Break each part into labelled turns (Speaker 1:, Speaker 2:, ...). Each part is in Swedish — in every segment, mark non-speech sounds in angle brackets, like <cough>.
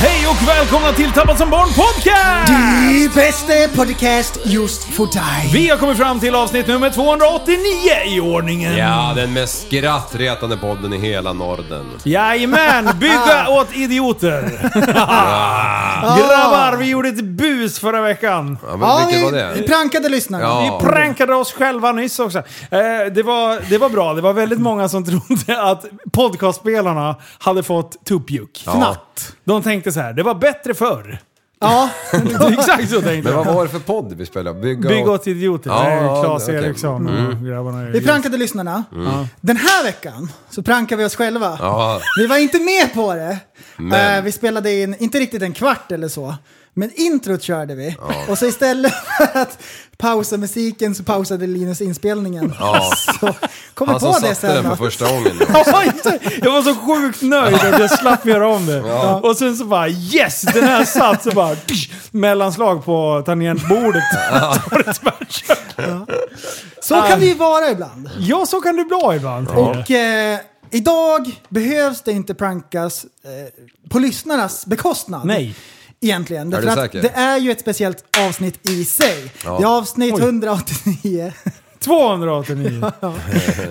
Speaker 1: Hej och välkomna till Tappad som barn podcast!
Speaker 2: Det bästa podcast just för dig.
Speaker 1: Vi har kommit fram till avsnitt nummer 289 i ordningen.
Speaker 3: Ja, den mest skrattretande podden i hela Norden.
Speaker 1: Jajamän,
Speaker 2: <laughs>
Speaker 1: bygga
Speaker 2: Ah.
Speaker 1: åt idioter. Grabbar, vi gjorde ett bus förra veckan.
Speaker 3: Ja, men
Speaker 2: Ja,
Speaker 3: vilket var det?
Speaker 2: vi, vi prankade lyssnarna.
Speaker 3: Ja.
Speaker 1: Vi prankade oss själva nyss också. Eh, det, var, det var bra, det var väldigt många som trodde att podcastspelarna hade fått tuppjuck.
Speaker 3: Fnatt.
Speaker 1: De tänkte så här, det var bättre förr. <laughs>
Speaker 2: Ja,
Speaker 1: Exakt så tänkte
Speaker 3: Men vad
Speaker 1: jag.
Speaker 3: var det för podd vi spelade? Bygga
Speaker 1: Bygg åt idioter. Mm.
Speaker 3: Ja,
Speaker 1: Nej, Claes
Speaker 3: okej. Mm.
Speaker 1: Eriksson och grabbarna.
Speaker 2: vi prankade lyssnarna. Den här veckan så prankar vi oss själva.
Speaker 3: Ja,
Speaker 2: Vi var inte med på det.
Speaker 3: Men.
Speaker 2: Eh, vi spelade in, inte riktigt en kvart eller så, men introt körde vi. Och så istället <laughs> för att pausa musiken så pausade Linus inspelningen.
Speaker 3: Ja.
Speaker 2: <laughs> Så kom vi
Speaker 3: han som
Speaker 2: på det
Speaker 3: satte
Speaker 2: sen.
Speaker 3: den för
Speaker 2: att-
Speaker 3: första gången.
Speaker 1: <laughs> Ja, just det. <laughs> jag var så sjukt nöjd att jag slapp göra om det. Och sen så bara yes, den här satt så bara tsch, mellanslag på
Speaker 3: <laughs>
Speaker 1: tangentbordet. Så var det tvärs.
Speaker 2: Så kan det ju vara ibland.
Speaker 1: ja, så kan det bli ibland.
Speaker 2: Och eh, idag behövs det inte prankas eh, på lyssnarnas bekostnad.
Speaker 1: Nej.
Speaker 2: Egentligen. Därför
Speaker 3: du
Speaker 2: att
Speaker 3: säker?
Speaker 2: det är ju ett speciellt avsnitt i sig. Det är avsnitt
Speaker 1: Oj.
Speaker 2: 189.
Speaker 1: 289.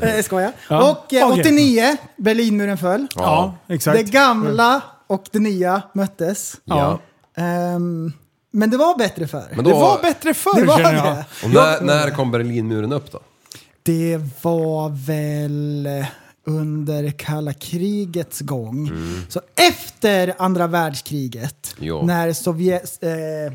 Speaker 2: eh, skoja.
Speaker 1: Ja.
Speaker 2: Och eh,
Speaker 1: Okej.
Speaker 2: 89, Berlinmuren föll.
Speaker 1: Ja, exakt. Mm.
Speaker 2: Det gamla och det nya möttes.
Speaker 1: Ja.
Speaker 2: Ehm, men det var bättre förr.
Speaker 3: Men
Speaker 1: Det
Speaker 3: då,
Speaker 1: var bättre förr
Speaker 2: det var
Speaker 1: känner jag.
Speaker 2: det.
Speaker 3: och när, när kom Berlinmuren upp då?
Speaker 2: Det var väl under kalla krigets gång. Så efter andra världskriget,
Speaker 3: Mm. Jo.
Speaker 2: när Sovjet, eh,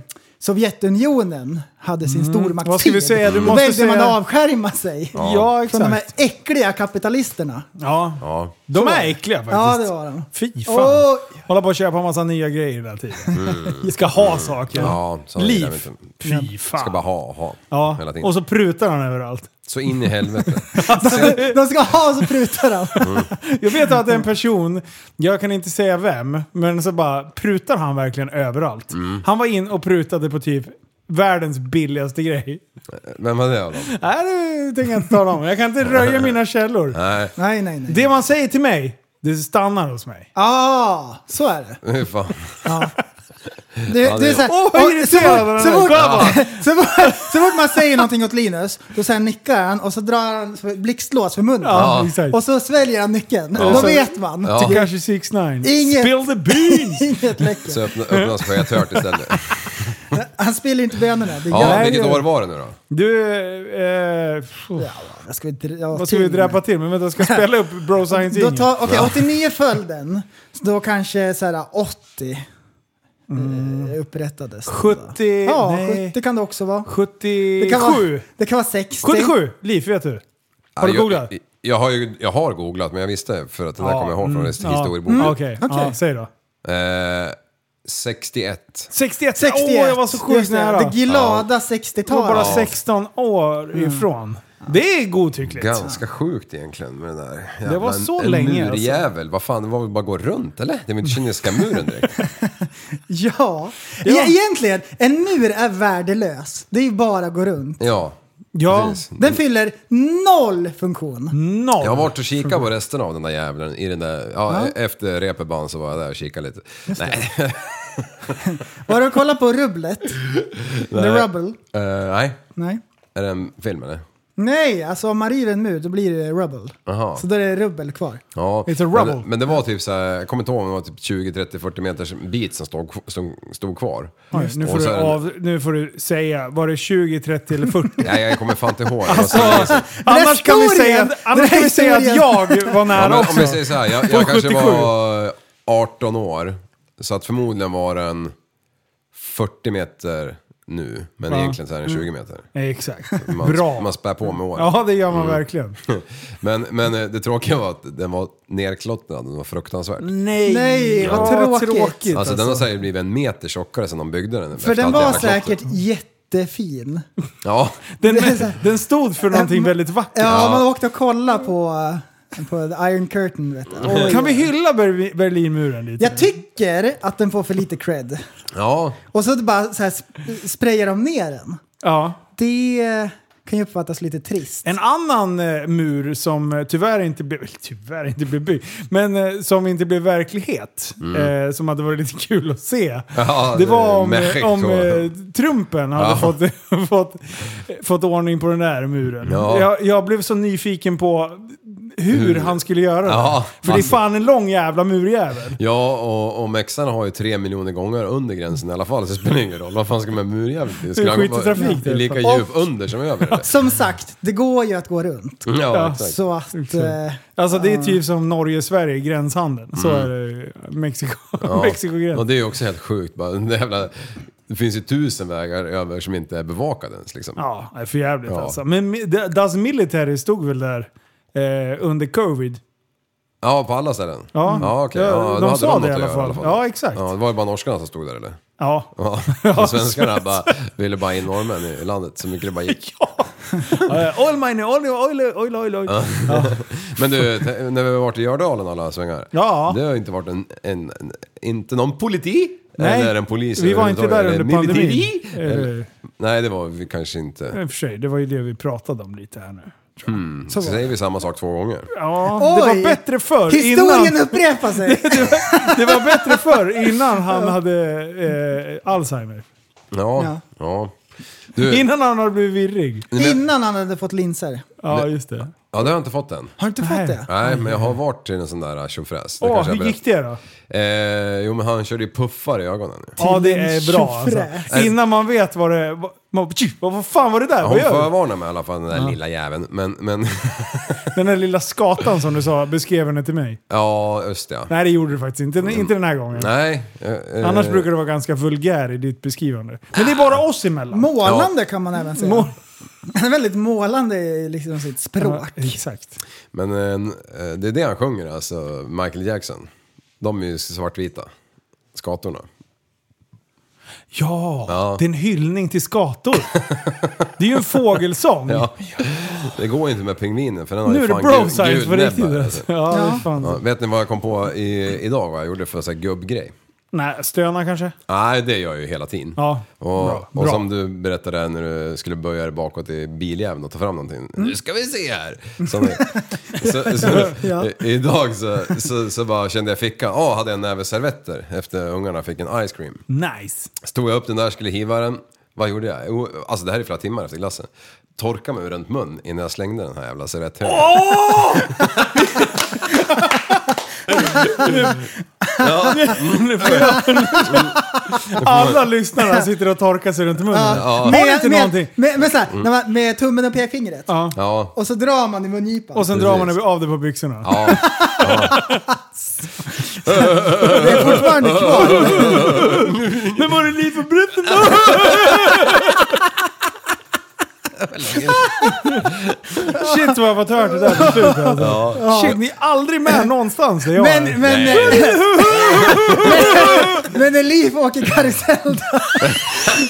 Speaker 2: Sovjetunionen hade sin stormaktstid,
Speaker 1: Mm. Vad ska vi säga? Du
Speaker 2: då
Speaker 1: måste
Speaker 2: välde man
Speaker 1: säga-
Speaker 2: att avskärma sig
Speaker 1: Ja,
Speaker 2: från de här
Speaker 1: exakt.
Speaker 2: äckliga kapitalisterna.
Speaker 1: Ja.
Speaker 3: Ja.
Speaker 1: De är äckliga faktiskt.
Speaker 2: Ja, det var de.
Speaker 1: Fy fan.
Speaker 2: Och,
Speaker 1: Hålla på och köpa en massa nya grejer hela tiden. Vi ska ha saker.
Speaker 3: Mm. Ja, så är det
Speaker 1: Liv.
Speaker 3: där, vet du.
Speaker 1: Fy fan.
Speaker 3: Ska bara ha, ha.
Speaker 1: ja.
Speaker 3: Hela tiden.
Speaker 1: Och så prutar han överallt.
Speaker 3: Så in
Speaker 1: <laughs>
Speaker 3: i helvete.
Speaker 2: de ska ha så prutar de.
Speaker 1: Jag vet att en person, jag kan inte säga vem, men så bara prutar han verkligen överallt.
Speaker 2: Mm.
Speaker 1: Han var in och prutade på typ världens billigaste grej.
Speaker 3: Vem var det då?
Speaker 1: Nej, det tänker jag inte tala om. Jag kan inte
Speaker 2: <laughs>
Speaker 1: röja mina källor.
Speaker 3: Nej,
Speaker 2: Nej, nej, nej.
Speaker 1: Det man säger till mig, det stannar hos mig.
Speaker 2: Ah, så är det.
Speaker 3: hur fan.
Speaker 2: Du,
Speaker 3: Ja,
Speaker 2: du
Speaker 3: det-
Speaker 2: är såhär,
Speaker 1: Åh, vad
Speaker 2: och
Speaker 1: irriterad
Speaker 2: så
Speaker 1: han är.
Speaker 2: fort- så fort-
Speaker 1: Bra.
Speaker 2: så fort- Så fort man säger någonting åt Linus, då så här nickar han och så drar han så- blixtlås för munnen.
Speaker 1: Ja, exakt.
Speaker 2: Och så sväljer han nyckeln. Då
Speaker 1: Så-
Speaker 2: vet man.
Speaker 3: Ja.
Speaker 1: Till kanske 6 9
Speaker 2: Inget.
Speaker 1: Spill the
Speaker 2: <laughs>
Speaker 1: beans!
Speaker 2: Inget läcker.
Speaker 3: Så öppna, öppnas på ett
Speaker 1: <laughs>
Speaker 3: hört istället.
Speaker 2: Han spiller inte bönorna. Det
Speaker 3: Ja,
Speaker 2: gör
Speaker 3: vilket
Speaker 1: det-
Speaker 3: år var det nu då?
Speaker 1: Du, eh, pff,
Speaker 2: Vad ska vi, dra- ja,
Speaker 1: vad ska vi
Speaker 2: till-
Speaker 1: dräpa till med? Vänta, jag ska spela upp Bro Science
Speaker 2: Då
Speaker 1: Ingen.
Speaker 2: tar, okej, 89 föll den. Så då kanske så här 80 eh, upprättades. då.
Speaker 1: 70,
Speaker 2: Ja,
Speaker 1: Mm. nej.
Speaker 2: 70 kan det också vara.
Speaker 1: 77.
Speaker 2: Det kan vara, det kan vara 60.
Speaker 1: 77! Liv, vet du? Har du
Speaker 3: Ja, jag-
Speaker 1: googlat?
Speaker 3: Jag, jag, har ju, jag har googlat, men jag visste för att det där kommer jag ihåg från
Speaker 1: mm, ja.
Speaker 3: historieboken.
Speaker 1: Mm, Okej,
Speaker 2: Okej.
Speaker 1: ja, säg då.
Speaker 3: Eh, 61.
Speaker 1: 61!
Speaker 2: 61.
Speaker 1: Åh, jag var så sjukt
Speaker 2: Just det,
Speaker 1: nära!
Speaker 2: Det Mm. glada
Speaker 1: Jag var
Speaker 2: 60-talet.
Speaker 1: bara 16 år ifrån. Det är godtyckligt.
Speaker 3: Ganska sjukt egentligen med den där jävla,
Speaker 1: Det var så
Speaker 3: en
Speaker 1: länge, alltså.
Speaker 3: murjävel. Vad fan, det var väl bara att gå runt eller? Det är väl inte kinesiska
Speaker 1: <laughs>
Speaker 3: muren direkt?
Speaker 2: Ja.
Speaker 1: Ja.
Speaker 2: E- egentligen, en mur är värdelös. Det är ju bara att gå runt.
Speaker 3: Ja,
Speaker 1: Ja,
Speaker 3: precis.
Speaker 2: Den fyller noll funktion.
Speaker 1: noll.
Speaker 3: Jag har varit och kikat på resten av den där jävlen i den där, ja, e- efter repeban så var jag där och kikade lite. Nej,
Speaker 2: Var du och kollade på rubblet? The Rubble?
Speaker 3: Eh, nej. <laughs>
Speaker 2: Nej.
Speaker 3: Är det en film eller?
Speaker 2: Nej, alltså om man river en mur då blir det rubble.
Speaker 3: Aha.
Speaker 2: Så då är det rubbel kvar.
Speaker 3: Ja,
Speaker 1: It's a rubble.
Speaker 3: men, men det var typ så här, jag kommer inte ihåg om det var typ 20, 30, 40 meters bit som stod, som stod kvar.
Speaker 1: Oj, nu, får
Speaker 3: Och
Speaker 1: du
Speaker 3: så är det-
Speaker 1: av, nu får du säga, var det 20, 30 eller 40?
Speaker 2: <laughs>
Speaker 3: Nej, jag kommer fan inte ihåg.
Speaker 1: Alltså, <laughs> annars kan vi säga, att- annars kan vi säga att jag var
Speaker 3: Ja,
Speaker 1: nära
Speaker 3: men, om
Speaker 1: också.
Speaker 3: jag säger så här, jag,
Speaker 1: På
Speaker 3: jag kanske
Speaker 1: 77.
Speaker 3: var 18 år, så att förmodligen var den 40 meter nu, men
Speaker 1: Ja.
Speaker 3: egentligen så är den 20 meter.
Speaker 1: Exakt.
Speaker 3: Man, Mm.
Speaker 1: Bra.
Speaker 3: man spär på med åren.
Speaker 1: Ja, det gör man verkligen.
Speaker 3: <laughs> Men, men eh, det tråkiga var att den var nerklottrad, den var fruktansvärt.
Speaker 1: Nej,
Speaker 2: Nej, vad tråkigt.
Speaker 3: Alltså den har säkert blivit en meter tjockare sedan de byggde den.
Speaker 2: För
Speaker 3: efter
Speaker 2: den
Speaker 3: allt
Speaker 2: var
Speaker 3: jävla klotter.
Speaker 2: säkert jättefin.
Speaker 3: Ja,
Speaker 1: Den,
Speaker 2: är så här-
Speaker 1: den stod
Speaker 2: <laughs>
Speaker 1: för någonting väldigt vackert.
Speaker 2: Ja,
Speaker 3: Ja.
Speaker 2: man åkte och kollade på, eh, på The Iron Curtain vet du. Oj.
Speaker 1: Kan vi hylla Ber- Berlinmuren lite?
Speaker 2: Jag tycker att den får för lite cred.
Speaker 3: ja.
Speaker 2: Och så bara så här sp- sprayar de ner den.
Speaker 1: ja.
Speaker 2: Det kan ju uppfattas lite trist.
Speaker 1: En annan eh, mur som eh, tyvärr inte blev, <laughs> eller tyvärr inte blev byggd, men eh, som inte blev verklighet, eh, som hade varit lite kul att se.
Speaker 3: Mm. Ja,
Speaker 1: det var om,
Speaker 3: Mexiko.
Speaker 1: eh, om eh, Trumpen hade
Speaker 3: Ja.
Speaker 1: fått, <laughs> fått, fått ordning på den där muren.
Speaker 3: Ja.
Speaker 1: Jag, jag blev så nyfiken på hur,
Speaker 3: Hur?
Speaker 1: han skulle göra
Speaker 3: Ja,
Speaker 1: det. För det är
Speaker 3: alltså.
Speaker 1: fan en lång jävla murjävel.
Speaker 3: Ja, och, och mexarna har ju tre miljoner gånger under gränsen i alla fall, så det spelar ingen roll. Vad fan ska man med murjäveln till? Skulle
Speaker 1: Det är typ.
Speaker 3: han
Speaker 1: skit i
Speaker 3: vara-
Speaker 1: trafik,
Speaker 3: det är lika
Speaker 1: det.
Speaker 3: djup under som över? eller?
Speaker 2: Som sagt, det går ju att gå runt.
Speaker 3: Ja, exakt.
Speaker 2: Så att... eh,
Speaker 1: Alltså det är typ som Norge-Sverige, gränshandeln. Så är det eh, Mexiko,
Speaker 3: Mm.
Speaker 1: <laughs>
Speaker 3: Ja.
Speaker 1: Mexiko-gränsen.
Speaker 3: Och det är ju också helt sjukt. Bara, den där jävla, det finns ju tusen vägar över som inte är bevakade ens. Liksom.
Speaker 1: Ja, det är för jävligt
Speaker 3: Ja.
Speaker 1: alltså. Men mi- de- Das Military stod väl där eh, under covid?
Speaker 3: Ja, på alla ställen.
Speaker 1: Ja,
Speaker 3: ja okej.
Speaker 1: Ja,
Speaker 3: Ja, då
Speaker 1: de
Speaker 3: hade
Speaker 1: sa
Speaker 3: något
Speaker 1: det i
Speaker 3: att
Speaker 1: alla
Speaker 3: göra
Speaker 1: fall. Ja, exakt.
Speaker 3: Ja, det var ju bara norskarna som stod där eller? <laughs>
Speaker 1: Ja.
Speaker 3: Ja,
Speaker 1: <laughs> Ja,
Speaker 3: de svenskarna
Speaker 1: svensk-
Speaker 3: bara ville bara in norrmän i landet så mycket det bara gick.
Speaker 1: Eh, Oil money, oil, oil, oil, oil, oil.
Speaker 3: Men du, t- när vi har varit i Gördalen alla svängar.
Speaker 1: Ja.
Speaker 3: Det har ju inte varit en, en, en inte någon politi.
Speaker 1: Nej,
Speaker 3: eller en polis
Speaker 1: vi var inte där
Speaker 3: överhuvudtaget,
Speaker 1: under
Speaker 3: eller
Speaker 1: pandemin.
Speaker 3: militeri. Eller,
Speaker 1: Eller,
Speaker 3: nej, det var vi kanske inte.
Speaker 1: i och för sig, det var ju det vi pratade om lite här nu.
Speaker 3: Så säger vi samma sak två gånger.
Speaker 1: Ja,
Speaker 2: Oj!
Speaker 1: det var bättre förr.
Speaker 2: Historien
Speaker 1: Innan, <laughs>
Speaker 2: upprepar sig!
Speaker 1: det var bättre förr innan han hade eh, Alzheimer.
Speaker 3: Ja,
Speaker 2: Ja.
Speaker 3: ja. Du,
Speaker 1: Innan han hade blivit virrig.
Speaker 2: Innan han hade fått linser.
Speaker 1: Ja, just det.
Speaker 3: ja, det har jag inte fått än.
Speaker 2: Har du inte
Speaker 1: Nej.
Speaker 2: fått det?
Speaker 3: Nej, men jag har varit i en sån där äh, tjofräs. Det
Speaker 1: Åh,
Speaker 3: kanske jag
Speaker 1: hur gick
Speaker 3: berättar.
Speaker 1: det då?
Speaker 3: Eh, jo, men han körde ju puffar i ögonen. ju.
Speaker 1: Ja, det
Speaker 2: en
Speaker 1: är bra alltså.
Speaker 2: tjofräs.
Speaker 1: Innan man vet vad det... Vad, man- tju, vad, vad fan var det där?
Speaker 3: Ja,
Speaker 1: Vad
Speaker 3: Hon
Speaker 1: gör du?
Speaker 3: förvarnade mig i alla fall, den där lilla jäveln. Men, men <laughs>
Speaker 1: Den där lilla skatan som du sa, beskrev henne till mig.
Speaker 3: ja, just det, ja.
Speaker 1: Nej, det gjorde du faktiskt inte. Inte den här gången.
Speaker 3: Mm. Nej. eh,
Speaker 1: Annars
Speaker 3: eh,
Speaker 1: brukar du vara ganska vulgär i ditt beskrivande. Men det är bara oss emellan.
Speaker 2: Målande kan man även säga.
Speaker 1: Mål-
Speaker 2: Han är <laughs> väldigt målande i liksom sitt
Speaker 1: Ja,
Speaker 2: språk.
Speaker 1: exakt.
Speaker 3: Men eh, det är det han sjunger, alltså Michael Jackson. De är ju svartvita, skatorna.
Speaker 1: Ja,
Speaker 3: Ja.
Speaker 1: det är en hyllning till skator. det är ju en fågelsång.
Speaker 3: Ja. Det går inte med pingvinen för den har
Speaker 1: Nu
Speaker 3: ju
Speaker 1: är det
Speaker 3: fan
Speaker 1: bro
Speaker 3: gud-
Speaker 1: science för
Speaker 3: gudnäbbar,
Speaker 1: riktigt. Alltså.
Speaker 3: alltså.
Speaker 1: Ja, det är
Speaker 2: Ja.
Speaker 1: fan.
Speaker 3: Ja, vet ni vad jag kom på i, idag, vad jag gjorde för så här gubbgrej?
Speaker 1: Nej, stöna kanske?
Speaker 3: Nej, det gör jag ju hela tiden.
Speaker 1: Ja,
Speaker 3: Och,
Speaker 1: bra.
Speaker 3: och
Speaker 1: Bra.
Speaker 3: som du berättade när du skulle böja dig bakåt i biljäveln och ta fram någonting.
Speaker 1: Mm.
Speaker 3: Nu ska vi se här! Som, så, så,
Speaker 1: <laughs>
Speaker 2: Ja.
Speaker 3: i- Idag så, så, så bara kände jag fickan. Ja, hade jag en näve servetter efter ungarna fick en ice cream.
Speaker 1: Nice.
Speaker 3: Stod jag upp den där, skulle hiva den. Vad gjorde jag? Jo, alltså det här är flera timmar efter glassen. Torka mig runt mun innan jag slängde den här jävla servetthögen. ja,
Speaker 1: <laughs> Alla lyssnarna sitter och torkar sig runt munnen.
Speaker 2: Ja.
Speaker 1: Har ni inte någonting?
Speaker 2: med, med, med, så här, när man, med tummen och pekfingret.
Speaker 1: Ja.
Speaker 3: ja,
Speaker 2: Och så drar man i mungipan.
Speaker 1: Och sen
Speaker 3: Precis.
Speaker 1: drar man av det på byxorna.
Speaker 3: ja.
Speaker 2: Det är fortfarande kvar.
Speaker 1: Men var det livförbrytande? Shit vad jag har fått hört det där på slutet alltså. Shit, ni är aldrig med någonstans där jag
Speaker 2: Men,
Speaker 1: är.
Speaker 2: men,
Speaker 1: <laughs>
Speaker 2: men, men när Liv åker karusell
Speaker 1: <laughs>
Speaker 2: då.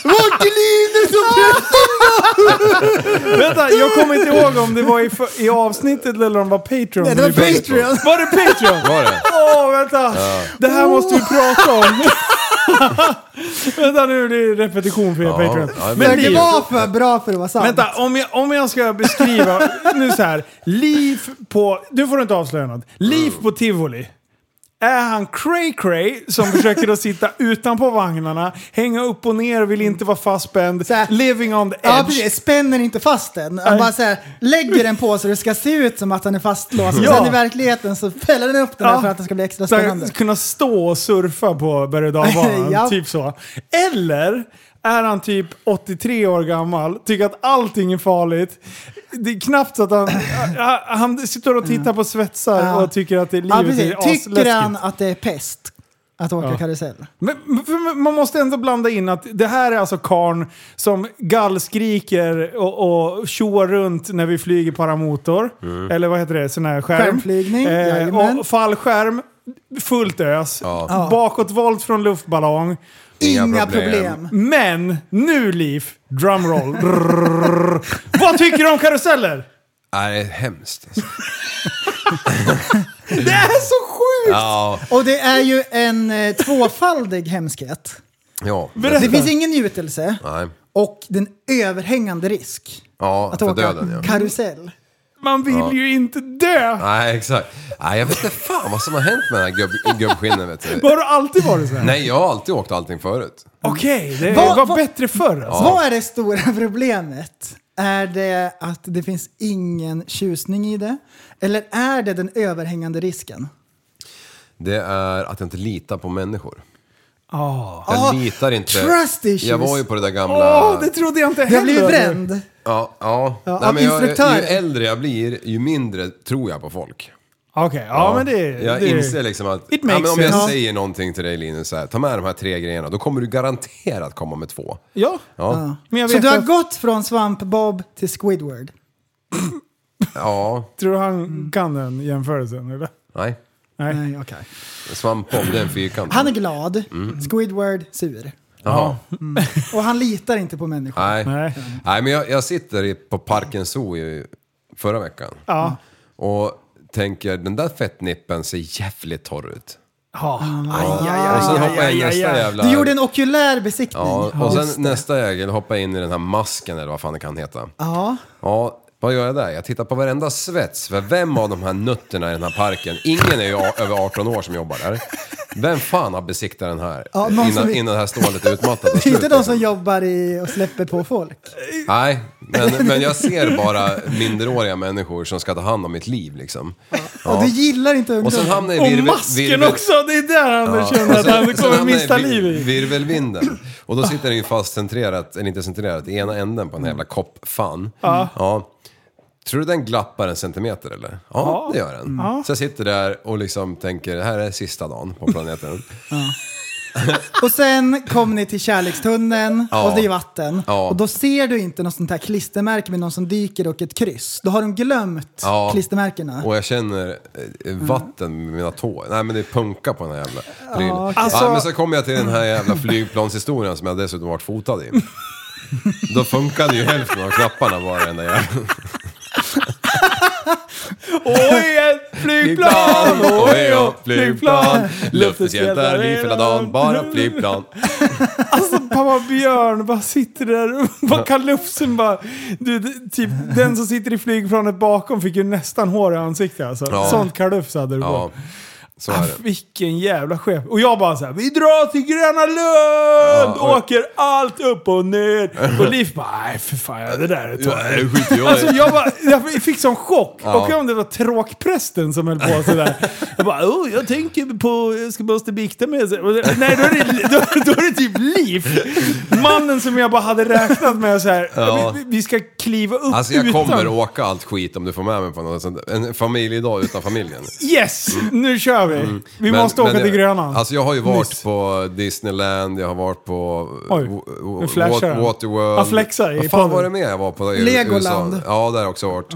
Speaker 2: Vart är Linus och
Speaker 1: Vänta, jag kommer inte ihåg om det var i, för- i avsnittet eller om det var Patreon.
Speaker 2: Nej, det var Patreon.
Speaker 1: Var det Patreon?
Speaker 3: Var det?
Speaker 1: Åh, vänta! Det här måste vi prata om. <laughs> vänta nu, det är repetition för er Patreon.
Speaker 3: ja, men-
Speaker 1: men
Speaker 2: Det
Speaker 1: Liv,
Speaker 2: var för bra för att vara sant.
Speaker 1: Vänta, om jag, om jag ska
Speaker 2: <laughs>
Speaker 1: beskriva
Speaker 2: Mm.
Speaker 1: nu så här. Liv på... Du får inte avslöja något. Liv på tivoli Är han cray cray
Speaker 2: <laughs>
Speaker 1: som försöker att sitta utanpå vagnarna, hänga upp och ner, vill inte vara fastspänd,
Speaker 2: Så här-
Speaker 1: living on the edge?
Speaker 2: Ja, precis. Spänner inte fast den. Han
Speaker 1: Nej.
Speaker 2: bara så här, lägger den på så det ska se ut som att han är fastlåst. Och
Speaker 1: Ja.
Speaker 2: Sen i verkligheten så fäller den upp den där för att det ska bli extra
Speaker 1: Så här,
Speaker 2: spännande.
Speaker 1: Kunna stå och surfa på berg och dalbanan,
Speaker 2: <laughs> Ja.
Speaker 1: typ så. Eller är han typ 83 år gammal, tycker att allting är farligt. Det är knappt så att han... <clears throat> han- han sitter och tittar på svetsar
Speaker 2: Mm. Ja.
Speaker 1: och tycker att det,
Speaker 2: Ja,
Speaker 1: livet
Speaker 2: precis.
Speaker 1: är
Speaker 2: Tycker han
Speaker 1: asläskigt.
Speaker 2: att det är pest att åka
Speaker 1: Ja.
Speaker 2: karusell?
Speaker 1: Men, men- för man måste ändå blanda in att det här är alltså karn som gallskriker och, och tjoar runt när vi flyger paramotor. Eller vad heter det? Sån här skärm.
Speaker 2: Skärmflygning,
Speaker 1: eh,
Speaker 2: jajamän.
Speaker 1: och Fallskärm, fullt ös.
Speaker 3: Ja.
Speaker 2: Ja.
Speaker 1: Bakåtvolt från luftballong.
Speaker 3: Inga
Speaker 2: Inga,
Speaker 3: problem.
Speaker 2: problem.
Speaker 1: Men nu Liv, drumroll. Drrrr. Vad tycker du om karuseller?
Speaker 3: Nej, det är hemskt. Alltså.
Speaker 1: Det är så sjukt!
Speaker 3: Ja,
Speaker 2: Och det är ju en eh, tvåfaldig hemskhet.
Speaker 3: ja.
Speaker 1: Berätta.
Speaker 2: Det finns ingen njutelse
Speaker 3: Nej.
Speaker 2: och den överhängande risk
Speaker 3: Ja,
Speaker 2: att
Speaker 3: för
Speaker 2: åka
Speaker 3: döden ja. Mm.
Speaker 2: karusell.
Speaker 1: Man vill ju inte dö!
Speaker 3: Nej, exakt. Nej, jag vet inte fan vad som har hänt med den här gubb, gubbskinnen vet du.
Speaker 1: Har du alltid varit så här?
Speaker 3: Nej, jag har alltid åkt allting förut.
Speaker 2: Mm.
Speaker 1: Okej, det
Speaker 2: Vad-
Speaker 1: var
Speaker 2: vad-
Speaker 1: bättre förr alltså.
Speaker 2: Vad är det stora <laughs> problemet? Är det att det finns ingen tjusning i det? Eller är det den överhängande risken?
Speaker 3: Det är att jag inte litar på människor.
Speaker 1: Ja.
Speaker 3: Jag
Speaker 2: Ah,
Speaker 3: litar inte.
Speaker 2: trust issues.
Speaker 3: Jag var ju på det där
Speaker 1: Åh,
Speaker 3: gamla...
Speaker 1: det trodde jag inte heller!
Speaker 2: Jag blir bränd.
Speaker 3: Ja, ja.
Speaker 2: Ja,
Speaker 3: Nej,
Speaker 2: av
Speaker 3: men jag,
Speaker 2: instruktör.
Speaker 3: ju äldre jag blir, ju mindre tror jag på folk.
Speaker 1: Okej, ja, men det...
Speaker 3: jag
Speaker 1: det,
Speaker 3: inser liksom att ja,
Speaker 1: It makes
Speaker 3: men om jag
Speaker 1: sense.
Speaker 3: säger någonting till dig Linus, så här, ta med de här tre grejerna, då kommer du garanterat komma med två.
Speaker 1: Ja.
Speaker 3: Ja,
Speaker 1: Men jag
Speaker 2: Så
Speaker 1: vet
Speaker 2: du har
Speaker 1: att-
Speaker 2: gått från Svamp-Bob till Squidward.
Speaker 3: ja.
Speaker 1: Tror du han kan den jämförelsen eller?
Speaker 3: nej.
Speaker 1: Nej.
Speaker 2: Nej, okej.
Speaker 3: Svampbob, det är en fyrkant.
Speaker 2: Han är glad,
Speaker 3: Mm.
Speaker 2: Squidward sur.
Speaker 3: Jaha.
Speaker 2: Och han litar inte på människor.
Speaker 3: Nej. nej.
Speaker 1: Nej.
Speaker 3: men jag, jag sitter i- på Parken Zoo i, förra veckan
Speaker 1: Ja.
Speaker 3: och tänker, den där fettnippen ser jävligt torr ut.
Speaker 1: Ja.
Speaker 3: och sen hoppar jag in nästa jävla...
Speaker 2: Du gjorde en okulär besiktning.
Speaker 3: Ja, och
Speaker 2: Just
Speaker 3: sen
Speaker 2: det.
Speaker 3: nästa jägel hoppar in i den här masken eller vad fan det kan heta.
Speaker 2: Ja.
Speaker 3: Ja, vad gör jag där? Jag tittar på varenda svets. För vem av de här nötterna i den här parken, ingen är ju a- över 18 år som jobbar där. Vem fan har besiktat den här
Speaker 2: Ja, någon
Speaker 3: innan,
Speaker 2: som-
Speaker 3: innan det här stålet är utmattat? och
Speaker 2: <laughs> Det är inte
Speaker 3: slut,
Speaker 2: de
Speaker 3: liksom?
Speaker 2: som jobbar i och släpper på folk.
Speaker 3: Nej,
Speaker 2: <laughs>
Speaker 3: men, men jag ser bara minderåriga människor som ska ta hand om mitt liv liksom.
Speaker 2: Och du gillar inte
Speaker 3: Och sen
Speaker 2: ungdomar.
Speaker 3: hamnar jag i
Speaker 1: Och
Speaker 3: virvel...
Speaker 1: masken också! Det är där han känner att
Speaker 3: Och sen-
Speaker 1: han
Speaker 3: <laughs> sen
Speaker 1: kommer
Speaker 3: hamnar jag i
Speaker 1: mista
Speaker 3: vir-
Speaker 1: liv
Speaker 3: <laughs>
Speaker 1: i.
Speaker 3: Virvelvinden. Och då sitter den ju fast centrerat, eller inte centrerat, i ena änden på den här jävla koppfan. Ja. Tror du den glappar en centimeter eller? Ja, det gör den. Så jag sitter där och liksom tänker, det här är sista dagen på
Speaker 1: <laughs>
Speaker 3: planeten.
Speaker 2: Och sen kom ni till kärlekstunneln
Speaker 3: Ja.
Speaker 2: och det är vatten.
Speaker 3: Ja.
Speaker 2: Och då ser du inte något sånt här klistermärke med någon som dyker och ett kryss. Då har de glömt
Speaker 3: Ja.
Speaker 2: klistermärkena.
Speaker 3: Och jag känner eh, vatten med mina tår. Nej men det är punka på den här jävla prylen.
Speaker 1: Alltså-
Speaker 3: ja, men så kommer jag till den här jävla flygplanshistorien som jag dessutom
Speaker 1: <laughs>
Speaker 3: varit fotad i. Då funkade ju hälften av knapparna bara den där jäveln.
Speaker 1: Oj, ett flygplan! Oj, oj, flygplan!
Speaker 3: Luftens hjältar, vi hela dagen, bara flygplan.
Speaker 1: Alltså <laughs> pappa Björn bara sitter där och <laughs> bara kalufsen bara... Du, det- typ den som sitter i flygplanet bakom fick ju nästan hår i ansiktet alltså.
Speaker 3: Ja.
Speaker 1: Sånt kalufs hade du på.
Speaker 3: Ja, så är
Speaker 1: Ah,
Speaker 3: det.
Speaker 1: vilken jävla chef. Och jag bara såhär, vi drar till Gröna Lund!
Speaker 3: Ja, och-
Speaker 1: Åker allt upp och ner. Och Liv bara, nej för fan det där är
Speaker 3: Ja,
Speaker 1: tråkigt.
Speaker 3: det skiter jag i.
Speaker 1: Alltså jag, bara, jag fick sån chock.
Speaker 3: Ja.
Speaker 1: Och jag om det var tråkprästen som höll på sådär. Jag bara, oh, jag tänker på, jag ska måste bikta mig. Så- och det- Nej, då är, det, då, då är det typ Liv. Mannen som jag bara hade räknat med såhär,
Speaker 3: Ja.
Speaker 1: vi, vi ska kliva upp
Speaker 3: Alltså jag
Speaker 1: utan.
Speaker 3: kommer åka allt skit om du får med mig på något sånt. En familjedag utan familjen.
Speaker 1: Yes, nu kör vi. <laughs> Vi
Speaker 3: Mm. Men-
Speaker 1: måste åka
Speaker 3: men
Speaker 1: till
Speaker 3: jag-
Speaker 1: Gröna.
Speaker 3: Alltså jag har ju varit
Speaker 1: Nyss.
Speaker 3: på Disneyland, jag har varit på eh,
Speaker 1: Oj,
Speaker 3: Wa- Wa-
Speaker 1: nu flashar
Speaker 3: Wa-
Speaker 1: han.
Speaker 3: Waterworld.
Speaker 1: Han flexar i
Speaker 3: Vad fan
Speaker 1: podden.
Speaker 3: var det med jag var på? i U-
Speaker 2: Legoland.
Speaker 3: USA? Ja, där har jag också varit.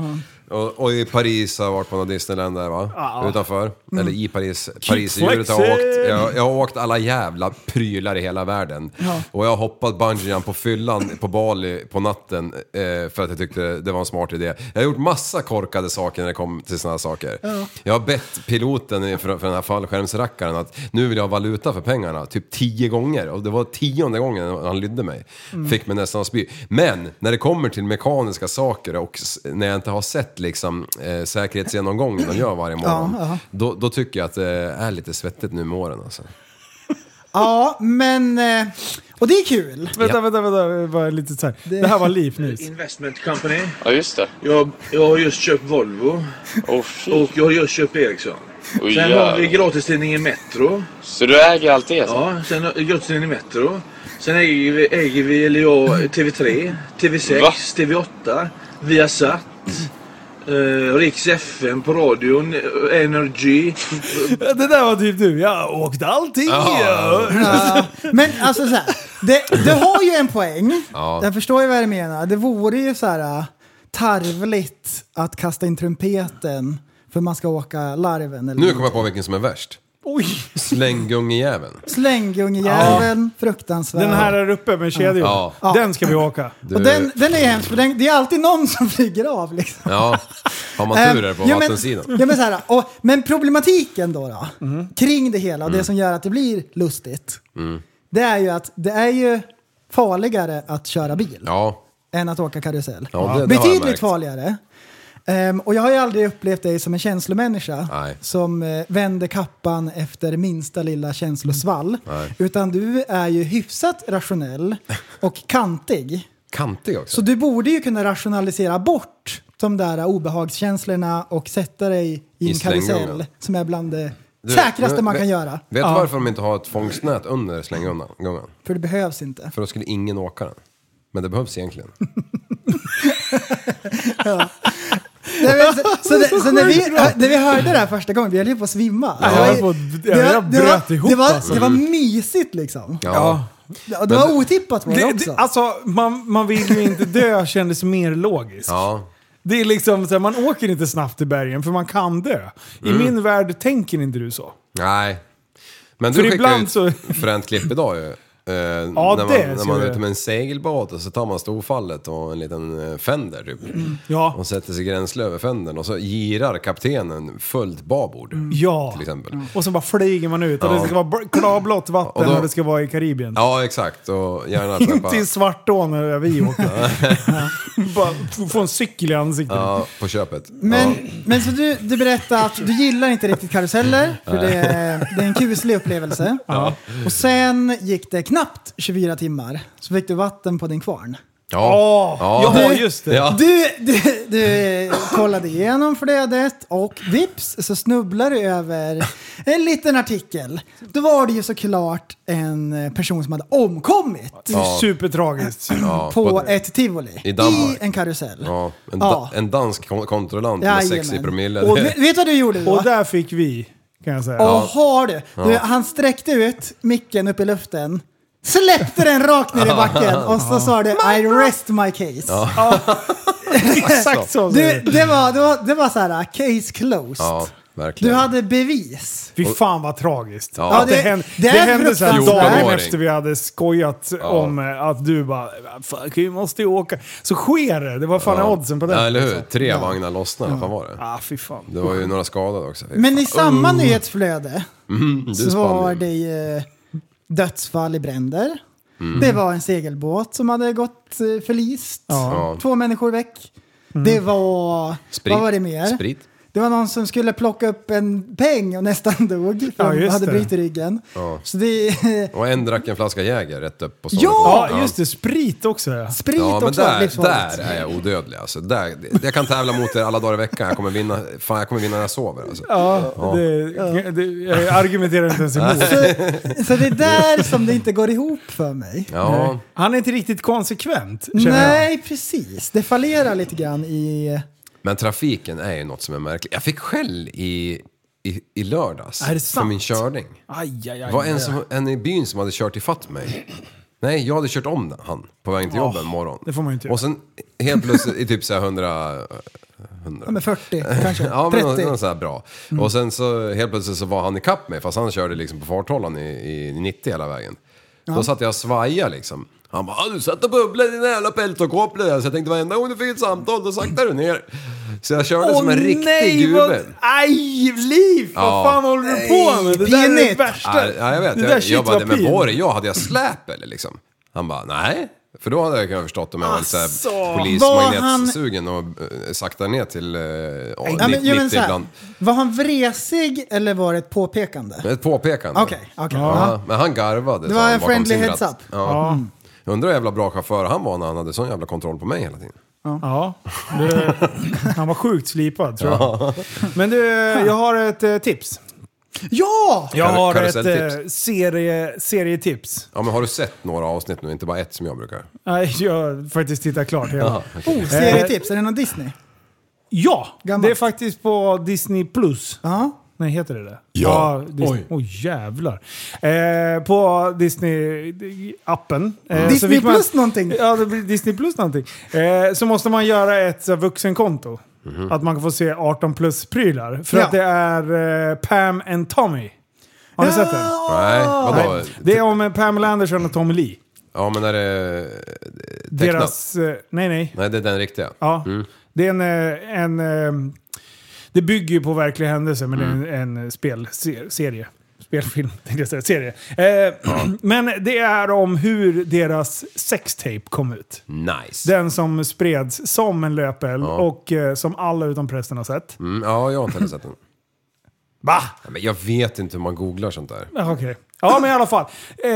Speaker 3: Och, och i Paris har jag varit på något Disneyland där va? Utanför.
Speaker 1: Mm.
Speaker 3: Eller i Paris. Parisdjuret har jag
Speaker 1: flexing!
Speaker 3: åkt. Jag, jag har åkt alla jävla prylar i hela världen. Och jag har hoppat bungyjump på fyllan på Bali på natten eh, för att jag tyckte det var en smart idé. Jag har gjort massa korkade saker när det kom till sådana saker. Jag har bett piloten i- för, för den här fallskärmsrackaren att nu vill jag ha valuta för pengarna, typ tio gånger. Och det var tionde gången han lydde mig.
Speaker 2: Mm.
Speaker 3: Fick mig nästan att spy. Men när det kommer till mekaniska saker och s- när jag inte har sett sett liksom, eh, säkerhetsgenomgången de gör varje morgon,
Speaker 2: Ja, ja.
Speaker 3: då, då tycker jag att det är lite svettigt nu med åren. Alltså.
Speaker 2: Ja, men... eh, Och det är kul.
Speaker 1: Vänta, vänta, vänta. Det var lite så här. Det här var liv nyss.
Speaker 4: Investment Company.
Speaker 5: Ja, just det.
Speaker 4: Jag, jag har just köpt Volvo
Speaker 5: Åh, fy.
Speaker 4: och jag har just köpt Ericsson.
Speaker 5: Oj,
Speaker 4: Sen
Speaker 5: jävlar.
Speaker 4: har vi gratistidningen Metro.
Speaker 5: Så du äger allt det? Alltså?
Speaker 4: Ja, sen har- gratistidningen Metro. Sen äger vi, äger vi eller jag, TV3, TV6,
Speaker 5: Va?
Speaker 4: TV8, Viasat. Uh, Riks FM på radion, eh, Energy.
Speaker 1: <laughs> Det där var typ du. Jag åkte allting. Ja.
Speaker 2: Ja, men alltså så här, det, det har ju en poäng. Jag förstår ju vad du menar. Det vore ju så här äh, tarvligt att kasta in trumpeten för man ska åka larven. Eller
Speaker 3: Nu kommer jag på vilken som är värst.
Speaker 1: Oj.
Speaker 3: Slänggungjäveln.
Speaker 2: Slänggungjäveln, fruktansvärd.
Speaker 1: Den här är uppe med kedjor.
Speaker 3: Ja.
Speaker 1: Den ska vi åka.
Speaker 2: Och den, den är ju hemsk, för den, det är alltid någon som flyger av liksom.
Speaker 3: Ja, har man tur där på
Speaker 2: Eh, ja, men-
Speaker 3: vattensidan. Mm.
Speaker 2: Ja, men, så här, och, men problematiken då, då kring det hela och det som gör att det blir lustigt. Det är ju att det är ju farligare att köra bil
Speaker 3: Ja,
Speaker 2: än att åka karusell.
Speaker 3: Ja, det- det har jag
Speaker 2: Betydligt
Speaker 3: märkt.
Speaker 2: farligare. Ehm, och jag har ju aldrig upplevt dig som en känslomänniska
Speaker 3: Nej.
Speaker 2: som eh, vänder kappan efter minsta lilla känslosvall. Utan du är ju hyfsat rationell och kantig.
Speaker 3: kantig också.
Speaker 2: Så du borde ju kunna rationalisera bort de där obehagskänslorna och sätta dig i
Speaker 3: I
Speaker 2: en karusell
Speaker 3: slänggången.
Speaker 2: som är bland det
Speaker 3: Du,
Speaker 2: säkraste
Speaker 3: nu-
Speaker 2: man
Speaker 3: vet-
Speaker 2: kan göra.
Speaker 3: Vet du varför de inte har ett fångstnät under slänggången?
Speaker 2: För det behövs inte.
Speaker 3: För då skulle ingen åka den. Men det behövs egentligen.
Speaker 2: Nej, men så, så, det, så när, vi, när vi hörde det här första gången, vi höll ju på att svimma.
Speaker 1: Ja,
Speaker 2: Det var ju-
Speaker 1: jag får-
Speaker 2: det var-
Speaker 1: jag
Speaker 2: det var-
Speaker 1: bröt ihop,
Speaker 2: Det var,
Speaker 1: alltså.
Speaker 2: det var mysigt liksom.
Speaker 3: Ja.
Speaker 2: Ja, Det var otippat var det
Speaker 1: Det, det,
Speaker 2: också.
Speaker 1: alltså, man, man vill ju inte dö kändes mer logiskt.
Speaker 3: Ja.
Speaker 1: Det är liksom så här, man åker inte snabbt till bergen för man kan dö. I
Speaker 3: Mm.
Speaker 1: min värld tänker inte du så.
Speaker 3: Nej. Men
Speaker 1: För
Speaker 3: du skickade
Speaker 1: ibland
Speaker 3: ju ett
Speaker 1: så-
Speaker 3: fränt klipp idag ju. Eh, när man,
Speaker 1: det
Speaker 3: när
Speaker 1: ser
Speaker 3: man är
Speaker 1: jag.
Speaker 3: ute med en segelbåt och så tar man storfallet och en liten eh, fänder typ.
Speaker 1: Ja.
Speaker 3: Och sätter sig gränsle över fändern och så girar kaptenen fullt babord.
Speaker 1: Ja.
Speaker 3: Till exempel.
Speaker 1: Och så bara flyger man ut och
Speaker 3: Ja.
Speaker 1: det ska vara br- klarblått vatten
Speaker 3: Och då-
Speaker 1: och det ska vara i Karibien.
Speaker 3: Ja, exakt. Och gärna träffa...
Speaker 1: Inte i Svartån där vi åker. <laughs> Bara f- få en cykel i ansiktet.
Speaker 3: Ja, på köpet.
Speaker 2: Men,
Speaker 3: Ja.
Speaker 2: men så du, du berättade att du gillar inte riktigt karuseller, för det, är- det är en kuslig upplevelse. Och sen gick det knappt 24 timmar, så fick du vatten på din kvarn.
Speaker 3: Ja.
Speaker 1: Ja,
Speaker 3: Ja.
Speaker 1: just det.
Speaker 3: Ja.
Speaker 2: Du, du, du kollade igenom flödet och vips så snubblar du över en liten artikel. Då var det ju såklart en person som hade omkommit
Speaker 1: Supertragiskt.
Speaker 3: Ja,
Speaker 2: på,
Speaker 3: på-
Speaker 2: ett tivoli
Speaker 3: i Danmark.
Speaker 2: en karusell.
Speaker 3: Ja, en,
Speaker 2: Ja.
Speaker 3: da, en dansk kon- kontrollant med
Speaker 2: Jajamän.
Speaker 3: 60 promille.
Speaker 2: Och vet, vet du vad du gjorde då?
Speaker 1: Och där fick vi, kan jag säga.
Speaker 2: Åh, har du? du han sträckte ut micken upp i luften, släppte den rakt ner i
Speaker 3: <laughs>
Speaker 2: backen och så sa du I rest my case.
Speaker 1: Exakt så.
Speaker 2: Du,
Speaker 1: Du...
Speaker 2: det, var, det, var, det var så här, case closed.
Speaker 3: <laughs> Ja, verkligen.
Speaker 2: Du hade bevis.
Speaker 1: Fy fan vad tragiskt.
Speaker 3: Ja.
Speaker 1: Att det,
Speaker 2: Ja, det-
Speaker 1: hände,
Speaker 2: det
Speaker 1: det,
Speaker 2: är
Speaker 1: hände så här
Speaker 2: fruktansvärt.
Speaker 1: dagen
Speaker 3: 14-åring.
Speaker 1: efter vi hade skojat om eh, att du bara Fuck, vi måste ju åka. Så sker det. Det var fan oddsen på
Speaker 3: Ja,
Speaker 1: det. Alltså.
Speaker 3: eller hur? Tre vagnar lossnade, vad fan var det?
Speaker 1: Ah, fy fan.
Speaker 3: Det var ju några skadade också.
Speaker 2: Men i samma nyhetsflöde
Speaker 3: Du
Speaker 2: Mm, så
Speaker 3: spann
Speaker 2: var
Speaker 3: ju.
Speaker 2: det ju dödsfall i bränder.
Speaker 3: Mm.
Speaker 2: Det var en segelbåt som hade gått eh, förlist.
Speaker 3: Ja.
Speaker 2: Två människor väck. Det var...
Speaker 3: Sprit.
Speaker 2: Vad var det mer?
Speaker 3: Sprit.
Speaker 2: Det var någon som skulle plocka upp en peng och nästan dog.
Speaker 1: Ja,
Speaker 2: För han
Speaker 1: just
Speaker 2: hade
Speaker 1: det.
Speaker 2: brutit ryggen.
Speaker 3: Ja.
Speaker 2: Så det är <laughs>
Speaker 3: Och en drack en flaska Jäger rätt upp på
Speaker 2: Ja!
Speaker 1: Ja, just det. Sprit också. ja.
Speaker 2: sprit
Speaker 3: Ja, men
Speaker 2: också.
Speaker 3: där,
Speaker 2: livsfarligt.
Speaker 3: där är jag odödlig alltså. Där, jag kan tävla mot er alla dagar i veckan. Jag kommer vinna, fan, jag kommer vinna när jag sover alltså.
Speaker 1: Ja, Det, det, jag argumenterar inte ens
Speaker 3: <laughs>
Speaker 1: emot.
Speaker 2: Så, så det är där som det inte går ihop för mig.
Speaker 3: Ja,
Speaker 1: Han är inte riktigt konsekvent, känner jag.
Speaker 2: Nej, precis. Det fallerar lite grann i...
Speaker 3: men trafiken är ju något som är märkligt. Jag fick skäll i, i, i lördags
Speaker 1: Är det
Speaker 3: för
Speaker 1: sant?
Speaker 3: min körning.
Speaker 1: Aj, aj, aj.
Speaker 3: Det var en, som, en i byn som hade kört ifatt mig. Nej, jag hade kört om han på vägen till jobbet en morgon.
Speaker 1: det får man ju inte göra.
Speaker 3: Och sen helt plötsligt i typ så här 100... 100.
Speaker 2: Ja, men 40
Speaker 3: <laughs>
Speaker 2: kanske. Mm.
Speaker 3: Ja, men
Speaker 2: 30.
Speaker 3: någon, någon sån här bra. Och sen så helt plötsligt så var han ikapp mig fast han körde liksom på farthållaren i, i 90 hela vägen. Då satt jag och svajade liksom. Han bara, "Ah, du satt och bubblade i dina jävla peltokåpor där. Så jag tänkte varenda gång du fick ett samtal då saktade du ner. Så jag körde som en riktig gubbe.
Speaker 1: vad... Aj, Liv!
Speaker 3: Ja.
Speaker 1: Vad fan håller du på med? Det där är det
Speaker 2: pinigt.
Speaker 1: värsta.
Speaker 3: Ja, ja, jag vet.
Speaker 1: Det där
Speaker 3: Jag,
Speaker 1: shit
Speaker 3: jag bara,
Speaker 1: var
Speaker 3: men
Speaker 1: pin.
Speaker 3: var det jag? Hade jag släp eller liksom? Han bara, nej. För då hade jag kunnat förstått om jag varit så
Speaker 1: Asså,
Speaker 3: här
Speaker 2: var han-
Speaker 3: polismagnetsugen och eh, saktar ner till eh, ja,
Speaker 2: Ja, men,
Speaker 3: 90
Speaker 2: jo, men så här,
Speaker 3: ibland.
Speaker 2: var han vresig eller var det ett påpekande?
Speaker 3: Ett påpekande.
Speaker 2: Okej, okej.
Speaker 3: Ja, men han garvade.
Speaker 2: Det
Speaker 3: sa
Speaker 2: var
Speaker 3: han
Speaker 2: en
Speaker 3: bakom
Speaker 2: friendly
Speaker 3: sin
Speaker 2: heads
Speaker 3: ratt.
Speaker 2: up.
Speaker 3: Ja. Undrar hur jävla bra chaufför han var när han hade sån jävla kontroll på mig hela tiden.
Speaker 1: Ja,
Speaker 3: <laughs>
Speaker 1: det, han var sjukt slipad tror jag. Men du, jag har ett eh, tips.
Speaker 2: Ja!
Speaker 1: Jag
Speaker 3: Karu-
Speaker 1: har ett
Speaker 3: karuselltips.
Speaker 1: eh, serie, serietips.
Speaker 3: Ja, men har du sett några avsnitt nu? Inte bara ett som jag brukar.
Speaker 1: Nej, <laughs> jag har faktiskt tittat klart hela.
Speaker 2: Oh, serietips. Är det någon Disney?
Speaker 1: Ja,
Speaker 2: Gammalt.
Speaker 1: det är faktiskt på Disney+. Plus.
Speaker 2: Ja.
Speaker 1: Nej, heter det det?
Speaker 3: Ja.
Speaker 1: Disney. Oj. jävlar. Eh, på Disney-appen. eh, så
Speaker 2: Disney
Speaker 1: fick man-
Speaker 2: plus någonting?
Speaker 1: Ja, det blir Disney plus någonting. Eh, så måste man göra ett så, här, vuxenkonto. Att man kan få se 18 plus-prylar. För
Speaker 2: Ja.
Speaker 1: att det är eh, Pam and Tommy. Har ni sett den?
Speaker 3: Nej,
Speaker 1: Ah.
Speaker 3: vadå?
Speaker 1: Nej, det är om eh, Pamela Anderson och Tommy Lee.
Speaker 3: Ja, men är det eh, tecknat?
Speaker 1: Deras... Eh, nej, nej.
Speaker 3: Nej, det är den riktiga.
Speaker 1: Ja. Det är en... eh, en eh, det bygger ju på verkliga händelser, men det är en, en spelserie. Spelfilm, <laughs> tänkte jag säga. Serie. Eh, <clears throat> Men det är om hur deras sextape kom ut.
Speaker 3: Nice.
Speaker 1: Den som spreds som en löpeld och eh, som alla utom prästen har sett.
Speaker 3: Mm, ja, jag har inte heller sett den.
Speaker 1: Va?
Speaker 3: Ja, Men jag vet inte hur man googlar sånt där.
Speaker 1: Ja, Okej. Ja, men i alla fall. Eh,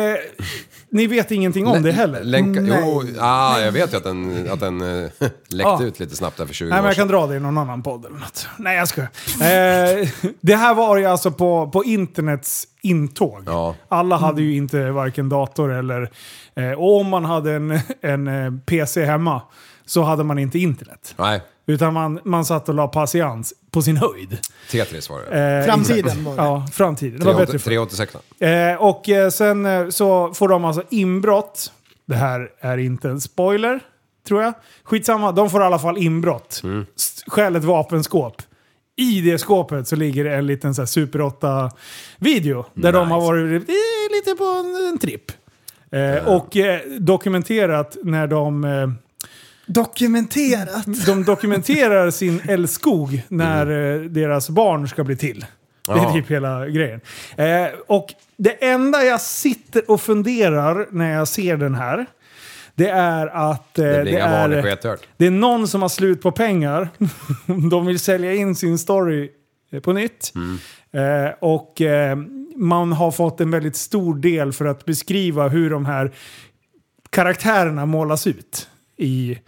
Speaker 1: ni vet ingenting om det heller.
Speaker 3: Länka,
Speaker 2: Nej.
Speaker 3: jo, ah, jag vet ju att den, att den eh, <laughs> läckte
Speaker 1: Ja.
Speaker 3: ut lite snabbt där för 20
Speaker 1: Ah. Nej, men
Speaker 3: år
Speaker 1: jag kan dra det i någon annan podd eller något. Nej, jag skojar. Eh, det här var ju alltså på, på internets intåg.
Speaker 3: Ja.
Speaker 1: Alla hade ju inte varken dator eller... Eh, och om man hade en, en eh, PC hemma så hade man inte internet.
Speaker 3: Nej,
Speaker 1: Utan man, man satt och la patiens på sin höjd.
Speaker 3: Tetris var det.
Speaker 1: Eh,
Speaker 2: Framtiden var det.
Speaker 1: Ja, framtiden. Det var bättre förr.
Speaker 3: 386.
Speaker 1: Eh, och eh, sen eh, så får de alltså inbrott. Det här är inte en spoiler, tror jag. Skitsamma, de får i alla fall inbrott. Mm. Stjäl ett vapenskåp. I det skåpet så ligger det en liten så här Super 8-video. Där de har varit eh, lite på en, en tripp. Eh, Och eh, dokumenterat när de... Eh,
Speaker 2: Dokumenterat.
Speaker 1: de dokumenterar sin älskog när eh, deras barn ska bli till. Det är
Speaker 3: Mm. Ja.
Speaker 1: typ hela grejen. Eh, och det enda jag sitter och funderar när jag ser den här, det är att eh,
Speaker 3: Det
Speaker 1: det,
Speaker 3: blir inga
Speaker 1: är,
Speaker 3: barn i skethört.
Speaker 1: det är någon som har slut på pengar. <laughs> de vill sälja in sin story eh, på nytt.
Speaker 3: Mm.
Speaker 1: Eh, och eh, man har fått en väldigt stor del för att beskriva hur de här karaktärerna målas ut i,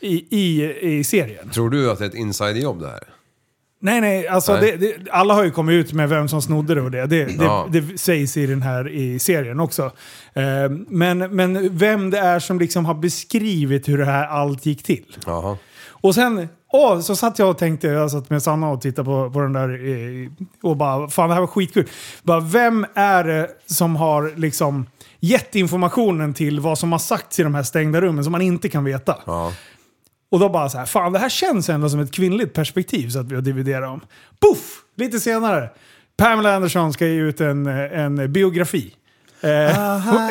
Speaker 1: i, i, i serien.
Speaker 3: Tror du att det är ett insiderjobb det här?
Speaker 1: Nej, nej. Alltså Det,
Speaker 3: Nej.
Speaker 1: det, alla har ju kommit ut med vem som snodde det och det. Det, det,
Speaker 3: Ja.
Speaker 1: det sägs i den här i serien också. Eh, men, men vem det är som liksom har beskrivit hur det här allt gick till.
Speaker 3: Jaha.
Speaker 1: Och sen åh, så satt jag och tänkte, jag satt med Sanna och tittade på, på den där eh, och bara, fan det här var skitkul. Bara, vem är det som har liksom gett informationen till vad som har sagts i de här stängda rummen som man inte kan veta?
Speaker 3: Ja.
Speaker 1: Och då bara så här, fan det här känns ändå som ett kvinnligt perspektiv så att vi har dividerat om. Puff! Lite senare. Pamela Anderson ska ge ut en, en biografi. Eh,
Speaker 2: Aha.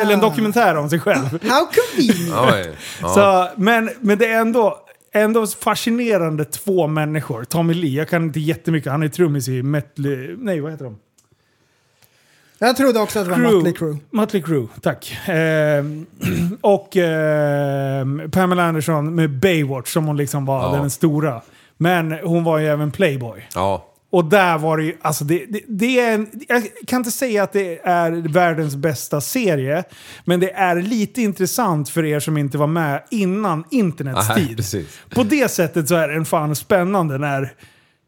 Speaker 1: <laughs> eller en dokumentär om sig själv.
Speaker 2: How convenient.
Speaker 3: Oj. Ja.
Speaker 1: <laughs> Så, men, men det är ändå, ändå fascinerande två människor. Tommy Lee, jag kan inte jättemycket, han är trummis i Metley... Nej, vad heter de?
Speaker 2: Jag trodde också att det var Mötley Crew.
Speaker 1: Mötley Crüe, tack. Ehm, <clears throat> och ehm, Pamela Anderson med Baywatch som hon liksom var
Speaker 3: Ja.
Speaker 1: den stora. Men hon var ju även Playboy.
Speaker 3: ja.
Speaker 1: Och där var det ju, alltså det, det, det är en, jag kan inte säga att det är världens bästa serie, men det är lite intressant för er som inte var med innan internets
Speaker 3: Nej,
Speaker 1: tid.
Speaker 3: precis.
Speaker 1: På det sättet så är den fan spännande när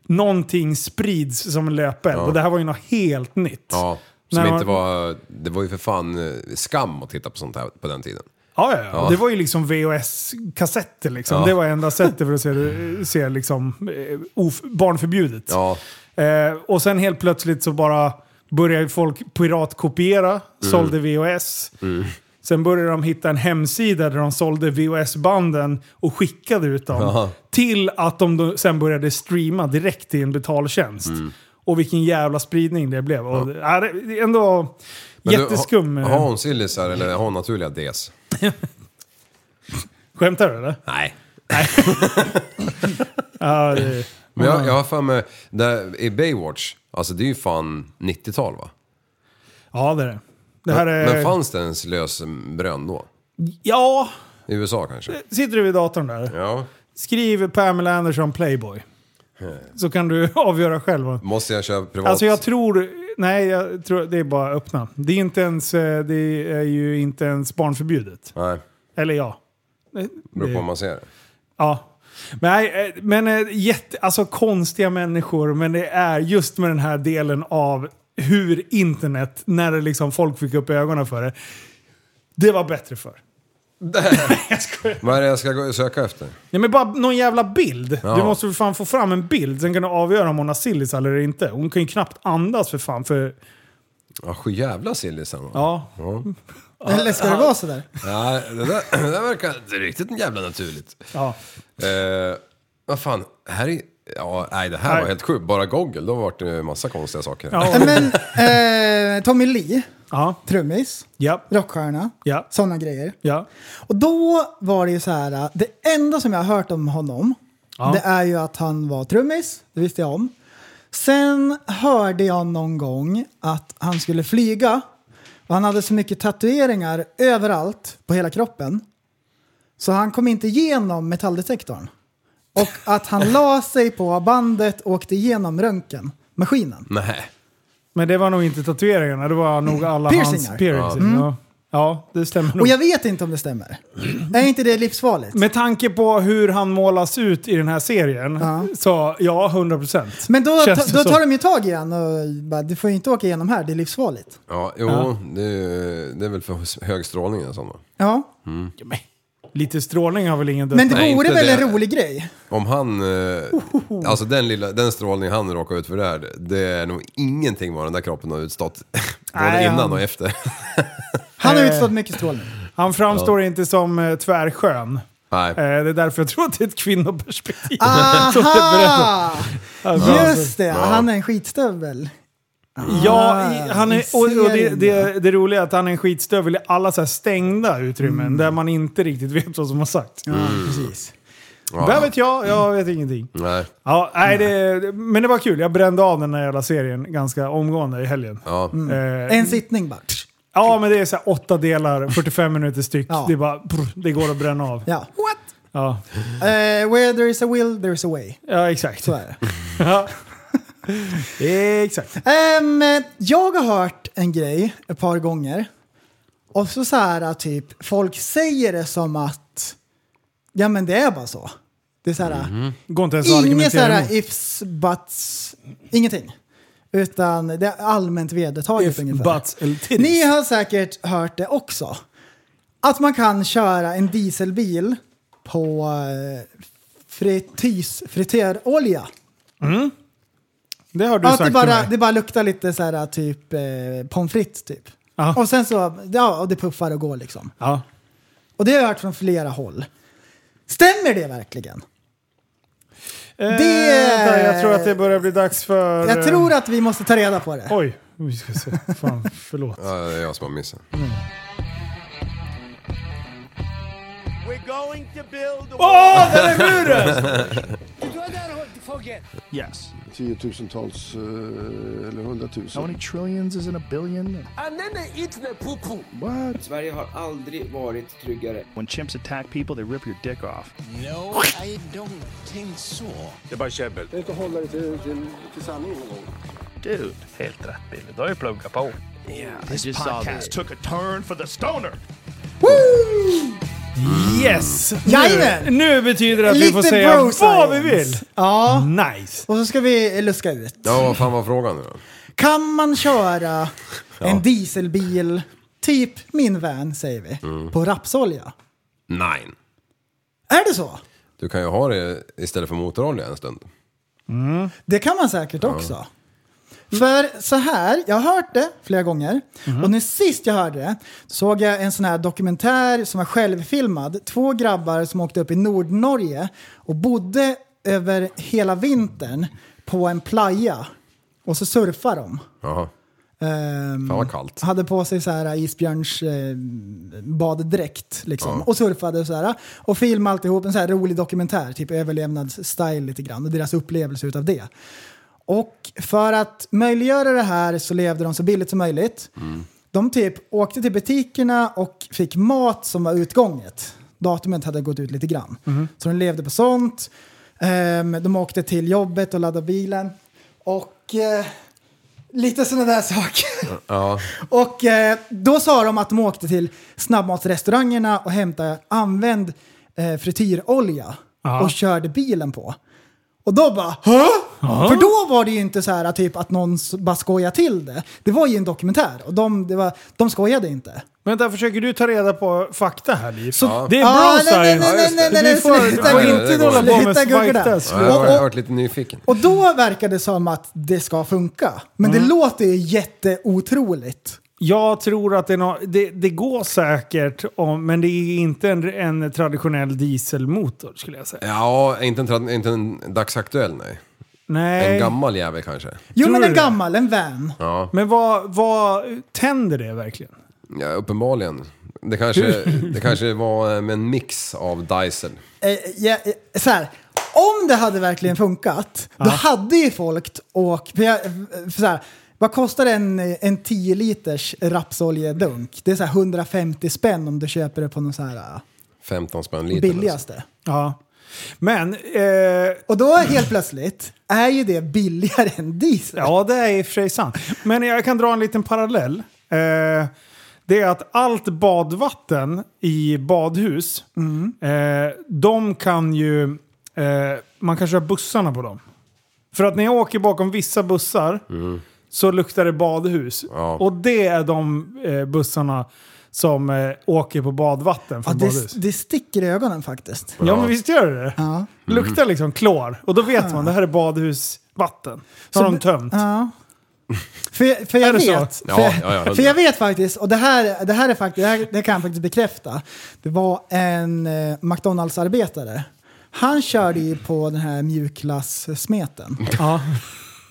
Speaker 1: någonting sprids som en löpeld. Och det här var ju något helt nytt.
Speaker 3: Ja. Som
Speaker 1: När man-
Speaker 3: inte var, det var ju för fan eh, skam att titta på sånt här på den tiden.
Speaker 1: Ja, ja, ja.
Speaker 3: Ja.
Speaker 1: Det var ju liksom VHS-kassetter liksom.
Speaker 3: Ja.
Speaker 1: Det var enda sättet för att se, se liksom, eh, of- barnförbjudet.
Speaker 3: Ja,
Speaker 1: Eh, och sen helt plötsligt så bara började folk piratkopiera,
Speaker 3: Mm.
Speaker 1: sålde VHS. Sen började de hitta en hemsida där de sålde VHS-banden och skickade ut dem.
Speaker 3: Jaha.
Speaker 1: Till att de då sen började streama direkt i en betaltjänst.
Speaker 3: Mm.
Speaker 1: Och vilken jävla spridning det blev. Och, ja. det det är ändå
Speaker 3: Men du,
Speaker 1: jätteskum. eh,
Speaker 3: Har, har hon sillisar eller har hon naturliga Ds?
Speaker 1: Skämtar du eller?
Speaker 3: Nej.
Speaker 1: Ja, det,
Speaker 3: Men jag, jag har för mig, där, i Baywatch, alltså det är ju fan 90-tal va?
Speaker 1: ja, det är det. Det här är...
Speaker 3: Men fanns det ens lös brön då?
Speaker 1: Ja,
Speaker 3: I USA kanske?
Speaker 1: Sitter du vid datorn där,
Speaker 3: Ja.
Speaker 1: skriv Pamela Anderson Playboy. Så kan du <laughs> avgöra själv.
Speaker 3: Måste jag köra privat?
Speaker 1: Alltså jag tror... Nej, jag tror, det är bara att öppna. Det är, inte ens, eh, det är ju inte ens barnförbjudet.
Speaker 3: Nej,
Speaker 1: Eller ja.
Speaker 3: beror på hur man ser det.
Speaker 1: Ja. Men, nej, eh, men eh, jätte, alltså konstiga människor, men det är just med den här delen av hur internet, när det liksom folk fick upp ögonen för det, det var bättre för. <laughs> jag skojar.
Speaker 3: Vad är det jag ska gå- söka efter?
Speaker 1: Nej men bara någon jävla bild.
Speaker 3: Ja.
Speaker 1: Du måste för fan få fram en bild, sen kan du avgöra om hon har sillis eller inte. Hon kan ju knappt andas för fan, för...
Speaker 3: Ja, sjujävla sillisar man.
Speaker 1: Ja.
Speaker 2: Eller ska det vara sådär?
Speaker 3: Nej, det där, <clears throat> det där verkar inte riktigt jävla naturligt.
Speaker 1: ja.
Speaker 3: Eh, vad fan, här är... Ja, nej det här
Speaker 1: Nej.
Speaker 3: var helt sjukt. Bara Google, då vart det en massa konstiga saker.
Speaker 1: Ja.
Speaker 2: Nej, Men eh, Tommy Lee,
Speaker 1: Ja.
Speaker 2: trummis,
Speaker 1: Ja.
Speaker 2: rockstjärna,
Speaker 1: Ja.
Speaker 2: sådana grejer.
Speaker 1: Ja.
Speaker 2: Och då var det ju så här, eh, det enda som jag har hört om honom, det är ju att han var trummis, det visste jag om. Sen hörde jag någon gång att han skulle flyga och han hade så mycket tatueringar överallt på hela kroppen. Så han kom inte igenom metalldetektorn. Och att han la sig på bandet och åkte igenom röntgenmaskinen.
Speaker 3: <laughs> Nej.
Speaker 1: Men det var nog inte tatueringarna, det var nog alla
Speaker 2: Piercingar.
Speaker 1: hans piercings. Ja. ja, det stämmer nog.
Speaker 2: Och jag vet inte om det stämmer. Är inte det livsfarligt?
Speaker 1: Med tanke på hur han målas ut i den här serien,
Speaker 2: Ja.
Speaker 1: så ja, 100 procent.
Speaker 2: Men då,
Speaker 1: Känns det
Speaker 2: då
Speaker 1: som.
Speaker 2: tar de ju tag i han och bara, du får ju inte åka igenom här, det är livsfarligt.
Speaker 3: Ja, jo, Det, är, ju- det är väl för hög strålning och sånt.
Speaker 2: Ja,
Speaker 1: Lite strålning har väl ingen död.
Speaker 2: men det
Speaker 3: Nej,
Speaker 2: vore
Speaker 3: inte
Speaker 2: väl
Speaker 3: det.
Speaker 2: en rolig grej?
Speaker 3: Om han... Eh, alltså den, lilla, den strålning han råkar ut för där, det är nog ingenting vad den där kroppen har utstått. <laughs> Både
Speaker 1: Nej,
Speaker 3: innan
Speaker 1: han-
Speaker 3: och efter. <laughs>
Speaker 2: Han har
Speaker 1: Eh.
Speaker 2: utstått mycket
Speaker 1: <laughs>
Speaker 2: strålning.
Speaker 1: Han framstår inte som eh, tvärskön.
Speaker 3: Nej.
Speaker 1: Eh, det är därför jag tror att det är ett kvinnoperspektiv.
Speaker 2: Aha!
Speaker 1: Alltså,
Speaker 2: Just det, han är en skitstövel.
Speaker 1: ja, i- han är,
Speaker 2: Ah, i
Speaker 1: och, och det,
Speaker 2: serien,
Speaker 1: det, det roliga är att han är en skitstövel i alla så här stängda utrymmen där man inte riktigt vet vad som har sagts.
Speaker 2: Mm. Ja,
Speaker 3: Mm.
Speaker 2: precis.
Speaker 3: Ja.
Speaker 1: Vad vet jag? Jag vet ingenting.
Speaker 3: Nej.
Speaker 1: Ja, nej, det, men det var kul. Jag brände av den här jävla serien ganska omgående i helgen.
Speaker 3: Ja.
Speaker 1: Eh,
Speaker 2: En sittning bara.
Speaker 1: Ja, men det är så här åtta
Speaker 2: <laughs>
Speaker 1: delar, 45 minuter styck.
Speaker 2: Ja.
Speaker 1: Det, är bara, prr, det går att bränna av.
Speaker 2: Ja. What?
Speaker 1: Ja,
Speaker 2: where there is a will, there is a way.
Speaker 1: ja exakt.
Speaker 2: Så är det.
Speaker 1: Ja. <laughs> exakt.
Speaker 2: Ehm, jag har hört en grej ett par gånger. Och så så här typ, folk säger det som att, ja men det är bara så. Det är så här,
Speaker 1: Går inte ens att
Speaker 2: Inget
Speaker 1: argumentera
Speaker 2: sådär
Speaker 1: emot.
Speaker 2: ifs, buts, ingenting. Utan det är allmänt vedertaget
Speaker 1: If,
Speaker 2: ungefär.
Speaker 1: buts eller titties.
Speaker 2: Ni har säkert hört det också. Att man kan köra en dieselbil på eh, fritis, frityrolja.
Speaker 1: Det har du
Speaker 2: Att
Speaker 1: sagt
Speaker 2: det
Speaker 1: till
Speaker 2: bara,
Speaker 1: mig.
Speaker 2: det bara luktar lite så här typ eh, pommes frites typ.
Speaker 1: Ja.
Speaker 2: Och sen så, ja, och det puffar och går liksom.
Speaker 1: Ja.
Speaker 2: Och det har jag hört från flera håll. Stämmer det verkligen?
Speaker 1: Det... Eh, jag tror att det börjar bli dags för...
Speaker 2: Jag
Speaker 1: eh,
Speaker 2: tror att vi måste ta reda på det.
Speaker 1: Oj, vi ska se. Fan, förlåt.
Speaker 3: Ja, det är jag som har missat.
Speaker 1: Åh, där är muren!
Speaker 6: tiotusentals eh, eller hundratusen. How many trillions is in a billion? What?
Speaker 7: Sverige har aldrig varit tryggare.
Speaker 6: When chimps attack people they rip your dick off. No, I don't think so. Det är bara käbbel. Det är inte att hålla det till, till, till sanningen någon gång. Dude, helt rätt Billy. Du har ju pluggat på. Yeah, This podcast took a turn for the stoner.
Speaker 1: Yes! Nu,
Speaker 2: <laughs> Jajamän!
Speaker 1: nu betyder det att vi får
Speaker 2: Lite
Speaker 1: säga
Speaker 2: bro
Speaker 1: vad
Speaker 2: science.
Speaker 1: vi vill.
Speaker 2: Ja,
Speaker 1: Nice.
Speaker 2: och så ska vi luska ut.
Speaker 3: Ja, vad fan var frågan nu då?
Speaker 2: Kan man köra en dieselbil, typ min van säger vi, på rapsolja?
Speaker 3: Nej.
Speaker 2: Är det så?
Speaker 3: Du kan ju ha det istället för motorolja en stund.
Speaker 2: Det kan man säkert också. För så här, jag har hört det flera gånger.
Speaker 3: Mhm.
Speaker 2: Och nu sist jag hörde det såg jag en sån här dokumentär som var självfilmad. Två grabbar som åkte upp i Nordnorge och bodde över hela vintern på en playa. Och så surfar de.
Speaker 3: Jaha.
Speaker 2: Ehm,
Speaker 3: Fan vad kallt.
Speaker 2: Hade på sig så här isbjörns eh, baddräkt liksom. Och surfade och så här. Och filmade alltihop, en så här rolig dokumentär, typ överlevnadsstyle lite grann. Och deras upplevelse utav det. Och för att möjliggöra det här så levde de så billigt som möjligt. De typ åkte till butikerna och fick mat som var utgånget. datumet hade gått ut lite grann. Så de levde på sånt. Ehm, de åkte till jobbet och laddade bilen. Och eh, lite sådana där saker.
Speaker 3: Ja.
Speaker 2: Och eh, då sa de att de åkte till snabbmatsrestaurangerna och hämtade använd eh, frityrolja
Speaker 1: Ja.
Speaker 2: och körde bilen på. Och då bara Hå? För då var det ju inte så här typ att någon s- bara skojade till det. Det var ju en dokumentär och de, det var, de skojade inte.
Speaker 1: Vänta, försöker du ta reda på fakta här Liv?
Speaker 3: Ja.
Speaker 1: Det är
Speaker 2: Ah,
Speaker 1: bro
Speaker 2: nej, nej,
Speaker 1: science.
Speaker 2: nej, nej, nej, nej,
Speaker 1: Du
Speaker 2: nej,
Speaker 1: får-
Speaker 2: sluta
Speaker 1: du får
Speaker 3: guggla.
Speaker 1: inte hålla på med
Speaker 2: Sluta guggla.
Speaker 1: spike test.
Speaker 3: Ja, jag har
Speaker 2: Och- och-
Speaker 3: varit lite nyfiken.
Speaker 2: Och då verkar det som att det ska funka. Men
Speaker 1: Mm.
Speaker 2: det låter ju jätteotroligt.
Speaker 1: Jag tror att det, är nå- det, det går säkert, om, men det är inte en, en traditionell dieselmotor skulle jag säga.
Speaker 3: Ja, inte en, trad- inte en dagsaktuell nej.
Speaker 1: Nej.
Speaker 3: En gammal jävel kanske.
Speaker 2: Jo
Speaker 1: Tror
Speaker 2: men
Speaker 1: du
Speaker 2: en
Speaker 1: det?
Speaker 2: gammal, en van.
Speaker 3: Ja,
Speaker 1: Men vad, vad tänder det verkligen?
Speaker 3: ja uppenbarligen. Det kanske, det kanske var eh, en mix av Diesel.
Speaker 2: Eh, ja, eh, så här, om det hade verkligen funkat, då hade ju folk åkt... För jag, för så här, vad kostar en, en 10 liters rapsoljedunk? Det är så här 150 spänn om du köper det på någon så här eh,
Speaker 3: 15 spänn liter.
Speaker 2: billigaste.
Speaker 1: Ja. Men, eh,
Speaker 2: Och då helt plötsligt är ju det billigare än diesel.
Speaker 1: ja det är i och för sig sant. Men jag kan dra en liten parallell. Eh, det är att allt badvatten i badhus, eh, de kan ju... Eh, man kan köra bussarna på dem. För att när jag åker bakom vissa bussar så luktar det badhus.
Speaker 3: Ja.
Speaker 1: Och det är de eh, bussarna som eh, åker på badvatten
Speaker 2: Ja,
Speaker 1: från badhus.
Speaker 2: det, det sticker i ögonen faktiskt.
Speaker 1: Ja, men visst gör det det?
Speaker 2: Ja.
Speaker 1: Luktar liksom klor. Och då vet man, det här är badhusvatten. Så har de tömt.
Speaker 2: Ja. För, för
Speaker 1: Är
Speaker 2: jag
Speaker 1: det så?
Speaker 2: vet,
Speaker 3: Ja,
Speaker 2: för,
Speaker 3: ja, ja, hundra.
Speaker 2: för jag vet faktiskt, och det här, det här är faktiskt, det, här, det kan jag faktiskt bekräfta. Det var en eh, McDonalds-arbetare. Han körde ju på den här mjukglass-smeten.
Speaker 1: Ja.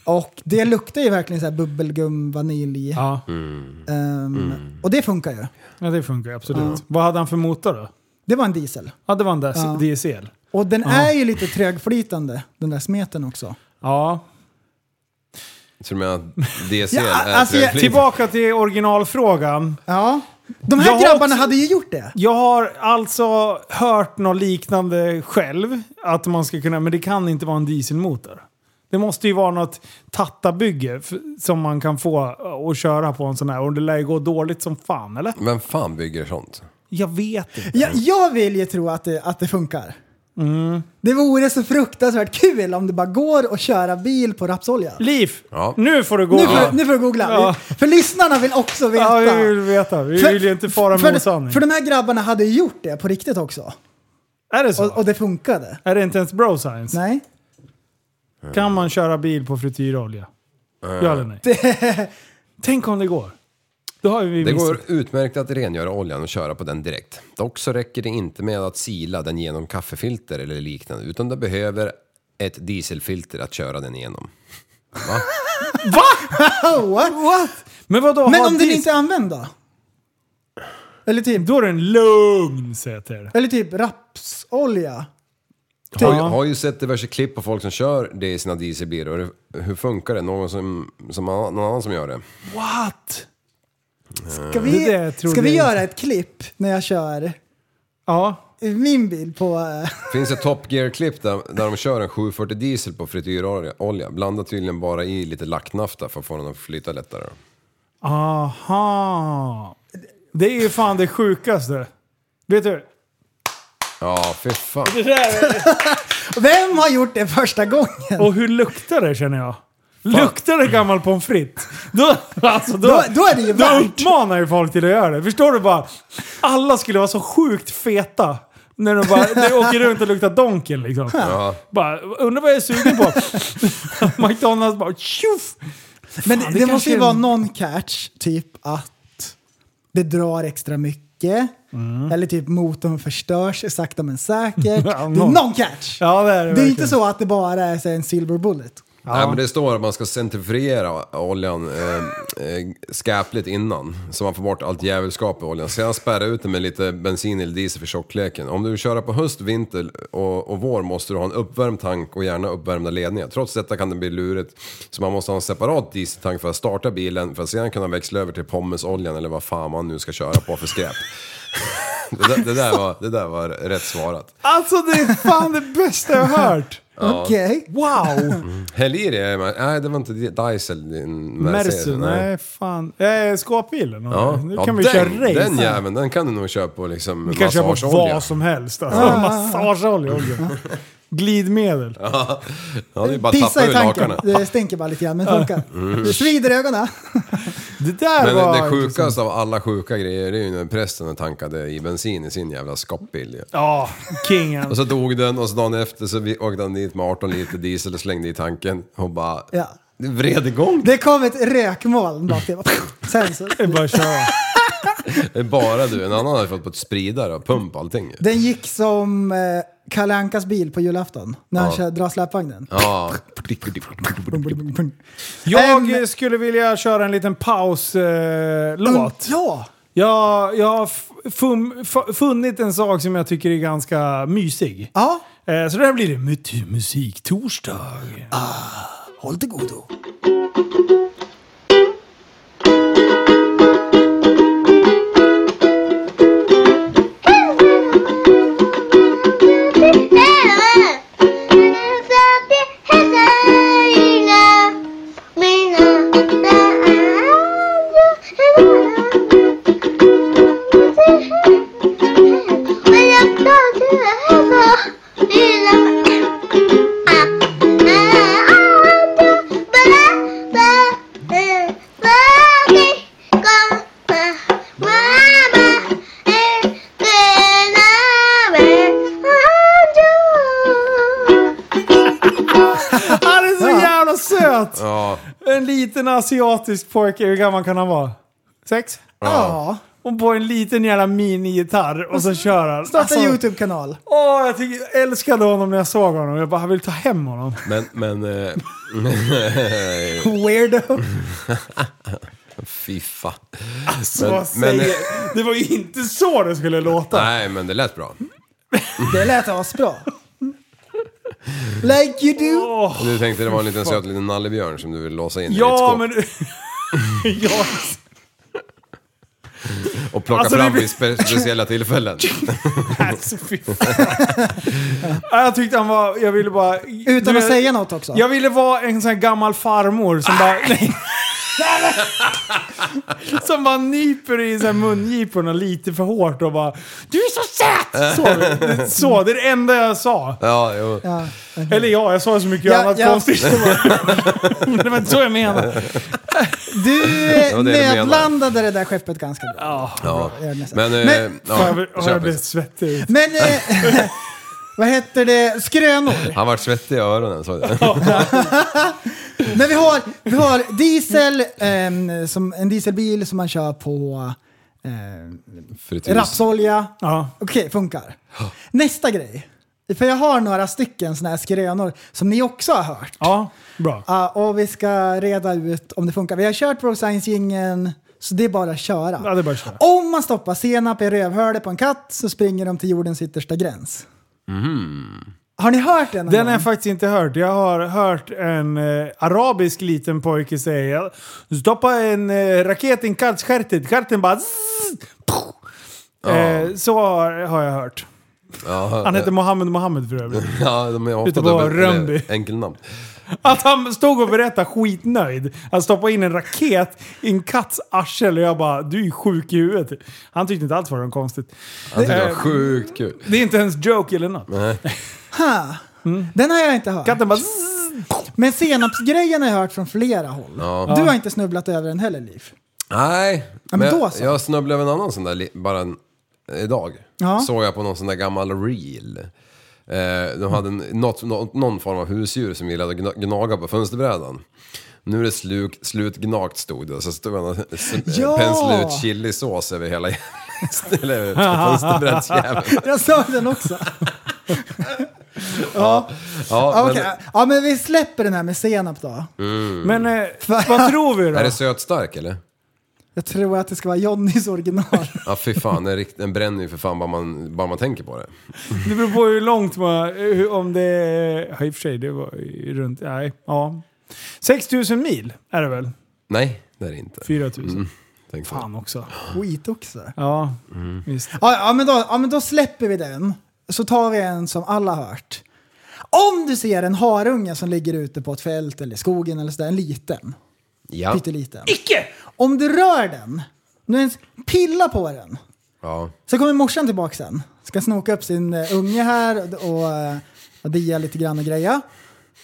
Speaker 2: Och det luktar ju verkligen så här bubbelgum, vanilj.
Speaker 1: Ja.
Speaker 2: Ehm, Och det funkar ju.
Speaker 1: ja, det funkar ju absolut. Vad hade han för motor då?
Speaker 2: Det var en diesel.
Speaker 1: Ja, det var en
Speaker 2: Ja.
Speaker 1: ja. DSL.
Speaker 2: Och den är ju lite trögflytande, den där smeten också.
Speaker 1: Ja.
Speaker 3: Så du menar att DCL
Speaker 2: Ja,
Speaker 3: är
Speaker 2: alltså, jag-
Speaker 3: trögflytande?
Speaker 1: Tillbaka till originalfrågan.
Speaker 2: Ja. De
Speaker 1: Jag
Speaker 2: här
Speaker 1: har
Speaker 2: grabbarna
Speaker 1: också-
Speaker 2: hade ju gjort det.
Speaker 1: Jag har alltså hört något liknande själv. Att man ska kunna, men det kan inte vara en dieselmotor. Det måste ju vara något tattabygge f- som man kan få eh, att köra på en sån här. Och det lär ju gå dåligt som fan, eller?
Speaker 3: Vem fan bygger sånt?
Speaker 1: Jag vet inte.
Speaker 2: Jag, jag vill ju tro att det, att det funkar.
Speaker 1: Mm.
Speaker 2: Det vore så fruktansvärt kul om det bara går att köra bil på rapsolja.
Speaker 1: Liv,
Speaker 3: Ja.
Speaker 1: nu får du gå.
Speaker 2: Nu får, nu får du googla.
Speaker 1: Ja.
Speaker 2: För lyssnarna vill också veta.
Speaker 1: Ja, vi vill veta. Vi vill ju inte fara med
Speaker 2: för,
Speaker 1: osanning.
Speaker 2: för de här grabbarna hade ju gjort det på riktigt också.
Speaker 1: Är det så?
Speaker 2: Och, och det funkade.
Speaker 1: är det inte ens bro science?
Speaker 2: Nej.
Speaker 1: Kan man köra bil på frityrolja? Ja eller nej?
Speaker 2: <laughs>
Speaker 1: Tänk om det går. Då har vi
Speaker 3: Det
Speaker 1: missat.
Speaker 3: går utmärkt att rengöra oljan och köra på den direkt. Dock så räcker det inte med att sila den genom kaffefilter eller liknande, utan det behöver ett dieselfilter att köra den igenom. Va?
Speaker 2: Oh, what?
Speaker 1: Men vadå?
Speaker 2: Men
Speaker 1: ha
Speaker 2: om den
Speaker 1: dis-
Speaker 2: inte är använd då? Eller typ,
Speaker 1: Då är den lugn, säger jag till er.
Speaker 2: eller typ rapsolja.
Speaker 3: Har, ju-
Speaker 1: Ja.
Speaker 3: har ju sett diverse klipp på folk som kör det i sina dieselbilar. och det- Hur funkar det? Någon, som, som, någon annan som gör det?
Speaker 1: What?
Speaker 2: Ska
Speaker 1: Det
Speaker 2: vi,
Speaker 1: där tror
Speaker 2: ska vi
Speaker 1: jag inte.
Speaker 2: göra ett klipp när jag kör
Speaker 1: Ja.
Speaker 2: i min bil på... eh,
Speaker 3: finns ett Top Gear-klipp där, där de kör en 740 diesel på frityrolja. olja. Blandar tydligen bara i lite lacknafta för att få den att flyta lättare.
Speaker 1: Aha. Det är ju fan det sjukaste. Vet du?
Speaker 3: Ja, fy fan.
Speaker 2: Vem har gjort det första gången?
Speaker 1: Och hur luktar det känner jag? Luktar det gammal pommes frites? Då, alltså, då,
Speaker 2: Då- då är det
Speaker 1: då
Speaker 2: ju värt.
Speaker 1: uppmanar ju folk till att göra det. Förstår du bara? Alla skulle vara så sjukt feta. När de bara de åker runt och luktar donken liksom.
Speaker 3: Ja.
Speaker 1: Bara, undrar vad jag är sugen <laughs> på? McDonalds bara tjoff!
Speaker 2: Men det,
Speaker 1: Fan,
Speaker 2: det,
Speaker 1: det
Speaker 2: måste
Speaker 1: kanske
Speaker 2: ju
Speaker 1: är-
Speaker 2: vara någon catch, typ att det drar extra mycket. Eller typ motorn förstörs sakta men säkert.
Speaker 1: Mm. <laughs> Ja,
Speaker 2: Det är
Speaker 1: någon.
Speaker 2: någon catch!
Speaker 1: Ja, det är det
Speaker 2: det är
Speaker 1: verkligen.
Speaker 2: inte så att det bara är så här, en silver bullet.
Speaker 3: Nej, men det står att man ska centrifugera oljan eh, eh, skäpligt innan. Så man får bort allt djävulskap i oljan. Sedan spärra ut den med lite bensin eller diesel för tjockleken. Om du vill köra på höst, vinter och, och vår måste du ha en uppvärmd tank och gärna uppvärmda ledningar. Trots detta kan det bli lurigt. Så man måste ha en separat dieseltank för att starta bilen för att sedan kunna växla över till pommesoljan eller vad fan man nu ska köra på för skräp. <laughs> Det där, det där, var, det där var rätt svarat.
Speaker 1: Alltså det är fan det bästa jag har hört.
Speaker 3: Ja.
Speaker 2: Okej.
Speaker 1: Wow!
Speaker 3: Heliri är man... Nej, det var inte Diesel. din- den här
Speaker 1: Mersu,
Speaker 3: serien,
Speaker 1: nej fan. Eh, skåpbilen. eh,
Speaker 3: Ja.
Speaker 1: Nu
Speaker 3: Ja,
Speaker 1: kan vi
Speaker 3: den,
Speaker 1: köra race.
Speaker 3: Den jäveln, den kan du nog köpa på liksom
Speaker 1: Vi kan köpa
Speaker 3: massageolja.
Speaker 1: vad som helst. Alltså, Massageolja. olja. Glidmedel.
Speaker 3: <laughs> Ja, ja, det är bara att tappa
Speaker 2: Pissa
Speaker 3: ur Mm.
Speaker 2: i tanken.
Speaker 3: lakanen.
Speaker 2: Det stänker bara lite grann, men funkar. Det svider i ögonen.
Speaker 1: Det där
Speaker 3: Men
Speaker 1: var...
Speaker 3: det sjukaste av alla sjuka grejer det är ju när prästen tankade i bensin i sin jävla skottbil ju.
Speaker 1: Ja, kingen.
Speaker 3: Och så dog den och så dagen efter så vi- åkte han dit med 18 liter diesel och slängde i tanken och bara
Speaker 2: Ja.
Speaker 3: vred igång.
Speaker 2: Det kom ett rökmoln bak till. Sen så,
Speaker 1: Det är bara att köra.
Speaker 3: Det är Bara du, en annan hade fått på ett spridare och pump allting ju.
Speaker 2: den gick som eh, Kalle Ankas bil på julafton när han kör, drar släpvagnen.
Speaker 3: Ja.
Speaker 1: Jag
Speaker 2: Äm-
Speaker 1: skulle vilja köra en liten pauslåt.
Speaker 2: Ja!
Speaker 1: jag, jag har f- fum, f- funnit en sak som jag tycker är ganska mysig.
Speaker 2: ja.
Speaker 1: Eh, så det här blir det Mut- musiktorsdag.
Speaker 2: Håll till godo.
Speaker 1: Han är så jävla söt!
Speaker 3: ja.
Speaker 1: <laughs> En liten asiatisk pojke, hur gammal kan han vara? Sex?
Speaker 2: Ja.
Speaker 1: Och på en liten jävla minigitarr och så kör han. Alltså,
Speaker 2: Starta en YouTube-kanal.
Speaker 1: Åh, jag, tycker, jag älskade honom när jag såg honom. Jag bara, jag vill ta hem honom.
Speaker 3: Men,
Speaker 1: <laughs>
Speaker 3: men, eh,
Speaker 2: Weirdo.
Speaker 3: <laughs> fiffa.
Speaker 1: Så vad
Speaker 3: men-
Speaker 1: säger... det var ju inte så det skulle låta.
Speaker 3: Nej, men det lät bra.
Speaker 2: Det lät asbra. Like you do.
Speaker 3: Och du tänkte det var en liten söt liten nallebjörn som du vill låsa in i ditt
Speaker 1: Ja,
Speaker 3: skåp
Speaker 1: men... <laughs> ja,
Speaker 3: och plocka
Speaker 1: alltså, det
Speaker 3: fram
Speaker 1: blir-
Speaker 3: vid spe-
Speaker 1: <laughs>
Speaker 3: speciella tillfällen.
Speaker 1: alltså, fy fan. Ja, jag tyckte han var... Jag ville bara...
Speaker 2: Utan
Speaker 1: du
Speaker 2: att
Speaker 1: vet,
Speaker 2: säga något också.
Speaker 1: Jag ville vara en sån här gammal farmor som
Speaker 2: Ah.
Speaker 1: bara... Nej. som bara nyper i så här mungiporna lite för hårt och bara Du är så söt! Så, det- så, det är det enda jag sa.
Speaker 3: Ja, jo.
Speaker 2: Ja.
Speaker 1: Eller ja, jag sa så mycket
Speaker 2: Ja,
Speaker 1: annat
Speaker 2: ja.
Speaker 1: konstigt. <laughs> det var inte så jag menade.
Speaker 2: Du
Speaker 3: Det
Speaker 2: eh,
Speaker 3: var det du menade.
Speaker 2: nedlandade det där skeppet ganska bra.
Speaker 3: Ja.
Speaker 2: jag är nästan-
Speaker 3: Men, eh,
Speaker 2: Men-
Speaker 1: Har
Speaker 3: ja,
Speaker 1: jag, har
Speaker 3: kör
Speaker 1: jag
Speaker 3: på det.
Speaker 1: blivit svettig?
Speaker 2: Men eh, <laughs> vad heter det? Skrönor.
Speaker 3: Han vart svettig i öronen, såg du?
Speaker 2: Men vi har, vi har diesel, ehm, som, en dieselbil som man kör på eh,
Speaker 3: Frityr.
Speaker 2: rapsolja.
Speaker 1: Ja.
Speaker 2: Okej, funkar. Nästa grej. För jag har några stycken sådana här skrönor som ni också har hört.
Speaker 1: Ja, bra.
Speaker 2: Ja, och vi ska reda ut om det funkar. Vi har kört Pro Science-jingeln, så det är bara att köra.
Speaker 1: Ja, det är bara att köra.
Speaker 2: Om man stoppar senap i rövhålet på en katt så springer de till jordens yttersta gräns. Har ni hört den? någon
Speaker 1: Mhm. Den
Speaker 2: gång?
Speaker 1: har jag faktiskt inte hört. Jag har hört en eh, arabisk liten pojke säga Stoppa en eh, raket i en kattskärtet, katten bara zzz, pow." eh, Så har, har jag hört.
Speaker 3: Ja,
Speaker 1: Han heter Mohammed Mohammed för övrigt.
Speaker 3: Ja, de har
Speaker 1: Ute
Speaker 3: ofta
Speaker 1: på
Speaker 3: dubbel-
Speaker 1: Rönnby.
Speaker 3: eller enkelnamn.
Speaker 1: Att han stod och berättade skitnöjd. Han stoppade in en raket i en katts arsel och jag bara du är sjuk i huvudet. Han tyckte inte alls var det konstigt.
Speaker 3: Han tyckte det var
Speaker 1: Eh,
Speaker 3: sjukt kul.
Speaker 1: Det är inte ens joke eller något.
Speaker 2: Ha. Den har jag inte hört.
Speaker 1: Mm. Katten bara zzz.
Speaker 2: Men senapsgrejen har jag hört från flera håll. Du har inte snubblat över den heller, Liv.
Speaker 3: Nej,
Speaker 2: men
Speaker 3: men
Speaker 2: då
Speaker 3: jag,
Speaker 2: så.
Speaker 3: jag snubblade över en annan sån där, li- bara en, idag.
Speaker 2: Ja.
Speaker 3: Såg jag på någon sån där gammal reel. Eh, de hade en, något, något, någon form av husdjur som gillade att gna- gnaga på fönsterbrädan. Nu är det sluk, slut gnagt stod det, så stod han och
Speaker 2: Ja!
Speaker 3: ja. penslade ut chilisås över hela <laughs>
Speaker 2: <laughs>
Speaker 3: eller fönsterbrädsjäveln.
Speaker 2: Jag sa den också. ja,
Speaker 3: Ja,
Speaker 2: ja,
Speaker 3: men-
Speaker 2: okej. ja, men vi släpper den här med senap då.
Speaker 1: Men eh, vad tror vi då?
Speaker 3: Mm. Är det sötstark eller?
Speaker 2: Jag tror att det ska vara Johnnys original. <laughs>
Speaker 3: Ja fy fan, den, rikt, den bränner ju för fan bara man, bara man tänker på det.
Speaker 1: Det beror på hur långt man... hur- Om det... Ja, i och för sig, det var ju runt... Nej, ja. 6 000 mil är det väl?
Speaker 3: Nej, det är det inte.
Speaker 1: 4 000.
Speaker 3: tänkte
Speaker 1: Fan också.
Speaker 2: Skit också.
Speaker 1: Ja,
Speaker 3: jag. Mm.
Speaker 1: visst.
Speaker 2: Ja, ja, men då, ja, men då släpper vi den. Så tar vi en som alla har hört. Om du ser en harunge som ligger ute på ett fält eller i skogen eller sådär, en liten.
Speaker 3: Ja.
Speaker 2: Pytteliten. Icke! Om du rör den, om du ens pillar på den,
Speaker 3: ja.
Speaker 2: så kommer morsan tillbaka sen. Ska snoka upp sin eh, unge här och, och, eh, och dia lite grann och greja.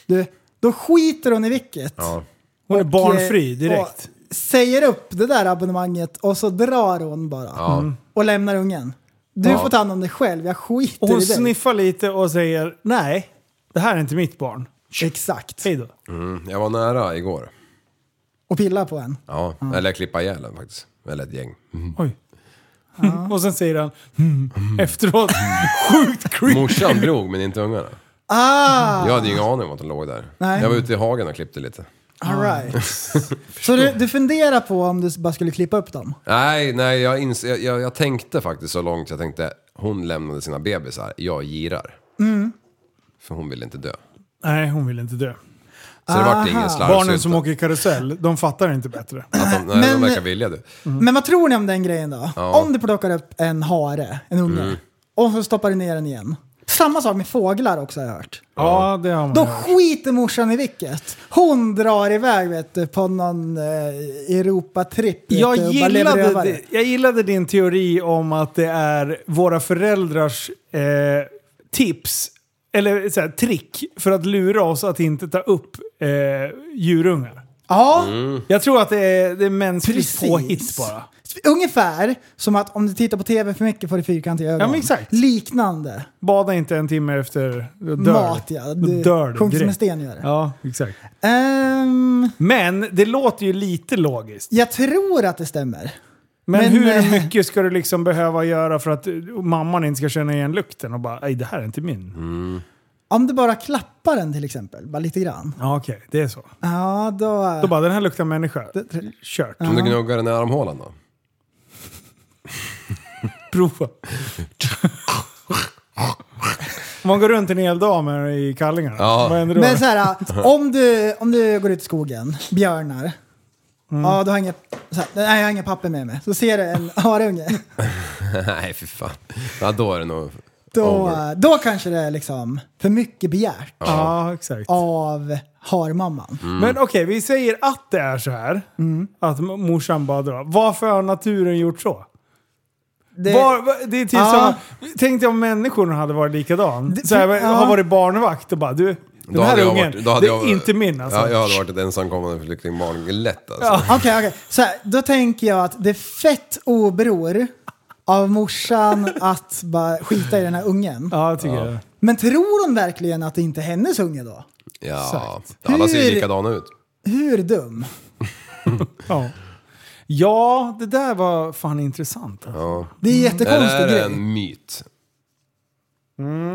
Speaker 2: Du, då skiter hon i vilket.
Speaker 3: Ja.
Speaker 1: Hon är
Speaker 2: Och,
Speaker 1: barnfri
Speaker 2: eh,
Speaker 1: direkt.
Speaker 2: Och säger upp det där abonnemanget och så drar hon bara.
Speaker 3: Ja. Mm.
Speaker 2: Och lämnar ungen. Du
Speaker 1: Ja.
Speaker 2: får ta hand om dig själv, jag skiter
Speaker 1: Och hon
Speaker 2: i dig.
Speaker 1: sniffar lite och säger nej, det här är inte mitt barn.
Speaker 2: Exakt.
Speaker 1: Hej då.
Speaker 3: Mm. Jag var nära igår.
Speaker 2: Och pillar på en.
Speaker 3: Ja, eller klippa ihjäl den faktiskt. Eller ett gäng.
Speaker 1: <laughs>
Speaker 3: Mm.
Speaker 1: Och sen säger han "Hmm", efteråt. <laughs> Sjukt creepy.
Speaker 3: Morsan drog men inte ungarna.
Speaker 2: Ah,
Speaker 1: Mm.
Speaker 3: Jag hade ju ingen aning om att de låg där.
Speaker 2: Nej.
Speaker 3: Jag var ute i hagen och klippte lite.
Speaker 2: all
Speaker 1: <laughs>
Speaker 2: right. så du, du funderar på om du bara skulle klippa upp dem?
Speaker 3: Nej, nej, jag, ins- jag, jag, jag tänkte faktiskt så långt. Jag tänkte, hon lämnade sina bebisar, jag girar.
Speaker 1: Mm.
Speaker 3: För hon ville inte dö.
Speaker 1: Nej, hon vill inte dö.
Speaker 3: Så det vart ingen slarvsylta.
Speaker 1: Barnen som åker karusell, de fattar inte bättre.
Speaker 3: Att de, nej,
Speaker 2: Men-
Speaker 3: de verkar vilja du.
Speaker 1: Mm.
Speaker 2: Men vad tror ni om den grejen då?
Speaker 3: Ja. Mm.
Speaker 2: Om du plockar upp en hare, en unge, och så stoppar du ner den igen. Samma sak med fåglar också har jag hört.
Speaker 1: Ja, det har man
Speaker 2: Då
Speaker 1: hört.
Speaker 2: skiter morsan i vilket. Hon drar iväg vet du, på någon eh, Europatripp. vet
Speaker 1: Jag
Speaker 2: du, och bara lever
Speaker 1: gillade,
Speaker 2: rövare.
Speaker 1: di- jag gillade din teori om att det är våra föräldrars eh, tips, eller så här, trick, för att lura oss att inte ta upp eh, djurungar.
Speaker 2: Ja,
Speaker 1: Jag tror att det är, det är mänskligt
Speaker 2: Precis.
Speaker 1: påhitt bara.
Speaker 2: ungefär som att om du tittar på tv för mycket får du fyrkantiga ögon.
Speaker 1: Ja, men exakt.
Speaker 2: Liknande.
Speaker 1: Bada inte en timme efter, då dör
Speaker 2: Mat
Speaker 1: du.
Speaker 2: ja.
Speaker 1: Då
Speaker 2: Du
Speaker 1: dör du
Speaker 2: sjunker som en
Speaker 1: direkt.
Speaker 2: sten gör det.
Speaker 1: Ja, exakt.
Speaker 2: Ehm,
Speaker 1: Men det låter ju lite logiskt.
Speaker 2: jag tror att det stämmer.
Speaker 1: Men,
Speaker 2: Men,
Speaker 1: hur
Speaker 2: eh,
Speaker 1: mycket ska du liksom behöva göra för att eh, mamman inte ska känna igen lukten och bara, nej det här är inte min.
Speaker 2: Om du bara klappar den till exempel, bara lite grann.
Speaker 1: Ja okej, det är så.
Speaker 2: Ja, då...
Speaker 1: Då bara, den här luktar människa. Kört.
Speaker 3: Om du gnuggar den i armhålan då? <laughs>
Speaker 1: Prova. Om man går runt en hel dag med den i kallingarna,
Speaker 3: Ja.
Speaker 1: vad händer då?
Speaker 2: Men så här,
Speaker 3: <laughs>
Speaker 2: om du, om du går ut i skogen, björnar.
Speaker 3: Mm.
Speaker 2: Ja, du har inget, så här, nej, jag har inga papper med mig. Så ser du en <laughs> harunge.
Speaker 3: nej, fy fan. Ja, då är det nog
Speaker 2: Då,
Speaker 3: over.
Speaker 2: då kanske det är liksom för mycket begärt
Speaker 1: ja, exakt.
Speaker 2: av harmamman.
Speaker 3: Mm.
Speaker 1: Men okej, vi säger att det är så här.
Speaker 2: Mm.
Speaker 1: Att m- morsan bara drar. Varför har naturen gjort så?
Speaker 2: Det,
Speaker 1: Var, va- det är typ
Speaker 2: Ja.
Speaker 1: som, tänk dig om människorna hade varit likadan.
Speaker 2: Det-
Speaker 1: så här,
Speaker 2: ja.
Speaker 1: Har varit barnvakt och bara du, den
Speaker 3: Då hade
Speaker 1: här
Speaker 3: jag
Speaker 1: ungen,
Speaker 3: varit- då hade
Speaker 1: det är
Speaker 3: jag-
Speaker 1: inte min alltså.
Speaker 3: Ja, jag hade varit ett ensamkommande flyktingbarn lätt alltså.
Speaker 2: Okej, <laughs> okej. Så här, Då tänker jag att det är fett obror av morsan att bara skita i den här ungen.
Speaker 1: Ja, jag tycker det.
Speaker 2: Men tror hon verkligen att det inte är hennes unge då?
Speaker 3: Ja,
Speaker 1: Exakt.
Speaker 3: alla ser
Speaker 2: Hur-
Speaker 3: ju likadana ut.
Speaker 2: Hur dum?
Speaker 1: Ja. ja, det där var fan intressant. Alltså.
Speaker 2: Det är
Speaker 3: Mm.
Speaker 2: en
Speaker 3: Är det
Speaker 2: jättekonstig
Speaker 3: här
Speaker 2: grej. Mm.
Speaker 3: en myt?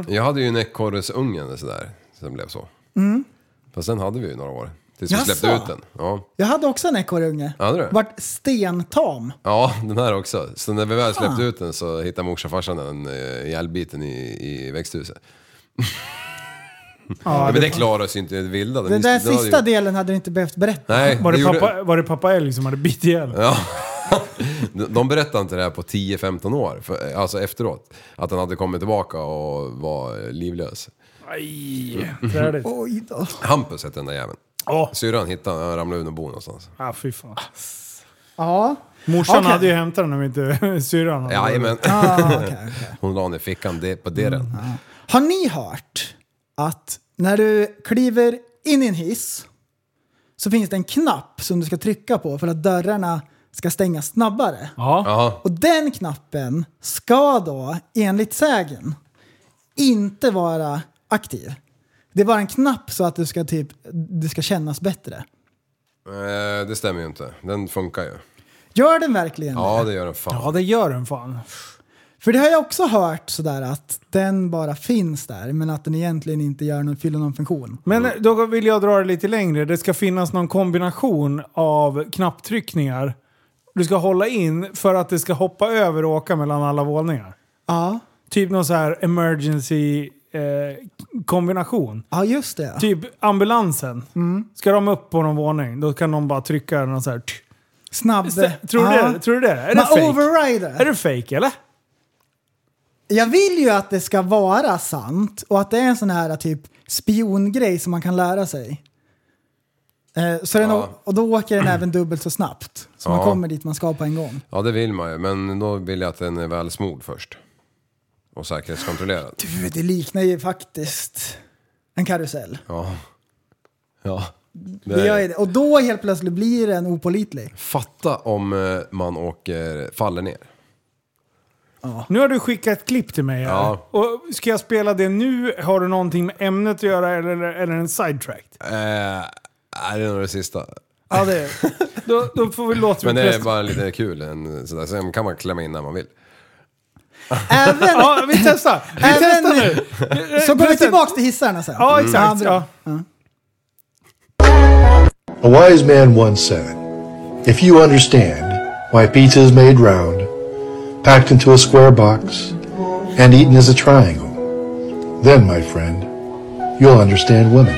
Speaker 3: Jag hade ju en ekorresunge eller sådär, som blev så. Fast den hade vi ju några år. Tills vi
Speaker 2: Mm. Jaså?
Speaker 3: släppte ut den. Ja.
Speaker 2: Jag hade också en ekorrunge.
Speaker 3: Hade du?
Speaker 2: Vart stentam.
Speaker 3: ja, den här också. Så när vi väl släppte ut den så hittade morsan och farsan den eh, ihjälbiten i, i växthuset. <laughs>
Speaker 1: Ja,
Speaker 3: men det klarar sig inte i det vilda. Den
Speaker 2: Den
Speaker 3: visste-
Speaker 2: där
Speaker 3: den hade
Speaker 2: sista
Speaker 3: ju...
Speaker 2: delen hade du inte behövt berätta.
Speaker 3: Nej,
Speaker 1: Var det,
Speaker 3: gjorde-
Speaker 1: pappa, var det pappa älg som hade bitit ihjäl den?
Speaker 3: Ja. <laughs> De de berättade inte det här på 10-15 år, för, alltså efteråt. Att han hade kommit tillbaka och var livlös.
Speaker 1: Aj, trädigt.
Speaker 2: Oj då.
Speaker 3: Hampus hette den där jäveln.
Speaker 1: Åh,
Speaker 3: Syrran hittade han, han ramlade ur någon bo någonstans.
Speaker 1: ah, fy fan.
Speaker 2: Ja.
Speaker 1: Morsan
Speaker 2: Okej.
Speaker 1: hade ju hämtat den om inte <laughs> syrran hade varit
Speaker 3: Jajamän.
Speaker 2: Ah,
Speaker 3: <laughs>
Speaker 2: okej, okej.
Speaker 3: Hon la den i fickan det, på det den.
Speaker 2: Har ni hört att när du kliver in i en hiss så finns det en knapp som du ska trycka på för att dörrarna ska stängas snabbare.
Speaker 1: Ja.
Speaker 3: Ja,
Speaker 2: Och den knappen ska då, enligt sägen, inte vara aktiv. Det är bara en knapp så att du ska, typ, du ska kännas bättre.
Speaker 3: eh, det stämmer ju inte. Den funkar ju.
Speaker 2: Gör den verkligen
Speaker 3: Ja, det gör den fan.
Speaker 1: ja, det gör den fan.
Speaker 2: För det har jag också hört sådär att den bara finns där men att den egentligen inte gör någon, fyller någon funktion.
Speaker 1: Men då vill jag dra det lite längre. Det ska finnas någon kombination av knapptryckningar du ska hålla in för att det ska hoppa över och åka mellan alla våningar.
Speaker 2: Ja,
Speaker 1: Typ någon så här emergency eh, kombination.
Speaker 2: ja just det.
Speaker 1: Mm. Typ ambulansen. Ska de upp på någon våning, då kan de bara trycka någon så här... tch.
Speaker 2: Snabb...
Speaker 1: Tror du
Speaker 2: Ja.
Speaker 1: det? Tror du det? Är det
Speaker 2: Man
Speaker 1: fake?
Speaker 2: overrider.
Speaker 1: Är det fake eller?
Speaker 2: Jag vill ju att det ska vara sant och att det är en sån här typ spiongrej som man kan lära sig. Eh, så den,
Speaker 3: Ja.
Speaker 2: Och då åker den även dubbelt så snabbt. Så man
Speaker 3: Ja.
Speaker 2: kommer dit man ska på en gång.
Speaker 3: Ja, det vill man ju, men då vill jag att den är väl smord först. Och säkerhetskontrollerad.
Speaker 2: Du, det liknar ju faktiskt en karusell.
Speaker 3: Ja. Ja.
Speaker 2: Det gör ju det. Och då helt plötsligt blir den opålitlig.
Speaker 3: Fatta om eh, man åker, faller ner.
Speaker 1: Nu har du skickat ett klipp till mig här.
Speaker 3: Ja.
Speaker 1: Och ska jag spela det nu? Har du någonting med ämnet att göra eller, eller en sidetrack?
Speaker 3: Eh, nej, det är nog det sista.
Speaker 1: Ja, det är då, då får vi låta
Speaker 3: Men
Speaker 1: mig
Speaker 3: det är
Speaker 1: pressa-
Speaker 3: bara lite kul. En, sådär. Sen kan man klämma in när man vill.
Speaker 2: <laughs> Även...
Speaker 1: Ja, vi testar! Vi
Speaker 2: Även-
Speaker 1: testar nu!
Speaker 2: så går vi
Speaker 1: Precis.
Speaker 2: tillbaka till hissarna sen.
Speaker 3: Mm.
Speaker 1: Ja, exakt.
Speaker 2: bra.
Speaker 1: Ja.
Speaker 8: A wise man once said, If you understand why pizza is made round, packed into a square box, and eaten as a triangle, then, my friend, you'll understand women.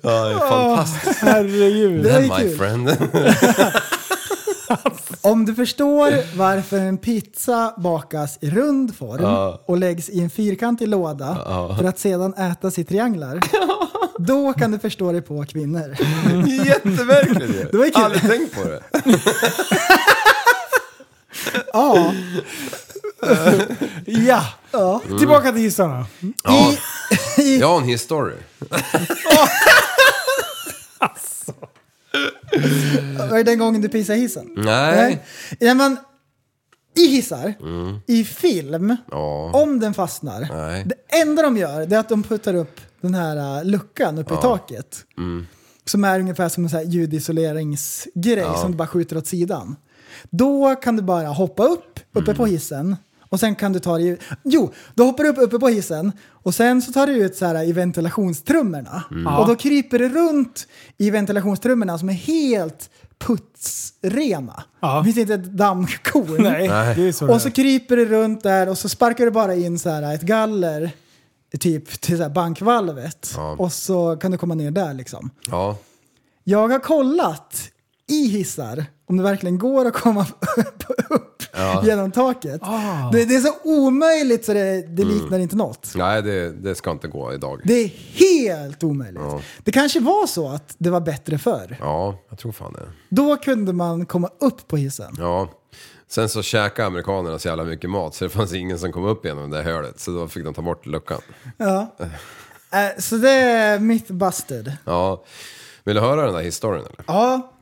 Speaker 3: Ja, det är fantastiskt.
Speaker 1: Herregud.
Speaker 2: Det är
Speaker 3: Then my
Speaker 2: kul.
Speaker 3: friend. <laughs>
Speaker 2: Om du förstår varför en pizza bakas i rund form
Speaker 3: Ja.
Speaker 2: och läggs i en fyrkantig låda
Speaker 3: Ja.
Speaker 2: för att sedan ätas
Speaker 3: <laughs>
Speaker 2: i trianglar. Då kan du förstå dig på kvinnor.
Speaker 3: Jätteverkligt ju.
Speaker 2: Det var kul.
Speaker 3: Aldrig tänkt på det.
Speaker 2: Ja.
Speaker 1: Eh, Ja.
Speaker 2: ja.
Speaker 1: Tillbaka till hissarna.
Speaker 3: Ja. <laughs> Jag har en history.
Speaker 2: Var det den gången du pissade i hissen? Eh,
Speaker 3: Nej.
Speaker 2: Ja, men, I hissar, i film,
Speaker 3: Mm. Ja.
Speaker 2: om den fastnar,
Speaker 3: Nej.
Speaker 2: det enda de gör det är att de puttar upp den här äh, luckan uppe i taket.
Speaker 3: Mm.
Speaker 2: Som är ungefär som en sån här ljudisoleringsgrej
Speaker 3: Ja.
Speaker 2: som du bara skjuter åt sidan. Då kan du bara hoppa upp uppe
Speaker 3: Mm.
Speaker 2: på hissen och sen kan du ta dig ut. Jo, då hoppar du upp uppe på hissen och sen så tar du ut så här i ventilationstrummorna.
Speaker 3: Mm.
Speaker 2: Och då kryper du runt i ventilationstrummorna som är helt putsrena. Det finns inte ett dammkorn.
Speaker 1: Nej, det är så
Speaker 2: Och så
Speaker 1: det är.
Speaker 2: kryper du runt där och så sparkar du bara in så här ett galler typ till så här bankvalvet.
Speaker 3: Ja.
Speaker 2: Och så kan du komma ner där liksom.
Speaker 3: Ja.
Speaker 2: Jag har kollat i hissar om det verkligen går att komma <laughs> upp, upp
Speaker 3: Ja. Ah.
Speaker 2: genom taket. Det, det är så omöjligt så det, det
Speaker 3: Mm.
Speaker 2: liknar inte något.
Speaker 3: Nej, det, det ska inte gå idag.
Speaker 2: Det är helt omöjligt.
Speaker 3: Ja.
Speaker 2: Det kanske var så att det var bättre förr.
Speaker 3: Ja, jag tror fan det.
Speaker 2: Då kunde man komma upp på hissen.
Speaker 3: Ja. Sen så käkade amerikanerna så jävla mycket mat så det fanns ingen som kom upp genom det där hålet. Så då fick de ta bort luckan.
Speaker 2: Ja. Eh, Så det är mitt busted.
Speaker 3: Ja. Vill du höra den där historien eller?
Speaker 2: Ja,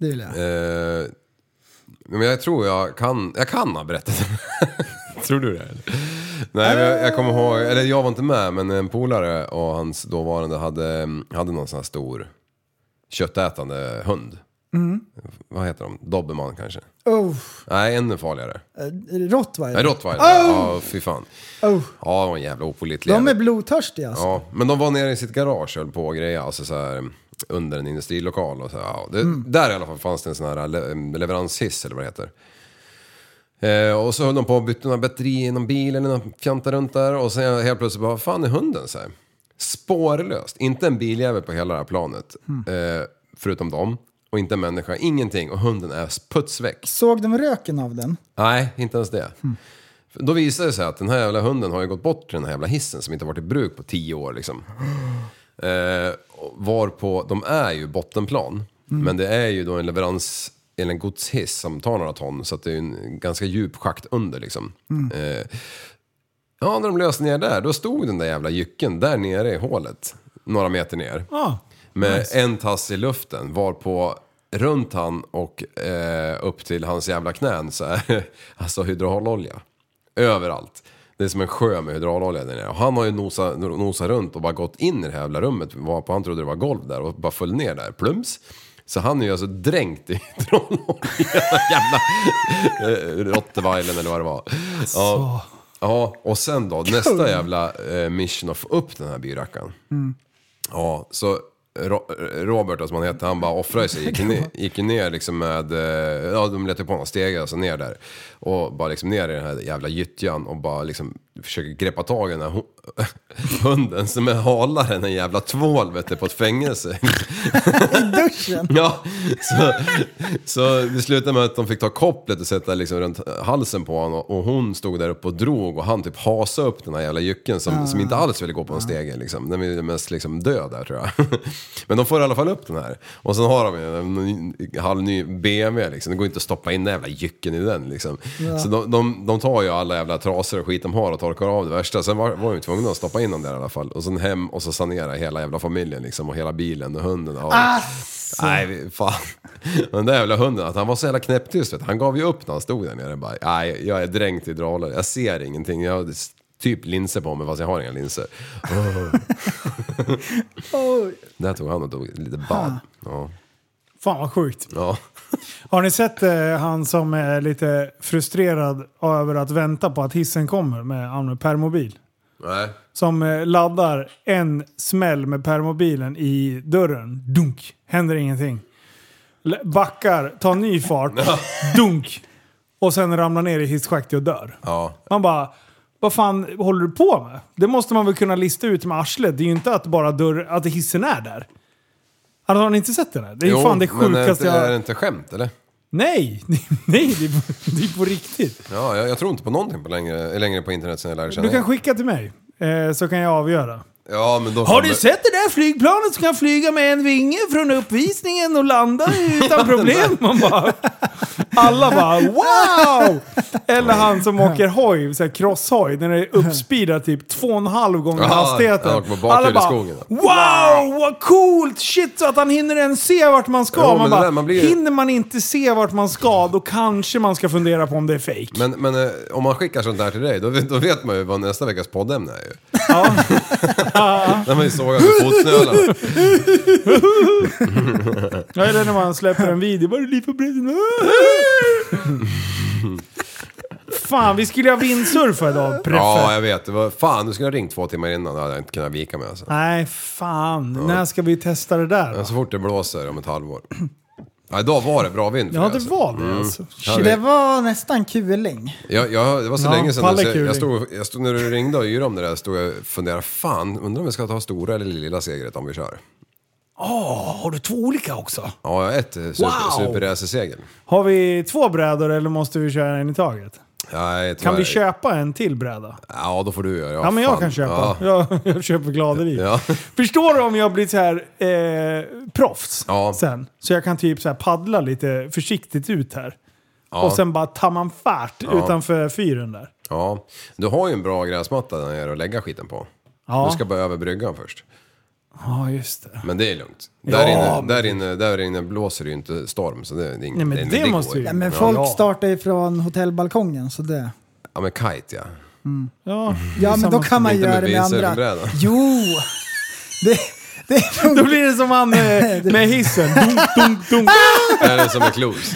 Speaker 2: det vill jag.
Speaker 3: Eh, men jag tror jag kan, jag kan ha berättat den. <laughs> tror du det? Eller? Nej, men jag, jag kommer ihåg, eller jag var inte med, men en polare och hans dåvarande hade, hade någon sån här stor köttätande hund. Vad heter de? Dobermann kanske?
Speaker 2: Oh,
Speaker 3: Nej, ännu farligare. Nej,
Speaker 2: rottweiler.
Speaker 3: rottweiler. Ja, fy fan.
Speaker 2: Oh,
Speaker 3: Ja, det var en jävla opålitlig
Speaker 2: de är
Speaker 3: jävel.
Speaker 2: blodtörstiga alltså.
Speaker 3: Ja, men de var nere i sitt garage och höll på och grejade, alltså så här, under en industrilokal. Och så här, ja, det, Där i alla fall fanns det en sån här le- leveranshiss eller vad det heter. Eh, och så höll de på och bytte några batterier i någon bil eller någon fjanta runt där och sen helt plötsligt bara, vad fan är hunden? Så här. Spårlöst, inte en biljävel på hela det här planet. Eh, förutom dem. Och inte en människa, ingenting. Och hunden är putsväck.
Speaker 2: Såg de röken av den?
Speaker 3: Nej, inte ens det. Då visade det sig att den här jävla hunden har ju gått bort till den här jävla hissen som inte har varit i bruk på tio år liksom. Eh, och varpå, de är ju bottenplan. Men det är ju då en leverans, eller en godshiss som tar några ton. Så att det är ju en ganska djup schakt under liksom. Eh, ja, när de löste ner där, då stod den där jävla jycken där nere i hålet. Några meter ner.
Speaker 1: Ja.
Speaker 3: Med en tass i luften varpå runt han och eh, upp till hans jävla knän så är <laughs> alltså hydraulolja. Överallt. Det är som en sjö med hydraulolja där nere. Och han har ju nosat, nosat runt och bara gått in i det här jävla rummet. Varpå han trodde det var golv där och bara föll ner där. Plums. Så han är ju alltså dränkt i <laughs> hydraulolja. jävla eh, rottweilen eller vad det var. Ja. ja, och sen då nästa jävla eh, mission att få upp den här byrackaren. Ja, så Ro- Robert, som han hette, han bara offrade sig. Gick ner, gick ner liksom med, eh, ja de lät ju på honom stegar alltså ner där. Och bara liksom ner i den här jävla gyttjan och bara liksom försöker greppa tag i den här ho- <laughs> hunden som är halare än en jävla tvål vet du, på ett fängelse.
Speaker 2: Duschen!
Speaker 3: Ja, så, så det slutade med att de fick ta kopplet och sätta liksom runt halsen på honom och hon stod där uppe och drog och han typ hasade upp den här jävla jycken som, som inte alls ville gå på en stege liksom. Den ville mest liksom dö där tror jag. <laughs> Men de får i alla fall upp den här. Och sen har de ju en ny- halvny BMW liksom. Det går inte att stoppa in den jävla jycken i den liksom.
Speaker 9: Ja.
Speaker 3: Så de, de, de tar ju alla jävla trasor och skit de har och torkar av det värsta. Sen var, var de ju tvungna att stoppa in dem där i alla fall. Och sen hem och så sanera hela jävla familjen liksom och hela bilen och hunden. Ja.
Speaker 2: Asså.
Speaker 3: Nej, vi- fan. <laughs> Den där jävla hunden, att han var så jävla knäpptyst. Vet. du. Han gav ju upp när han stod där nere. Bara, Nej, jag är dränkt i dralor. Jag ser ingenting. Jag har s- typ linser på mig fast jag har
Speaker 1: <laughs>
Speaker 3: inga linser. Oh.
Speaker 2: Oj.
Speaker 3: där tog han och tog lite bad.
Speaker 1: Ah.
Speaker 3: Ja.
Speaker 1: Fan vad sjukt.
Speaker 3: Ja.
Speaker 1: Har ni sett eh, han som är lite frustrerad över att vänta på att hissen kommer med, han med permobil?
Speaker 3: Nej.
Speaker 1: Som eh, laddar en smäll med permobilen i dörren. Dunk! Händer ingenting. L- Backar, tar ny fart. Dunk! Och sen ramlar ner i hisschaktet och dör.
Speaker 3: Ja.
Speaker 1: Man bara, vad fan håller du på med? Det måste man väl kunna lista ut med arslet. Det är ju inte att bara dörr, att hissen är där. Alltså, har ni inte sett det där? Det är ju fan det
Speaker 3: men är,
Speaker 1: sjukaste
Speaker 3: inte- är
Speaker 1: jag...
Speaker 3: det inte skämt eller?
Speaker 1: Nej! <laughs> Nej, det är, på, det är på riktigt.
Speaker 3: Ja, jag, jag tror inte på någonting på längre, längre på internet sen jag lärde känna
Speaker 1: Du kan
Speaker 3: er.
Speaker 1: skicka till mig, eh, så kan jag avgöra.
Speaker 3: Ja, men då
Speaker 1: Har
Speaker 3: kommer-
Speaker 1: du sett det där flygplanet som kan flyga med en vinge från uppvisningen och landa
Speaker 3: <laughs>
Speaker 1: utan problem? Man bara, alla bara wow! Eller han som åker hoj, så här crosshoj, den är uppspeedad typ två och en halv gånger
Speaker 3: Ja,
Speaker 1: hastigheten.
Speaker 3: han åker på bakhjul i skogen.
Speaker 1: wow vad coolt! Shit så att han hinner ens se vart man ska.
Speaker 3: Jo, men
Speaker 1: man
Speaker 3: det
Speaker 1: bara,
Speaker 3: där, man blir-
Speaker 1: Hinner man inte se vart man ska då kanske man ska fundera på om det är fake.
Speaker 3: Men, men eh, om man skickar sånt där till dig, då, vet- då vet man ju vad nästa veckas poddämne är ju. <laughs> Ja. När man ju sågar
Speaker 1: <laughs>
Speaker 3: med fotsnölarna.
Speaker 1: Ja, eller när man släpper en video. Vad är det liv på bredden? Fan, vi skulle ha vindsurfa idag, Preffe.
Speaker 3: Ja, jag vet. Det var, fan, du skulle ha ringt två timmar innan. Då hade jag inte kunnat vika mig alltså.
Speaker 1: Nej, fan. När ska vi testa det där?
Speaker 3: Men Så fort det blåser om ett halvår. Ja, idag var det bra vind för
Speaker 1: Ja,
Speaker 3: dig,
Speaker 1: det var
Speaker 3: Mm.
Speaker 1: det, alltså.
Speaker 3: Ja,
Speaker 2: Det
Speaker 3: det-
Speaker 2: var nästan kuling.
Speaker 3: Jag, jag, det var så
Speaker 2: Ja,
Speaker 3: länge sedan. Så jag,
Speaker 2: pallekuling.
Speaker 3: jag, stod, jag stod när du ringde och yrade om det där, stod jag och funderade. Fan, undrar om vi ska ta stora eller lilla segret om vi kör?
Speaker 1: Åh, har du två olika också?
Speaker 3: Ja, jag har ett eh, super,
Speaker 1: Wow!
Speaker 3: superracersegel.
Speaker 1: Har vi två brädor eller måste vi köra en i taget?
Speaker 3: Nej,
Speaker 1: Kan
Speaker 3: tyvärr.
Speaker 1: vi köpa en till bräda?
Speaker 3: Ja, då får du göra.
Speaker 1: Ja, men jag
Speaker 3: fan.
Speaker 1: kan köpa.
Speaker 3: Ja.
Speaker 1: Jag, <laughs> jag köper gladeri.
Speaker 3: Ja.
Speaker 1: Förstår du om jag blir så här eh, proffs
Speaker 3: Ja.
Speaker 1: sen? Så jag kan typ så här paddla lite försiktigt ut här.
Speaker 3: Ja.
Speaker 1: Och sen bara tar man fart
Speaker 3: Ja.
Speaker 1: utanför fyren där.
Speaker 3: Ja, du har ju en bra gräsmatta där nere att lägga skiten på.
Speaker 1: Ja.
Speaker 3: Du ska bara över bryggan först.
Speaker 1: Ja, just det.
Speaker 3: Men det är lugnt.
Speaker 1: Ja,
Speaker 3: Där, inne,
Speaker 1: men-
Speaker 3: där, inne, där inne blåser det ju inte storm, så det, det, är inget-
Speaker 1: Nej, men det
Speaker 3: går
Speaker 1: måste ju-
Speaker 2: Ja,
Speaker 3: inte.
Speaker 2: men folk startar ju från hotellbalkongen så det...
Speaker 3: Ja, men kite ja.
Speaker 1: Ja, <laughs>
Speaker 2: ja men då kan man
Speaker 3: Inte
Speaker 2: göra
Speaker 3: med
Speaker 2: det med andra.
Speaker 3: windsurfingbräda.
Speaker 2: Jo! Det, det
Speaker 1: Då blir <laughs> det som han eh, med hissen. Dunk, dunk, dunk.
Speaker 3: Eller som en
Speaker 1: <laughs>
Speaker 3: klos.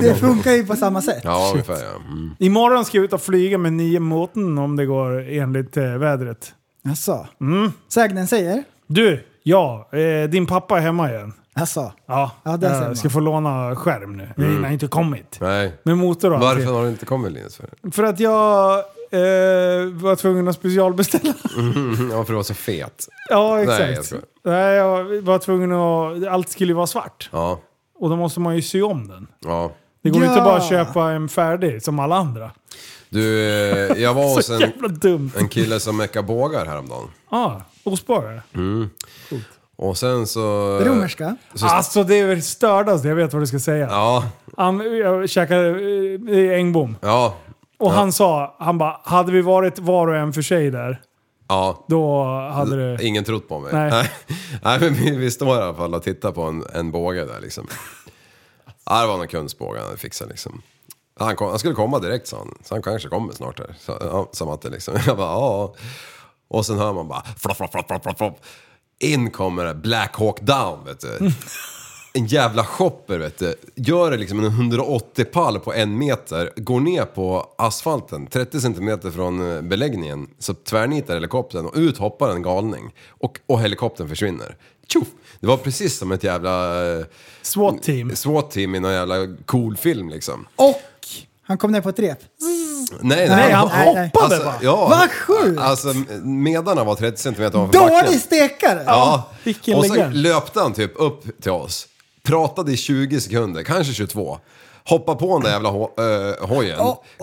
Speaker 2: Det funkar ju på samma sätt.
Speaker 3: Ja, ungefär ja. Mm.
Speaker 1: Imorgon ska jag ut och flyga med nio motorn om det går enligt eh, vädret.
Speaker 2: Jaså?
Speaker 1: Mm.
Speaker 2: Alltså. Sägnen säger?
Speaker 1: Du, ja, eh, din pappa är hemma igen.
Speaker 2: Jaså?
Speaker 1: Ja,
Speaker 2: Ja, där ser man.
Speaker 1: jag ska få låna skärm nu.
Speaker 3: Mm.
Speaker 1: Den har inte kommit.
Speaker 3: Nej.
Speaker 1: Med motor och
Speaker 3: Varför
Speaker 1: allting.
Speaker 3: har du inte kommit
Speaker 1: <laughs>
Speaker 3: Linus? För?
Speaker 1: För att jag eh, var tvungen att specialbeställa. <laughs>
Speaker 3: Mhm, Ja, för du var så fet.
Speaker 1: Ja,
Speaker 3: Nej, jag
Speaker 1: exakt.
Speaker 3: skojar.
Speaker 1: Nej, jag var tvungen att... Allt skulle ju vara svart.
Speaker 3: Ja,
Speaker 1: Och då måste man ju sy om den.
Speaker 3: ja.
Speaker 1: Det går ju
Speaker 2: Ja.
Speaker 1: inte bara att köpa en färdig som alla andra.
Speaker 3: Du, eh, jag var
Speaker 1: <laughs>
Speaker 3: hos
Speaker 1: Så
Speaker 3: en,
Speaker 1: jävla dumt.
Speaker 3: en kille som meckar bågar häromdagen.
Speaker 1: Ja, ah, ostbågare.
Speaker 3: Mm. Och sen så... Eh.
Speaker 1: Romerska? Alltså det är väl stördaste jag vet vad du ska säga.
Speaker 3: Ja,
Speaker 1: Han, jag käkade eh, Engbom.
Speaker 3: ja,
Speaker 1: Och
Speaker 3: Ja.
Speaker 1: han sa, han bara, hade vi varit var och en för sig där,
Speaker 3: ja.
Speaker 1: då hade det...
Speaker 3: Ingen trott på mig.
Speaker 1: Eh, Nej.
Speaker 3: Nej. <laughs> Nej, men vi, vi står i alla fall och tittar på en, en båge där liksom. Ja, det var någon kunds båge han hade fixat liksom. Han, kom, han skulle komma direkt sa han, så han kanske kommer snart här. Så, ja, sa Matte liksom. <laughs> Jag bara, ja. Och sen hör man bara, flopp, flopp, flopp, flopp, flopp, flopp. In kommer det Black Hawk Down vet du. En jävla shopper vet du. Gör det liksom en 180 pall på en meter, går ner på asfalten 30 centimeter från eh, beläggningen. Så tvärnitar helikoptern och ut hoppar en galning. Och, och helikoptern försvinner. Tjoff! Det var precis som ett jävla... eh, SWAT-team. SWAT-team i någon jävla cool film liksom.
Speaker 2: Och han kom ner på ett rep.
Speaker 3: Nej,
Speaker 2: Nej, han hoppade
Speaker 3: alltså,
Speaker 2: bara.
Speaker 3: Ja,
Speaker 2: Vad sjukt!
Speaker 3: Alltså, medarna var 30 centimeter ovanför backen.
Speaker 2: Dålig stekare!
Speaker 3: Ja,
Speaker 2: Vilken
Speaker 3: och sen
Speaker 2: legend.
Speaker 3: löpte han typ upp till oss, pratade i 20 sekunder, kanske 22. Hoppa på den där jävla ho- eh, hojen,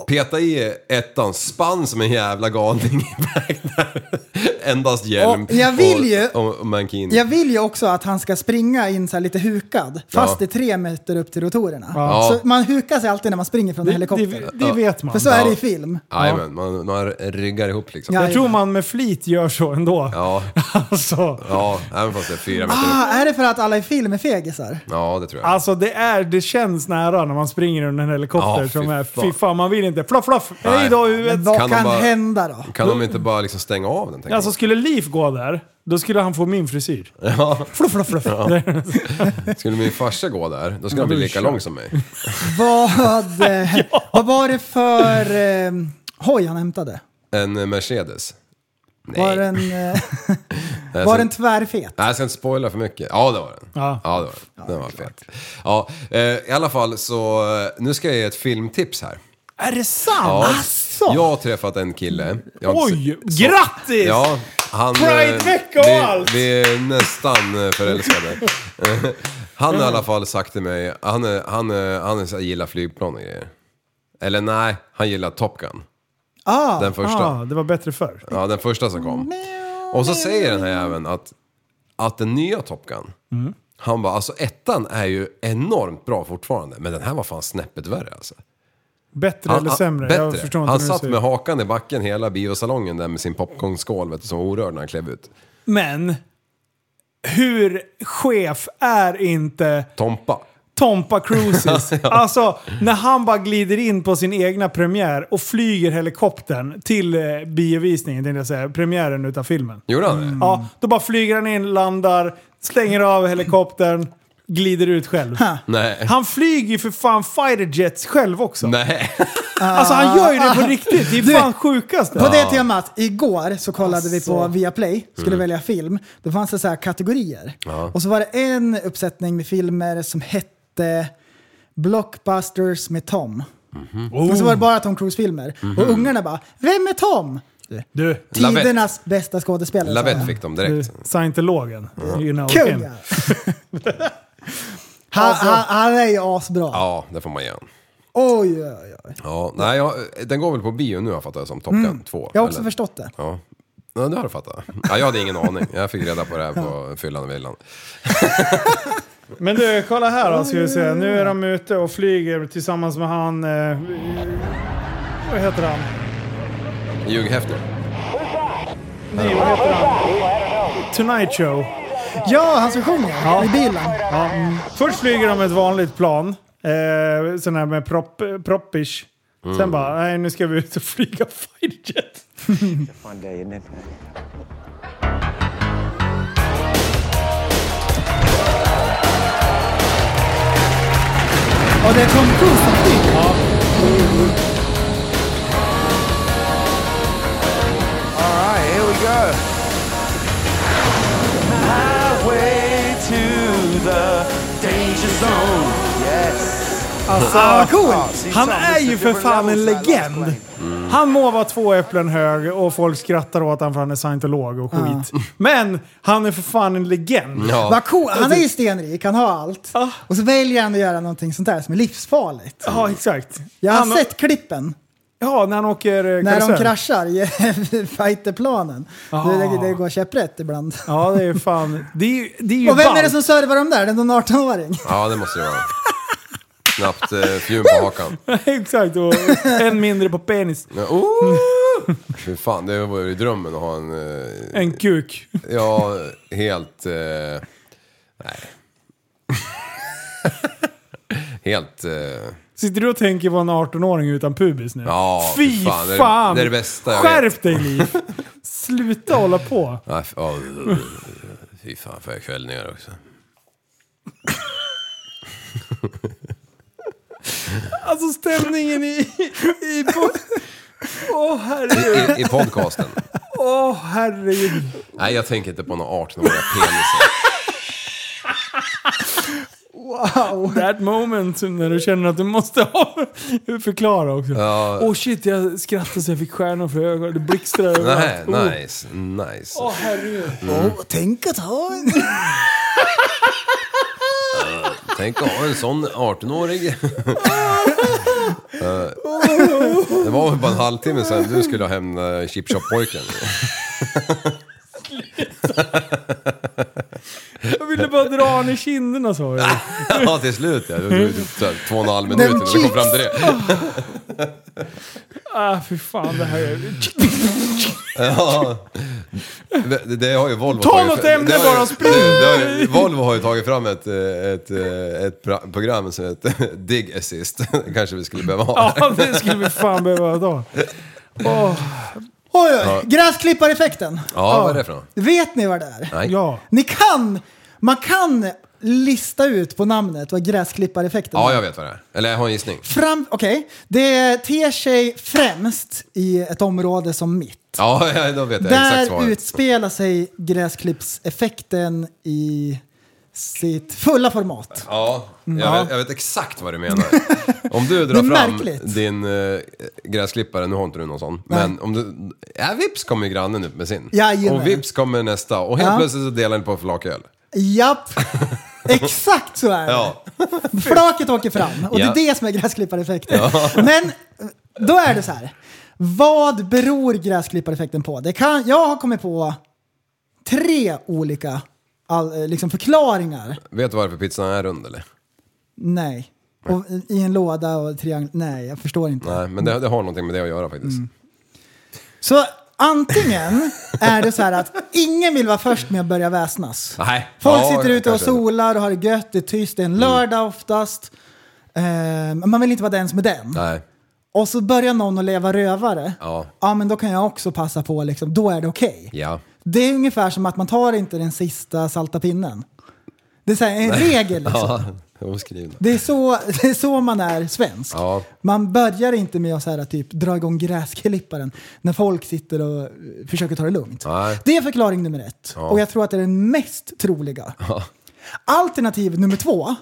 Speaker 3: peta i ettan, spann som en jävla galning iväg där. <laughs> Endast hjälm
Speaker 2: Och jag vill
Speaker 3: och,
Speaker 2: ju-
Speaker 3: och, och mankini.
Speaker 2: Jag vill ju också att han ska springa in så här lite hukad, fast det är tre meter upp till rotorerna.
Speaker 3: Ja.
Speaker 2: Så man hukar sig alltid när man springer från en helikopter.
Speaker 3: Ja.
Speaker 2: För så är det i
Speaker 3: Ja.
Speaker 2: film.
Speaker 3: Jajamän, man, man ryggar ihop liksom.
Speaker 1: Jag tror man med flit gör så ändå.
Speaker 3: Ja,
Speaker 1: Alltså.
Speaker 3: ja även fast det är fyra meter upp.
Speaker 2: Ah, är det för att alla i film är fegisar?
Speaker 3: Ja, det tror jag.
Speaker 1: Alltså det, är, det känns nära när man springer under en helikopter.
Speaker 3: Ja,
Speaker 1: som
Speaker 3: fy
Speaker 1: är,
Speaker 3: fan.
Speaker 1: fy fan, man vill inte. Fluff, fluff!
Speaker 3: Nej.
Speaker 1: Hej då huvudet!
Speaker 3: Men vad Kan de kan bara- hända
Speaker 2: då?
Speaker 3: Kan de inte bara liksom stänga av den? tänker
Speaker 1: Alltså skulle Liv gå där, då skulle han få min frisyr.
Speaker 3: jag? Ja.
Speaker 1: Fluff, fluff, fluff.
Speaker 3: Ja. Skulle min farsa gå där, då skulle han bli lika lång som mig.
Speaker 2: Vad,
Speaker 3: <laughs>
Speaker 2: eh, vad var det för eh, hoj han hämtade?
Speaker 3: En eh, Mercedes. Nej.
Speaker 2: Var
Speaker 3: <laughs>
Speaker 2: den, eh,
Speaker 3: Nej,
Speaker 2: var
Speaker 3: så-
Speaker 2: den tvärfet?
Speaker 3: Nej, jag ska inte spoila för mycket. Ja, det var den.
Speaker 2: Ja.
Speaker 3: Ja, det var den. Den var fet. Ja, eh, I alla fall så, eh, nu ska jag ge ett filmtips här.
Speaker 1: Är det sant?
Speaker 3: Ja.
Speaker 2: Alltså!
Speaker 1: Asså?
Speaker 3: Jag har träffat en kille. Jag har inte
Speaker 1: Oj! Grattis!
Speaker 3: Ja, han... eh,
Speaker 1: Pridevecka och
Speaker 3: vi,
Speaker 1: allt!
Speaker 3: Vi är nästan eh, förälskade.
Speaker 1: <laughs>
Speaker 3: Eh, han har i alla fall sagt till mig, han, är, han, är, han är, så här, gillar flygplan och grejer. Eller nej, han gillar Top Gun.
Speaker 1: Ah,
Speaker 3: Den första.
Speaker 1: Ah, det var bättre förr.
Speaker 3: Ja, den första som kom. Och så säger den här även att, att den nya Top Gun, han bara alltså ettan är ju enormt bra fortfarande, men den här var fan snäppet värre alltså.
Speaker 1: Bättre eller sämre? Jag förstår inte
Speaker 3: han
Speaker 1: hur du
Speaker 3: satt
Speaker 1: ser
Speaker 3: med
Speaker 1: ut.
Speaker 3: hakan i backen hela biosalongen där med sin popcornskål vet du, som var orörd när han klev ut.
Speaker 1: Men, hur chef är inte
Speaker 3: Tompa.
Speaker 1: Tompa
Speaker 3: <laughs>
Speaker 1: Cruises? Alltså, när han bara glider in på sin egna premiär och flyger helikoptern till eh, biovisningen, tänkte jag säga, premiären utav filmen.
Speaker 3: Gjorde han det?
Speaker 1: Ja, då bara flyger han in, landar, slänger av helikoptern, glider ut själv.
Speaker 3: Nej.
Speaker 1: Han flyger ju för fan fighterjets själv också. <laughs>
Speaker 3: Nej.
Speaker 1: Alltså han gör ju det
Speaker 2: <laughs>
Speaker 1: på riktigt. Det är
Speaker 2: Du-
Speaker 1: fan sjukaste.
Speaker 2: På det temat, igår så kollade vi på Viaplay, skulle
Speaker 1: Mm.
Speaker 2: välja film. Då fanns det så här kategorier.
Speaker 1: Ja.
Speaker 2: Och så var det en uppsättning med filmer som hette Blockbusters med Tom. Och så var det
Speaker 1: Oh,
Speaker 2: bara Tom Cruise-filmer.
Speaker 3: Oh. Mhm.
Speaker 2: Och ungarna bara, vem är Tom?
Speaker 1: Du,
Speaker 2: Tidernas bästa skådespelare. sa
Speaker 3: Lavette
Speaker 2: jag.
Speaker 3: fick de direkt.
Speaker 1: Mm. Scientologen. You know
Speaker 2: Kung,
Speaker 1: him.
Speaker 2: ja. Han,
Speaker 1: <laughs> Alltså-
Speaker 2: han, han är ju asbra.
Speaker 3: Ja, det får man ge honom.
Speaker 2: Oj, oj, oj.
Speaker 3: Ja, nej, jag, den går väl på bio nu har jag fattat det som, Top Gun
Speaker 2: Mm.
Speaker 3: 2.
Speaker 2: Jag har också
Speaker 3: eller?
Speaker 2: förstått det.
Speaker 3: Ja. ja, det har du fattat. Ja, jag hade ingen aning. Jag fick reda på det här på fyllan och villan.
Speaker 1: Men du, kolla här då ska vi se. Nu är de ute och flyger tillsammans med han... Eh, vad heter han?
Speaker 3: Hugh Hefner.
Speaker 1: Nej, vad heter han? Tonight Show.
Speaker 2: Ja, han som sjunger i bilen.
Speaker 1: Ja. mm. Först flyger de ett vanligt plan. Eh, sån här med propp, proppish. Sen
Speaker 9: Mm.
Speaker 1: bara, nej nu ska vi ut och flyga <laughs> fighterjet.
Speaker 9: One day, isn't it?
Speaker 2: Och det är Tom Cruise som flyger.
Speaker 9: All right, here we go. Highway to the danger zone. Yes.
Speaker 1: Alltså,
Speaker 9: Ah,
Speaker 1: cool.
Speaker 9: ah, see,
Speaker 1: han
Speaker 9: Tom,
Speaker 1: är
Speaker 9: this is
Speaker 1: ju för
Speaker 9: different
Speaker 1: fan en
Speaker 9: levels, I like
Speaker 1: legend. Han må vara två äpplen hög och folk skrattar åt honom för han är scientolog och skit. Men han är för fan en legend.
Speaker 3: Ja.
Speaker 2: Vad cool. Han är ju stenrik, han har allt. Och så väljer han att göra någonting sånt där som är livsfarligt.
Speaker 1: Ja, exakt.
Speaker 2: Jag har
Speaker 1: Han-
Speaker 2: sett klippen.
Speaker 1: Ja, när han åker eh,
Speaker 2: När de
Speaker 1: karusell.
Speaker 2: kraschar i <laughs> fighterplanen.
Speaker 1: Ah.
Speaker 2: Det, det går käpprätt ibland.
Speaker 1: Ja, det är fan... Det är, ju- det är ju
Speaker 2: Och vem är det
Speaker 1: ballt.
Speaker 2: som servar dem där? Det är någon 18-åring?
Speaker 3: Ja, det måste det vara. Knappt eh, fjun på hakan.
Speaker 1: <laughs> Exakt, och en mindre på penis.
Speaker 3: Ja, oh! Fy fan, det var ju drömmen att ha en... Eh,
Speaker 1: En kuk.
Speaker 3: ja, helt... Eh, nej. helt... Eh,
Speaker 1: Sitter du och tänker på en 18-åring utan pubis nu?
Speaker 3: ja,
Speaker 1: Fy
Speaker 3: fan. Det, är,
Speaker 1: fan!
Speaker 3: det är det bästa jag vet.
Speaker 1: Skärp dig
Speaker 3: <laughs>
Speaker 1: Liv! Sluta hålla på.
Speaker 3: Nej, f- ja, fy fan, får jag kvällningar också.
Speaker 1: Alltså stämningen i... i på... Åh
Speaker 3: I,
Speaker 1: herregud.
Speaker 3: i, i podcasten.
Speaker 1: Åh herregud. <laughs>
Speaker 3: Nej, jag tänker inte på några 18-åriga penisar.
Speaker 1: Wow! That moment när du känner att du måste ha- förklara också.
Speaker 3: Ja.
Speaker 1: Åh oh shit, jag skrattade så jag fick stjärnor för ögonen. Det blixtrade
Speaker 3: Nej,
Speaker 1: Oh.
Speaker 3: nice, nice.
Speaker 1: Åh herregud.
Speaker 3: Mm.
Speaker 2: tänk att ha en...
Speaker 3: Eh, Tänk att ha en sån 18-årig. Eh, det var väl bara en halvtimme sedan du skulle ha hem eh, Chip Shop-pojken.
Speaker 1: Jag ville bara dra han i kinderna sa jag.
Speaker 3: ja, till slut ja. Det tog typ så här två och en halv minut innan du kom fram till det.
Speaker 1: ah, fy fan det här är...
Speaker 3: Ja. Det, det har ju Volvo
Speaker 1: Ta något
Speaker 3: fra-
Speaker 1: ämne
Speaker 3: det har ju-
Speaker 1: bara och spring!
Speaker 3: det har ju- Volvo har ju tagit fram ett, eh, ett, eh, ett pra- program som heter <laughs> Dig Assist. kanske vi skulle behöva ha.
Speaker 1: Ja, det skulle vi fan behöva ta.
Speaker 2: Åh. Oj, oj.
Speaker 3: Ja.
Speaker 2: Gräsklippareffekten.
Speaker 3: Ja, vad är det för något?
Speaker 2: Vet ni vad det är?
Speaker 3: Nej.
Speaker 1: Ja.
Speaker 2: Ni kan... Man kan lista ut på namnet vad gräsklippareffekten
Speaker 3: Ja,
Speaker 2: är.
Speaker 3: jag vet vad det är. Eller jag har en gissning.
Speaker 2: Fram, okej. Det ter sig främst i ett område som mitt.
Speaker 3: Ja, <laughs> ja, då vet jag exakt
Speaker 2: Där
Speaker 3: svaret.
Speaker 2: utspelar sig gräsklippseffekten i sitt fulla format.
Speaker 3: Ja, jag,
Speaker 2: Ja.
Speaker 3: Vet, jag vet exakt vad du menar. Om du
Speaker 2: Det
Speaker 3: drar
Speaker 2: är
Speaker 3: fram
Speaker 2: märkligt.
Speaker 3: din eh, gräsklippare, nu har inte du någon sån, men om du... Ja, vips kommer ju grannen ut med sin.
Speaker 2: Jajamän.
Speaker 3: Och vips kommer nästa och helt
Speaker 2: Ja.
Speaker 3: plötsligt så delar ni på flaköl. <laughs>
Speaker 2: Japp! Exakt så är det.
Speaker 3: Ja.
Speaker 2: Flaket åker fram och
Speaker 3: Ja.
Speaker 2: det är det som är gräsklippareffekten.
Speaker 3: Ja.
Speaker 2: <laughs> Men eh, då är det så här. Vad beror gräsklippareffekten på? Det kan, jag har kommit på tre olika all, eh, liksom förklaringar.
Speaker 3: Vet du varför pizzan är rund eller?
Speaker 2: Nej. Och, I en låda och triangel. Nej, jag förstår inte.
Speaker 3: Nej, men det, det har någonting med det att göra faktiskt.
Speaker 2: Så antingen är det så här att ingen vill vara först med att börja väsnas.
Speaker 3: Nej.
Speaker 2: Folk
Speaker 3: Ja,
Speaker 2: sitter ute och
Speaker 3: kanske. Mm.
Speaker 2: solar och har det gött, det är tyst, det är en lördag oftast. Eh, man vill inte vara den som är den.
Speaker 3: Nej.
Speaker 2: Och så börjar någon att leva rövare.
Speaker 3: Ja.
Speaker 2: Ja, men då kan jag också passa på, liksom. då är det okej.
Speaker 3: Ja.
Speaker 2: Det är ungefär som att man tar inte den sista salta pinnen. Det är så här, en regel liksom.
Speaker 3: <laughs> Ja, oskrivna.
Speaker 2: Det, är så, det är så man är svensk.
Speaker 3: Ja.
Speaker 2: Man börjar inte med att så här, typ, dra igång gräsklipparen när folk sitter och eh, försöker ta det lugnt.
Speaker 3: Nej.
Speaker 2: Det är förklaring nummer ett.
Speaker 3: Ja.
Speaker 2: Och jag tror att det är den mest troliga.
Speaker 3: Ja.
Speaker 2: Alternativ nummer två,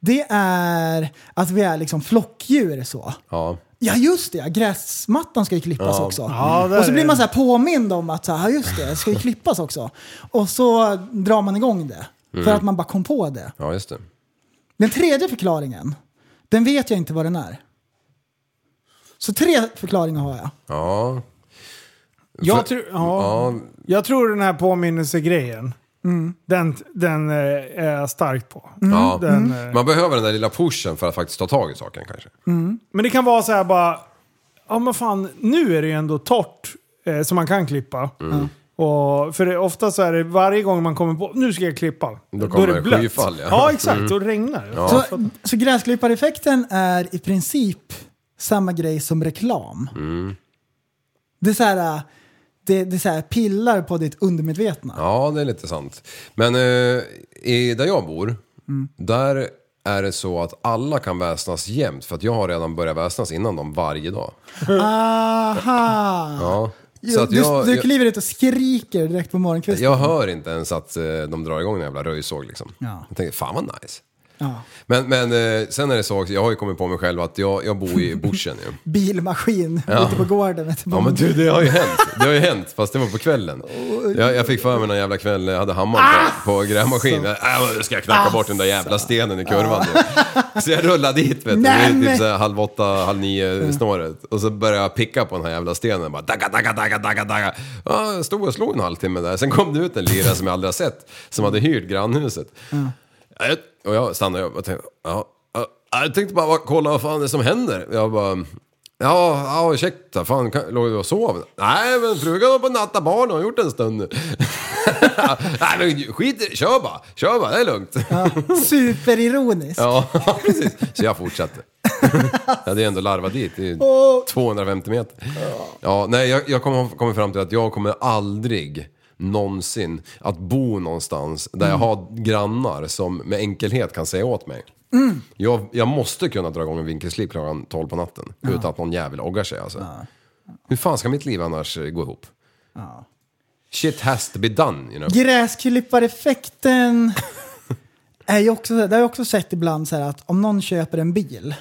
Speaker 2: det är att vi är liksom flockdjur så.
Speaker 3: Ja.
Speaker 2: Ja just det, gräsmattan ska ju klippas
Speaker 3: Ja.
Speaker 2: också.
Speaker 3: Ja, där
Speaker 2: och så
Speaker 3: är
Speaker 2: blir
Speaker 3: det.
Speaker 2: man så här påmind om att så här, ja, just det, det ska ju klippas också. Och så drar man igång det. För
Speaker 3: Mm.
Speaker 2: att man bara kom på det.
Speaker 3: ja, just det.
Speaker 2: Den tredje förklaringen, den vet jag inte vad den är. Så tre förklaringar har jag.
Speaker 3: Ja.
Speaker 1: Jag,
Speaker 3: För-
Speaker 1: tror- ja, jag tror den här påminnelsegrejen, den, den eh, är jag stark på.
Speaker 3: Ja. Mm.
Speaker 1: Den, eh,
Speaker 3: Man behöver den där lilla pushen för att faktiskt ta tag i saken kanske.
Speaker 1: Men det kan vara så här bara, ja men fan, nu är det ju ändå torrt eh, som man kan klippa.
Speaker 3: Mm.
Speaker 1: Och, för det, ofta så är det varje gång man kommer på, nu ska jag klippa.
Speaker 3: Då kommer det
Speaker 1: blött.
Speaker 3: skyfall, ja.
Speaker 1: ja. exakt,
Speaker 3: Mm.
Speaker 1: då regnar det.
Speaker 3: Ja.
Speaker 2: Så, så gräsklippareffekten är i princip samma grej som reklam.
Speaker 3: Mm.
Speaker 2: Det är så här, det, det är så här pillar på ditt undermedvetna.
Speaker 3: Ja, det är lite sant. Men eh, i där jag bor,
Speaker 2: Mm.
Speaker 3: där är det så att alla kan väsnas jämt. För att jag har redan börjat väsnas innan dem varje dag.
Speaker 2: Aha!
Speaker 3: Ja.
Speaker 2: Jo,
Speaker 3: Så att jag,
Speaker 2: du, du
Speaker 3: jag,
Speaker 2: kliver ut och skriker direkt på morgonkvisten.
Speaker 3: jag hör inte ens att eh, de drar igång en jävla röjsåg liksom.
Speaker 2: Ja.
Speaker 3: Jag tänker, fan vad nice.
Speaker 2: Ja.
Speaker 3: Men, men eh, sen är det så också, jag har ju kommit på mig själv att jag, jag bor
Speaker 2: <laughs>
Speaker 3: i bushen ju.
Speaker 2: Bilmaskin
Speaker 3: Ja.
Speaker 2: ute på gården. Vet du,
Speaker 3: Ja
Speaker 2: <laughs>
Speaker 3: men du, det har ju hänt. Det har ju hänt, fast det var
Speaker 9: <laughs>
Speaker 3: på kvällen. Jag, jag fick för mig någon jävla kväll när jag hade hammaren på,
Speaker 9: Ah,
Speaker 3: på grävmaskinen. Äh, nu ska jag knacka bort den där jävla stenen i kurvan. nu. Så jag rullade dit vet du,
Speaker 9: Nej,
Speaker 3: vid
Speaker 9: men-
Speaker 3: typ så här halv åtta, halv nio snåret. Och så började jag picka på den här jävla stenen. Bara dagga, dagga, dagga, dagga, dagga. Ja, jag stod och slog en halvtimme där. Sen kom det ut en lirare som jag aldrig har sett, som hade hyrt grannhuset. Ja, jag- Och jag stannade upp och tänkte, ja, ja, jag tänkte bara kolla vad fan det är som händer. Jag bara, ja, ja ursäkta, fan kan, låg du och sov? Nej, men frugan var på natta barn och har gjort en stund <laughs> nu. Nej, men skit i- kör bara, kör bara, det är lugnt.
Speaker 2: Ja,
Speaker 3: <laughs>
Speaker 2: superironiskt.
Speaker 3: Ja, precis. Så jag fortsatte. Jag hade ju ändå larvat dit, det är ju
Speaker 2: Åh.
Speaker 3: 250 meter. Ja, nej, jag, jag kommer, kommer fram till att jag kommer aldrig någonsin att bo någonstans där jag har grannar som med enkelhet kan säga åt mig.
Speaker 9: Mm.
Speaker 3: Jag, jag måste kunna dra igång en vinkelslip klockan 12 på natten utan att någon jävel oggar sig alltså. Hur fan ska mitt liv annars eh, gå ihop? Shit has to be done, you know.
Speaker 2: Gräsklippareffekten <laughs> är ju också, det har jag också sett ibland så här att om någon köper en bil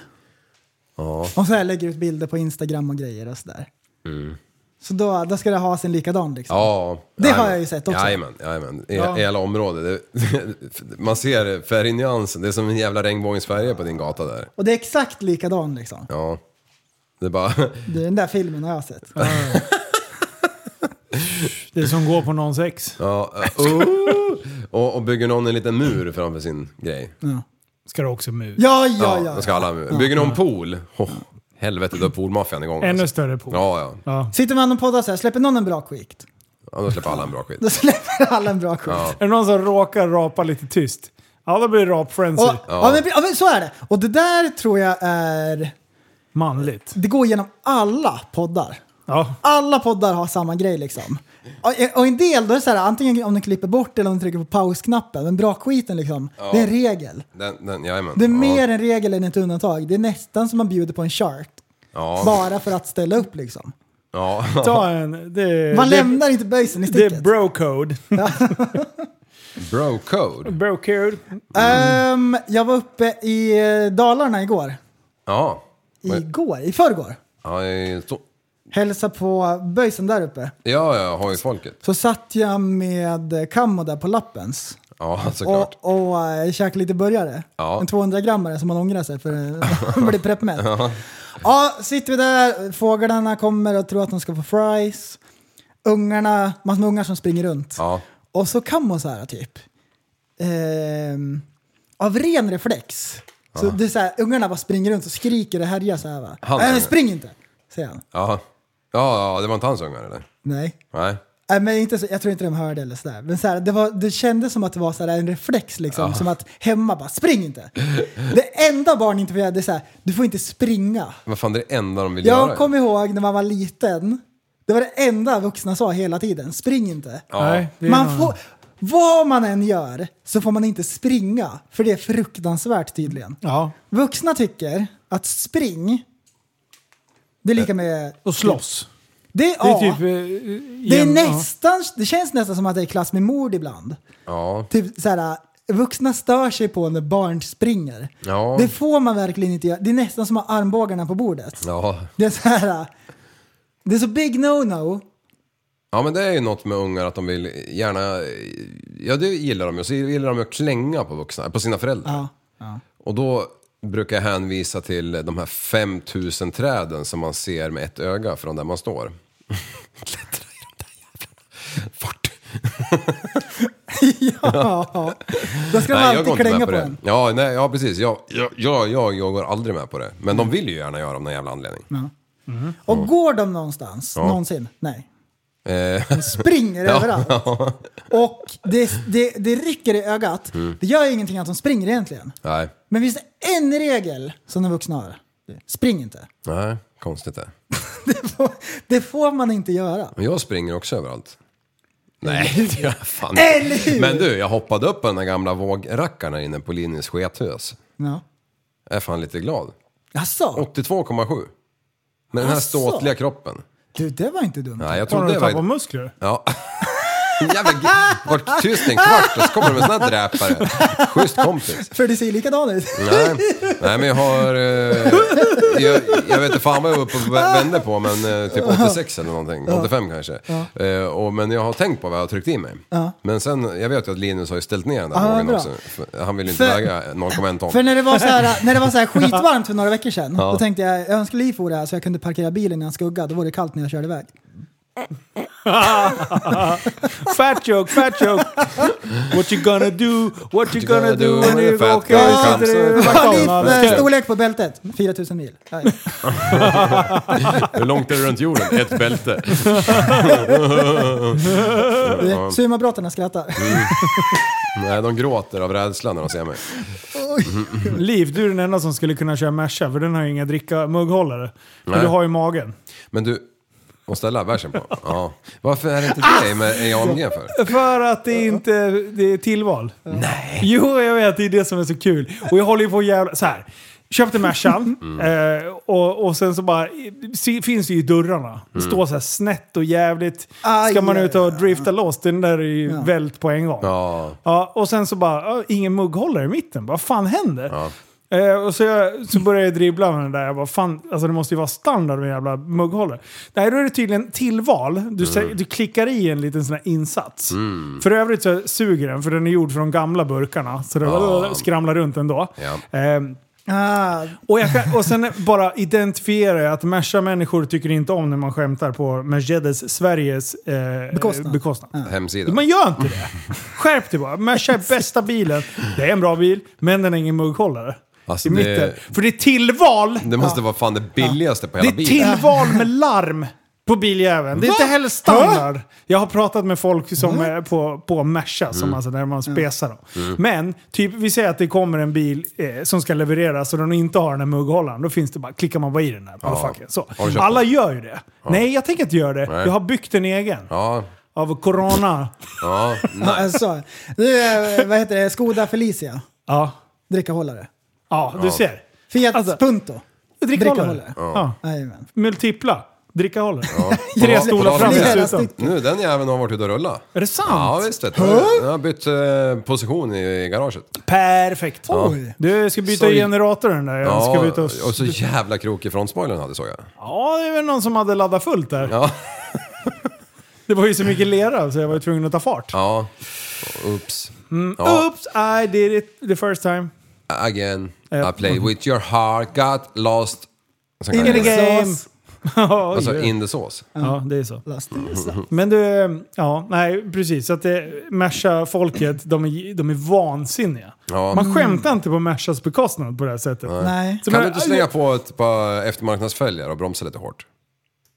Speaker 3: Ja.
Speaker 2: och så här lägger ut bilder på Instagram och grejer och sådär.
Speaker 3: Mm.
Speaker 2: Så då, då ska det ha sin likadan liksom.
Speaker 3: Ja.
Speaker 2: Det har
Speaker 3: jajamän.
Speaker 2: jag ju sett också.
Speaker 3: Jajamän, jajamän. I,
Speaker 2: Ja.
Speaker 3: I alla områden. Det, <laughs> man ser färgnyansen. Det är som en jävla regnbågens färger på din gata där.
Speaker 2: Och det är exakt likadan liksom.
Speaker 3: Ja. Det är bara... <laughs>
Speaker 2: Det är Den där filmen har jag sett.
Speaker 1: Det som går på någons ex.
Speaker 3: Ja. oh! och, och bygger någon en liten mur framför sin grej.
Speaker 1: Ska du också mur?
Speaker 2: Ja, ja, ja.
Speaker 3: Då ska alla ha mur. Bygger någon pool? Oh, helvete, då är poolmaffian igång. alltså.
Speaker 2: Ännu
Speaker 1: större pool.
Speaker 3: Ja, ja.
Speaker 2: Sitter man och poddar så här, släpper någon en bra skikt?
Speaker 3: ja då släpper alla en bra skit.
Speaker 2: Då <laughs> släpper alla en bra skikt.
Speaker 3: Ja.
Speaker 1: Är det någon som råkar rapa lite tyst? Ja, då blir det rap-frenzy.
Speaker 2: Och, ja. men, ja, men så är det. Och det där tror jag är...
Speaker 1: Manligt.
Speaker 2: Det går genom alla poddar. Alla poddar har samma grej liksom. Och, och en del, då är det så här, antingen om du klipper bort eller om du trycker på pausknappen. Men bra skiten liksom,
Speaker 3: Ja.
Speaker 2: det är en regel.
Speaker 3: Den, den, jajamän.
Speaker 2: Det är
Speaker 3: ja.
Speaker 2: mer en regel än ett undantag. Det är nästan som man bjuder på en chart.
Speaker 3: Ja.
Speaker 2: Bara för att ställa upp liksom.
Speaker 3: Ja. <laughs>
Speaker 1: Ta en... Det,
Speaker 2: Man
Speaker 1: Eh, det,
Speaker 2: lämnar inte böjsen i
Speaker 1: Det
Speaker 2: sticket.
Speaker 1: är bro-code.
Speaker 3: Bro code.
Speaker 1: Bro-code.
Speaker 2: Ehm, jag var uppe i eh, Dalarna igår.
Speaker 3: Ja.
Speaker 2: Igår? I förrgår.
Speaker 3: Ja, det är så-
Speaker 2: Hälsa på böjsen där uppe.
Speaker 3: ja, ja, har ju folket.
Speaker 2: Så satt jag med eh, Kammo där på Lappens.
Speaker 3: Ja, såklart.
Speaker 2: Och, och eh, käkade lite burgare.
Speaker 3: Ja.
Speaker 2: En 200-grammare som man
Speaker 3: <laughs>
Speaker 2: ångrar sig för <laughs> eh, man blir preppmätt.
Speaker 3: Ja.
Speaker 2: Ja, sitter vi där, fåglarna kommer och tror att de ska få fries. Ungarna, massor med ungar som springer runt.
Speaker 3: Ja.
Speaker 2: Och så kan man så här typ, ehm, av ren reflex, så
Speaker 3: Ja.
Speaker 2: det är så här, ungarna bara springer runt och skriker och härjar så här va.
Speaker 3: Han-
Speaker 2: Nej, men spring inte, säger han.
Speaker 3: Ja. Ja, ja, det var inte hans ungar eller?
Speaker 2: Nej.
Speaker 3: Nej.
Speaker 2: Nej, Äh, men inte så, jag tror inte de hörde eller sådär. Men så här, det, var, det kändes som att det var så här en reflex liksom.
Speaker 3: Ja.
Speaker 2: Som att hemma bara, spring inte. Det enda barn inte får göra det är så här, du får inte springa.
Speaker 3: Vad fan, det är det enda de vill göra.
Speaker 2: Jag kommer ihåg när man var liten. Det var det enda vuxna sa hela tiden. Spring inte.
Speaker 3: Ja. Nej, det är
Speaker 2: man
Speaker 3: nog-
Speaker 2: får, vad man än gör så får man inte springa. För det är fruktansvärt tydligen. Vuxna tycker att spring, det är lika med...
Speaker 1: Och slåss.
Speaker 2: Det,
Speaker 1: Det är
Speaker 2: ja,
Speaker 1: typ... eh,
Speaker 2: det, är
Speaker 1: jämn- ja.
Speaker 2: nästan, det känns nästan som att det är klass med mord ibland.
Speaker 3: Ja.
Speaker 2: Typ så här, vuxna stör sig på när barn springer.
Speaker 3: Ja.
Speaker 2: Det får man verkligen inte göra. Det är nästan som att ha armbågarna på bordet.
Speaker 3: Ja.
Speaker 2: Det är så här. Det är så big no-no.
Speaker 3: Ja men det är ju något med ungar att de vill gärna, ja det gillar de ju, så gillar de ju att klänga på vuxna, på sina föräldrar. Och då brukar jag hänvisa till de här 5000 träden som man ser med ett öga från där man står.
Speaker 2: ja. Då ska de
Speaker 3: Nej, jag går inte
Speaker 2: alltid
Speaker 3: med
Speaker 2: klänga på
Speaker 3: det.
Speaker 2: en.
Speaker 3: Ja, nej, ja precis, jag, jag, jag, jag, jag går aldrig med på det. Men de vill ju gärna göra av någon jävla anledning.
Speaker 2: Och går de någonstans?
Speaker 3: Ja.
Speaker 2: Någonsin? Nej.
Speaker 3: Eh.
Speaker 2: springer överallt.
Speaker 3: <laughs> Ja.
Speaker 2: Och det, det, det rycker i ögat.
Speaker 3: Mm.
Speaker 2: Det gör ju ingenting att de springer egentligen.
Speaker 3: Nej,
Speaker 2: Men finns det en regel som de vuxna har? Spring inte. <laughs>
Speaker 3: nej, konstigt det.
Speaker 2: Det får man inte göra.
Speaker 3: Men jag springer också överallt. Nej, det gör jag fan
Speaker 2: Eller hur?
Speaker 3: Men du, jag hoppade upp på den där gamla vågrackaren här inne på Linus skethus.
Speaker 2: Ja.
Speaker 3: Jag är fan lite glad.
Speaker 2: Jaså?
Speaker 3: 82,7. Med den här
Speaker 2: Asså?
Speaker 3: ståtliga kroppen.
Speaker 2: Du, det var inte dumt.
Speaker 3: Nej, jag trodde det var...
Speaker 1: muskler?
Speaker 3: Ja. <laughs> Jävla gr- Vart tyst en kvart och så kommer de med såna här dräpare. Schysst kompis.
Speaker 2: För det ser likadan ut. <laughs>
Speaker 3: Nej, nej men jag har... Eh, jag, jag vet inte fan vad jag var uppe och vä- vände på men eh, typ 86 eller någonting.
Speaker 2: Ja.
Speaker 3: 85 kanske.
Speaker 2: Ja.
Speaker 3: Eh, och, men jag har tänkt på vad jag har tryckt i mig.
Speaker 2: Ja.
Speaker 3: Men sen, jag vet ju att Linus har ju ställt ner den där
Speaker 2: Ja,
Speaker 3: vågen
Speaker 2: bra.
Speaker 3: också. För Han vill ju inte
Speaker 2: För-
Speaker 3: väga 0,1 ton.
Speaker 2: För när det var så här, när det var så här skitvarmt för några veckor sedan,
Speaker 3: Ja.
Speaker 2: då tänkte jag jag önskar liv vore här så jag kunde parkera bilen i en skugga. Då var det kallt när jag körde iväg.
Speaker 1: fat joke, fat <laughs> joke. What you gonna do, what you gonna do when you go
Speaker 2: Ja, Liv, eh,
Speaker 1: McDonalds.
Speaker 2: storlek på bältet, 4000 mil. Ja, ja.
Speaker 3: <laughs> Hur långt är det runt jorden? Ett bälte.
Speaker 2: Du, Sumabrottarna skrattar.
Speaker 3: Mm. Nej, de gråter av rädsla när de ser mig. Mm.
Speaker 1: Liv, du är den enda som skulle kunna köra Merca för den har ju inga dricka mugghållare. Men
Speaker 3: Nej.
Speaker 1: du har ju magen.
Speaker 3: Men du, och ställa bärsen på? Ja. Varför är det inte det med AMG för?
Speaker 1: För att det inte det är tillval. Nej. Jo, jag vet. Det är det som är så kul. Och jag håller ju på att jävla... Så här. köpte Mercan.
Speaker 10: <laughs> Mm.
Speaker 1: Eh, och, och sen så bara, se, finns det ju i dörrarna.
Speaker 10: Mm.
Speaker 1: Står så här snett och jävligt.
Speaker 10: Aj,
Speaker 1: Ska man
Speaker 10: aj,
Speaker 1: ut och drifta loss, den där är ju
Speaker 10: Ja.
Speaker 1: vält på en gång.
Speaker 3: Ja.
Speaker 1: Ja, och sen så bara, "Ja, ingen mugghållare i mitten. Vad fan händer? Eh, och så, jag, så började jag dribbla med den där. Jag bara, fan, alltså det måste ju vara standard med en jävla mugghållare. Nej, då är det tydligen tillval. Du, sä-
Speaker 10: Mm.
Speaker 1: du klickar i en liten sån här insats. För övrigt så suger den, för den är gjord från de gamla burkarna. Så det
Speaker 10: Ja.
Speaker 1: skramlar runt ändå.
Speaker 3: Ja.
Speaker 1: Ehm,
Speaker 2: Ah,
Speaker 1: och, jag kan, och sen bara identifiera jag att Merca människor tycker inte om när man skämtar på Mercedes Sveriges eh,
Speaker 3: Bekostnad.
Speaker 1: bekostnad.
Speaker 3: Hemsidan.
Speaker 1: Man gör inte det. Skärp dig bara. Merca är bästa bilen. Det är en bra bil, men den är ingen mugghållare.
Speaker 3: Alltså,
Speaker 1: I
Speaker 3: det-
Speaker 1: mitten. För det är tillval.
Speaker 3: Det måste vara fan det billigaste på
Speaker 1: Det
Speaker 3: hela
Speaker 1: är
Speaker 3: bilen.
Speaker 1: tillval med larm på biljäveln. Det är
Speaker 10: Va?
Speaker 1: inte heller standard. Jag har pratat med folk som
Speaker 3: Mm.
Speaker 1: är på, på Merca, som
Speaker 10: Mm.
Speaker 1: alltså när man spesar dem.
Speaker 10: Mm.
Speaker 1: Men, typ, vi säger att det kommer en bil eh, som ska levereras och den inte har den här mugghållaren. Då finns det bara, klickar man bara i den där. motherfucker. Så.
Speaker 3: Har du köpt
Speaker 1: Alla gör ju det. Nej, jag tänker inte göra det.
Speaker 3: Nej.
Speaker 1: Jag har byggt en egen.
Speaker 3: Ja,
Speaker 1: Av corona.
Speaker 3: ja.
Speaker 2: Ja,
Speaker 3: Nej.
Speaker 2: alltså, du, eh, vad heter det? Skoda Felicia.
Speaker 1: Ja.
Speaker 2: Drickahållare.
Speaker 1: Ja, du
Speaker 2: Ja.
Speaker 1: ser.
Speaker 2: Fiat Punto.
Speaker 1: Drickahållare.
Speaker 3: Ja.
Speaker 2: Jajamän.
Speaker 1: Multipla. Drickahållare.
Speaker 3: Ja.
Speaker 1: <laughs> Tre
Speaker 3: På-
Speaker 1: stolar
Speaker 3: på-
Speaker 1: fram dessutom.
Speaker 3: Nu, Nu, den jäveln har varit ute och rullat.
Speaker 1: Är det sant?
Speaker 3: Ja, visst. vet du. Den har bytt eh, position i, i garaget.
Speaker 1: Perfekt.
Speaker 3: Ja.
Speaker 1: Du ska byta
Speaker 3: Så-
Speaker 1: generatorn där. Jag ska
Speaker 3: Ja,
Speaker 1: byta
Speaker 3: och
Speaker 1: oss.
Speaker 3: så jävla krokig frontspoilern hade såg jag.
Speaker 1: Ja, det är väl någon som hade laddat fullt där.
Speaker 3: Ja.
Speaker 1: Det var ju så mycket lera så jag var ju tvungen att ta fart.
Speaker 3: Ja. Oops.
Speaker 1: Mm.
Speaker 3: Ja.
Speaker 1: Oops, I did it the first time.
Speaker 3: Again,
Speaker 1: Ja.
Speaker 3: I played with your heart, got lost... Sen kan
Speaker 1: In the
Speaker 3: jag-
Speaker 1: game! <laughs> Ja,
Speaker 3: Alltså,
Speaker 1: ja.
Speaker 3: in the sauce.
Speaker 1: Ja, det är så.
Speaker 3: <laughs> sauce.
Speaker 1: Men du, ja, nej precis. Så att det- Merca-folket, de är, de är vansinniga.
Speaker 3: Ja.
Speaker 1: Man skämtar inte på Mercas bekostnad på det här sättet. Så
Speaker 3: Kan
Speaker 1: men-
Speaker 3: du inte slänga på ett par eftermarknadsfälgar och bromsa lite hårt?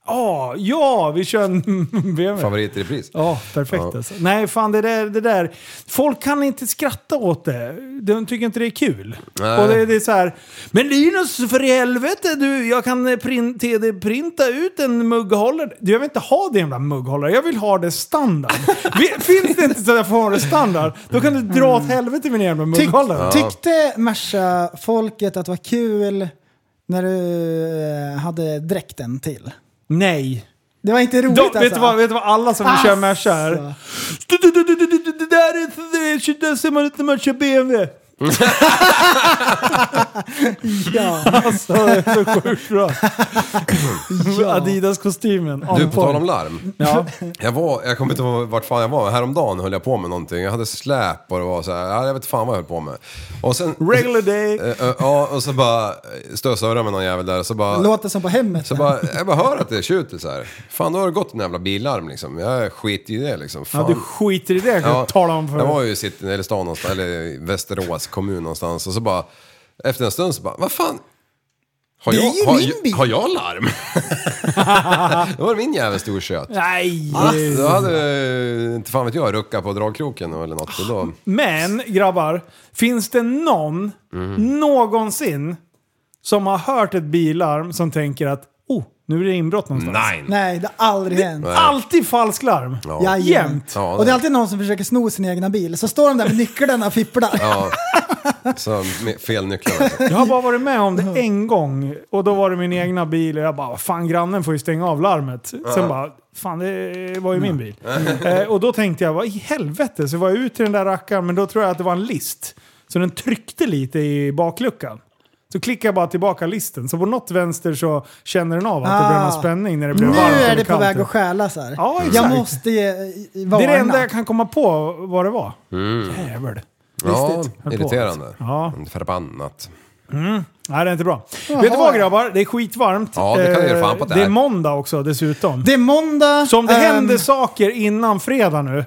Speaker 1: Ja, Ah, ja, vi kör en <laughs> BMW.
Speaker 3: Favorit i repris.
Speaker 1: Ja, perfekt
Speaker 3: Ja.
Speaker 1: alltså. Nej, fan det där, det där. Folk kan inte skratta åt det. De tycker inte det är kul.
Speaker 3: Nej.
Speaker 1: Och det, det är så här. Men Linus, för i helvete du, jag kan eh, print, printa ut en mugghållare. Du, jag vill inte ha det jävla mugghållare. Jag vill ha det standard. Vi- <laughs> Finns det inte så att jag får ha det standard, då kan du dra åt helvete min jävla
Speaker 2: Tyck,
Speaker 1: mugghållare.
Speaker 2: Tyckte Merca-folket att det var kul när du eh, hade dräkten till?
Speaker 1: Nej.
Speaker 2: Det var inte roligt
Speaker 1: De,
Speaker 2: alltså.
Speaker 1: vet, du vad, vet du vad alla som vill köra Merca är? Du, du, du, du, du, du, Det där är... det- Där ser man inte när man kör <laughs> BMW.
Speaker 2: Ja.
Speaker 1: Alltså, det är så sjukt
Speaker 3: <laughs>
Speaker 1: bra. Adidas-kostymen.
Speaker 3: Du,
Speaker 1: on
Speaker 3: på tal om
Speaker 1: point.
Speaker 3: larm.
Speaker 1: Ja.
Speaker 3: Jag var, jag kommer inte ihåg vart fan jag var, men häromdagen höll jag på med någonting. Jag hade släp och det var så här, ja, jag vet fan vad jag höll på med. Och sen...
Speaker 1: <laughs> Regular day.
Speaker 3: Eh, eh, Ja, och så bara stösade jag med någon jävel där och så bara...
Speaker 2: Låter som på hemmet.
Speaker 3: Så bara, jag bara hör att det tjuter så här. Fan, då har det gått en jävla billarm liksom. Jag skiter i det liksom. Fan.
Speaker 1: Ja, du skiter i det kan jag tala om för
Speaker 3: Jag var
Speaker 1: dig.
Speaker 3: ju i city, eller stan någonstans, eller i Västerås kommun någonstans och så bara, efter en stund så bara, vad fan? Har
Speaker 1: Det är
Speaker 3: jag,
Speaker 1: ju
Speaker 3: har,
Speaker 1: min
Speaker 3: jag- har jag larm? <laughs> då var det min jävel storkött.
Speaker 1: Nej!
Speaker 3: Då hade, eh, inte fan vet jag, ruckat på dragkroken eller något. Och då,
Speaker 1: Men grabbar, finns det någon
Speaker 3: Mm.
Speaker 1: någonsin som har hört ett bilarm som tänker att oh, nu är det inbrott någonstans?
Speaker 3: Nej.
Speaker 2: Nej, det har aldrig hänt.
Speaker 1: Det är alltid falsklarm.
Speaker 2: Ja.
Speaker 1: Jämt.
Speaker 2: och det är alltid någon som försöker sno sin egna bil, så står de där med nycklarna och fipplar.
Speaker 3: ja. Så med fel nycklar. alltså.
Speaker 1: Jag har bara varit med om det en gång och då var det min egna bil och jag bara fan grannen får ju stänga av larmet. Sen
Speaker 3: Ja.
Speaker 1: bara fan det var ju min bil.
Speaker 3: Mm.
Speaker 1: Eh, och då tänkte jag vad i helvete så var jag ut i den där rackaren men då tror jag att det var en list. Så den tryckte lite i bakluckan. Så klickar jag bara tillbaka listen. Så på något vänster så känner den av att det blir någon spänning när det blir
Speaker 2: Ah. nu
Speaker 1: varmt.
Speaker 2: är
Speaker 1: under
Speaker 2: det på väg
Speaker 1: kanten.
Speaker 2: att stjäla så här.
Speaker 1: Ja,
Speaker 2: Jag
Speaker 1: exakt.
Speaker 2: måste ge, i- i- varna.
Speaker 1: Det är det enda jag kan komma på vad det var.
Speaker 3: Mm.
Speaker 1: Jävel.
Speaker 3: Ja,
Speaker 1: Listigt. Höll på,
Speaker 3: irriterande.
Speaker 1: alltså. Ja.
Speaker 3: Förbannat.
Speaker 1: Mm. Nej, det är inte bra.
Speaker 2: Jaha.
Speaker 1: Vet du vad grabbar? Det är skitvarmt.
Speaker 3: Ja, det kan jag ge fan på
Speaker 1: Eh,
Speaker 3: det
Speaker 1: Det är
Speaker 3: här.
Speaker 1: måndag också dessutom.
Speaker 2: Det är måndag.
Speaker 1: Så om det
Speaker 2: Ehm.
Speaker 1: händer saker innan fredag nu.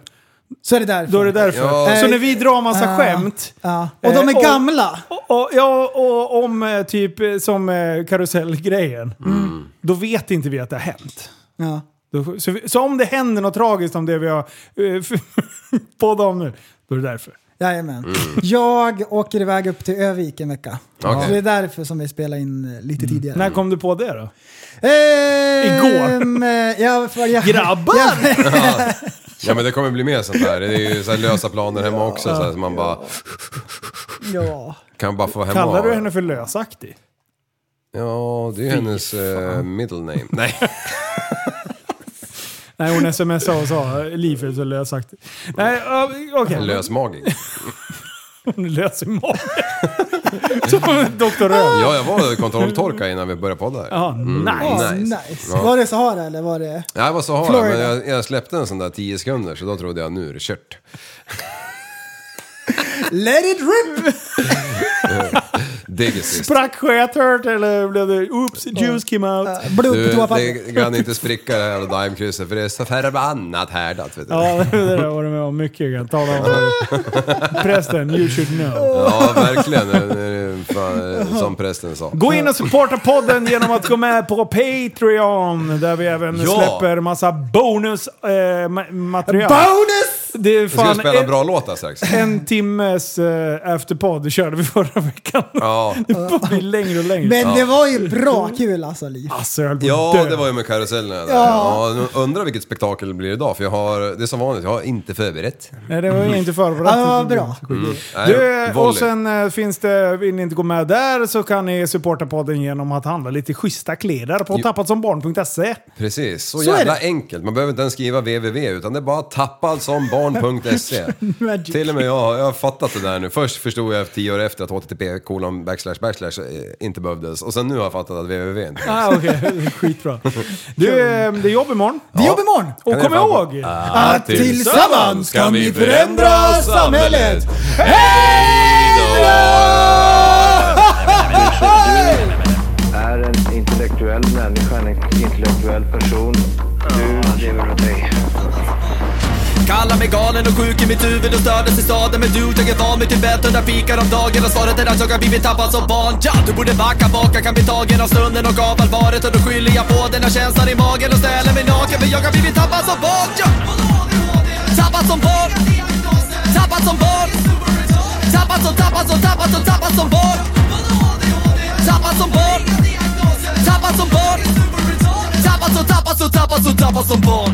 Speaker 2: Så är det därför.
Speaker 1: Då är det därför.
Speaker 2: Ja.
Speaker 1: Så när vi drar massa
Speaker 2: Ah.
Speaker 1: skämt.
Speaker 2: Ja. Och de
Speaker 1: eh,
Speaker 2: är gamla.
Speaker 1: Och, och, ja, och om eh, typ eh, som eh, karusellgrejen.
Speaker 3: Mm.
Speaker 1: Då vet inte vi att det har hänt.
Speaker 2: Ja.
Speaker 1: Då, så, vi- så om det händer något tragiskt om det vi har eh, <laughs> poddat om nu, då är det därför.
Speaker 2: Jajamän. Jag åker iväg upp till Övik en vecka.
Speaker 1: Okej.
Speaker 2: Så det är därför som vi spelar in eh, lite tidigare.
Speaker 3: Mm.
Speaker 1: När kom du på det då?
Speaker 2: Ehm, eh, jag, jag,
Speaker 1: Grabbar!
Speaker 3: <laughs> Ja. ja men det kommer bli mer sånt där. Det är ju så här lösa planer hemma också. Så här, så man bara...
Speaker 2: Ja.
Speaker 3: Kan bara få hemma
Speaker 1: Kallar du henne för lösaktig?
Speaker 3: Ja, det är hennes eh,
Speaker 1: <laughs>
Speaker 3: middle name. Nej.
Speaker 1: Nej, hon smsade och sa Liv är så lösaktig. Nej, ö, okej.
Speaker 3: Lösmagig.
Speaker 1: Hon är lös i
Speaker 3: <laughs>
Speaker 1: magen. Som en Dr. Röd.
Speaker 3: Ja, jag var kontrolltorka innan vi började podda. här.
Speaker 1: Ja,
Speaker 2: Ah, nice.
Speaker 3: Ja.
Speaker 2: Var det Sahara eller var det...
Speaker 3: Nej, jag var så har
Speaker 2: Florida.
Speaker 3: men jag, jag släppte en sån där 10 sekunder så då trodde jag nu är det kört.
Speaker 2: Let it rip!
Speaker 3: Diggesist.
Speaker 1: Sprack sköthört eller blev det oops, juice came out?
Speaker 3: Du, det kan inte spricka det här jävla dimekrysset för det är så förbannat härdat. Vet du.
Speaker 1: Ja, <laughs> det där var du med om mycket. Jag kan tala om
Speaker 3: <laughs>
Speaker 1: prästen. You should know.
Speaker 3: Ja, verkligen. Nu är det fan, eh, Som prästen sa.
Speaker 1: Gå in och supporta podden genom att gå med på Patreon där vi även
Speaker 3: Ja.
Speaker 1: släpper massa bonusmaterial. Eh, ma- material.
Speaker 2: Bonus!
Speaker 1: Det är
Speaker 3: Vi ska
Speaker 1: fan
Speaker 3: spela
Speaker 1: en-
Speaker 3: bra låtar strax.
Speaker 1: En timmes eh, afterpodd körde vi förra veckan.
Speaker 3: Ja.
Speaker 1: Det får bli längre och längre.
Speaker 2: Men
Speaker 3: Ja.
Speaker 2: det var ju bra kul alltså, Liv.
Speaker 1: Alltså, jag höll på att
Speaker 3: Ja,
Speaker 1: dö.
Speaker 3: det var ju med karusellerna där.
Speaker 2: Ja.
Speaker 3: Ja. nu undrar vilket spektakel det blir idag, för jag har, det är som vanligt, jag har inte förberett.
Speaker 1: Nej, det var ju inte förberett.
Speaker 2: Mm. Ja, det var bra.
Speaker 3: Mm.
Speaker 1: Mm. Du,
Speaker 3: volley.
Speaker 1: och sen eh, finns det, vill ni inte gå med där så kan ni supporta podden genom att handla lite schyssta kläder på
Speaker 3: Jo.
Speaker 1: tappatsombarn.se.
Speaker 3: Precis, så,
Speaker 1: Så är
Speaker 3: jävla
Speaker 1: det.
Speaker 3: enkelt. Man behöver inte ens skriva www, utan det är bara tappadsombarn.se.
Speaker 1: <laughs> Magic.
Speaker 3: Till och med jag, jag har fattat det där nu. Först förstod jag tio år efter att http kolon backslash backslash eh, inte behövdes. Och sen nu har jag fattat att www inte behövs.
Speaker 1: Ah, okej. Skitbra. Du, eh, det är jobb imorgon.
Speaker 2: Det är jobb imorgon! Ah,
Speaker 1: Och
Speaker 3: Kan
Speaker 1: kom
Speaker 3: ni fan på-
Speaker 1: ihåg!
Speaker 3: Att tillsammans kan vi förändra samhället.
Speaker 11: Är en intellektuell människa en intellektuell person? Du lever åt dig.
Speaker 12: Kallar mig galen och sjuk i mitt huvud och stördes i staden Men du, jag är van vid Tibet och där fikar om dagen Och svaret är att jag har blivit tappad som barn ja, Du borde backa bak, jag kan bli tagen av stunden och av allvaret Och då skyller jag på den här känslan i magen och ställer mig naken För jag har blivit tappad som barn ja. Tappad som barn Tappad som barn Tappad som, tappad som, tappad som, tappad som barn Tappad som barn Tappad som barn Tappad som, tappad som, tappad som, tappad som barn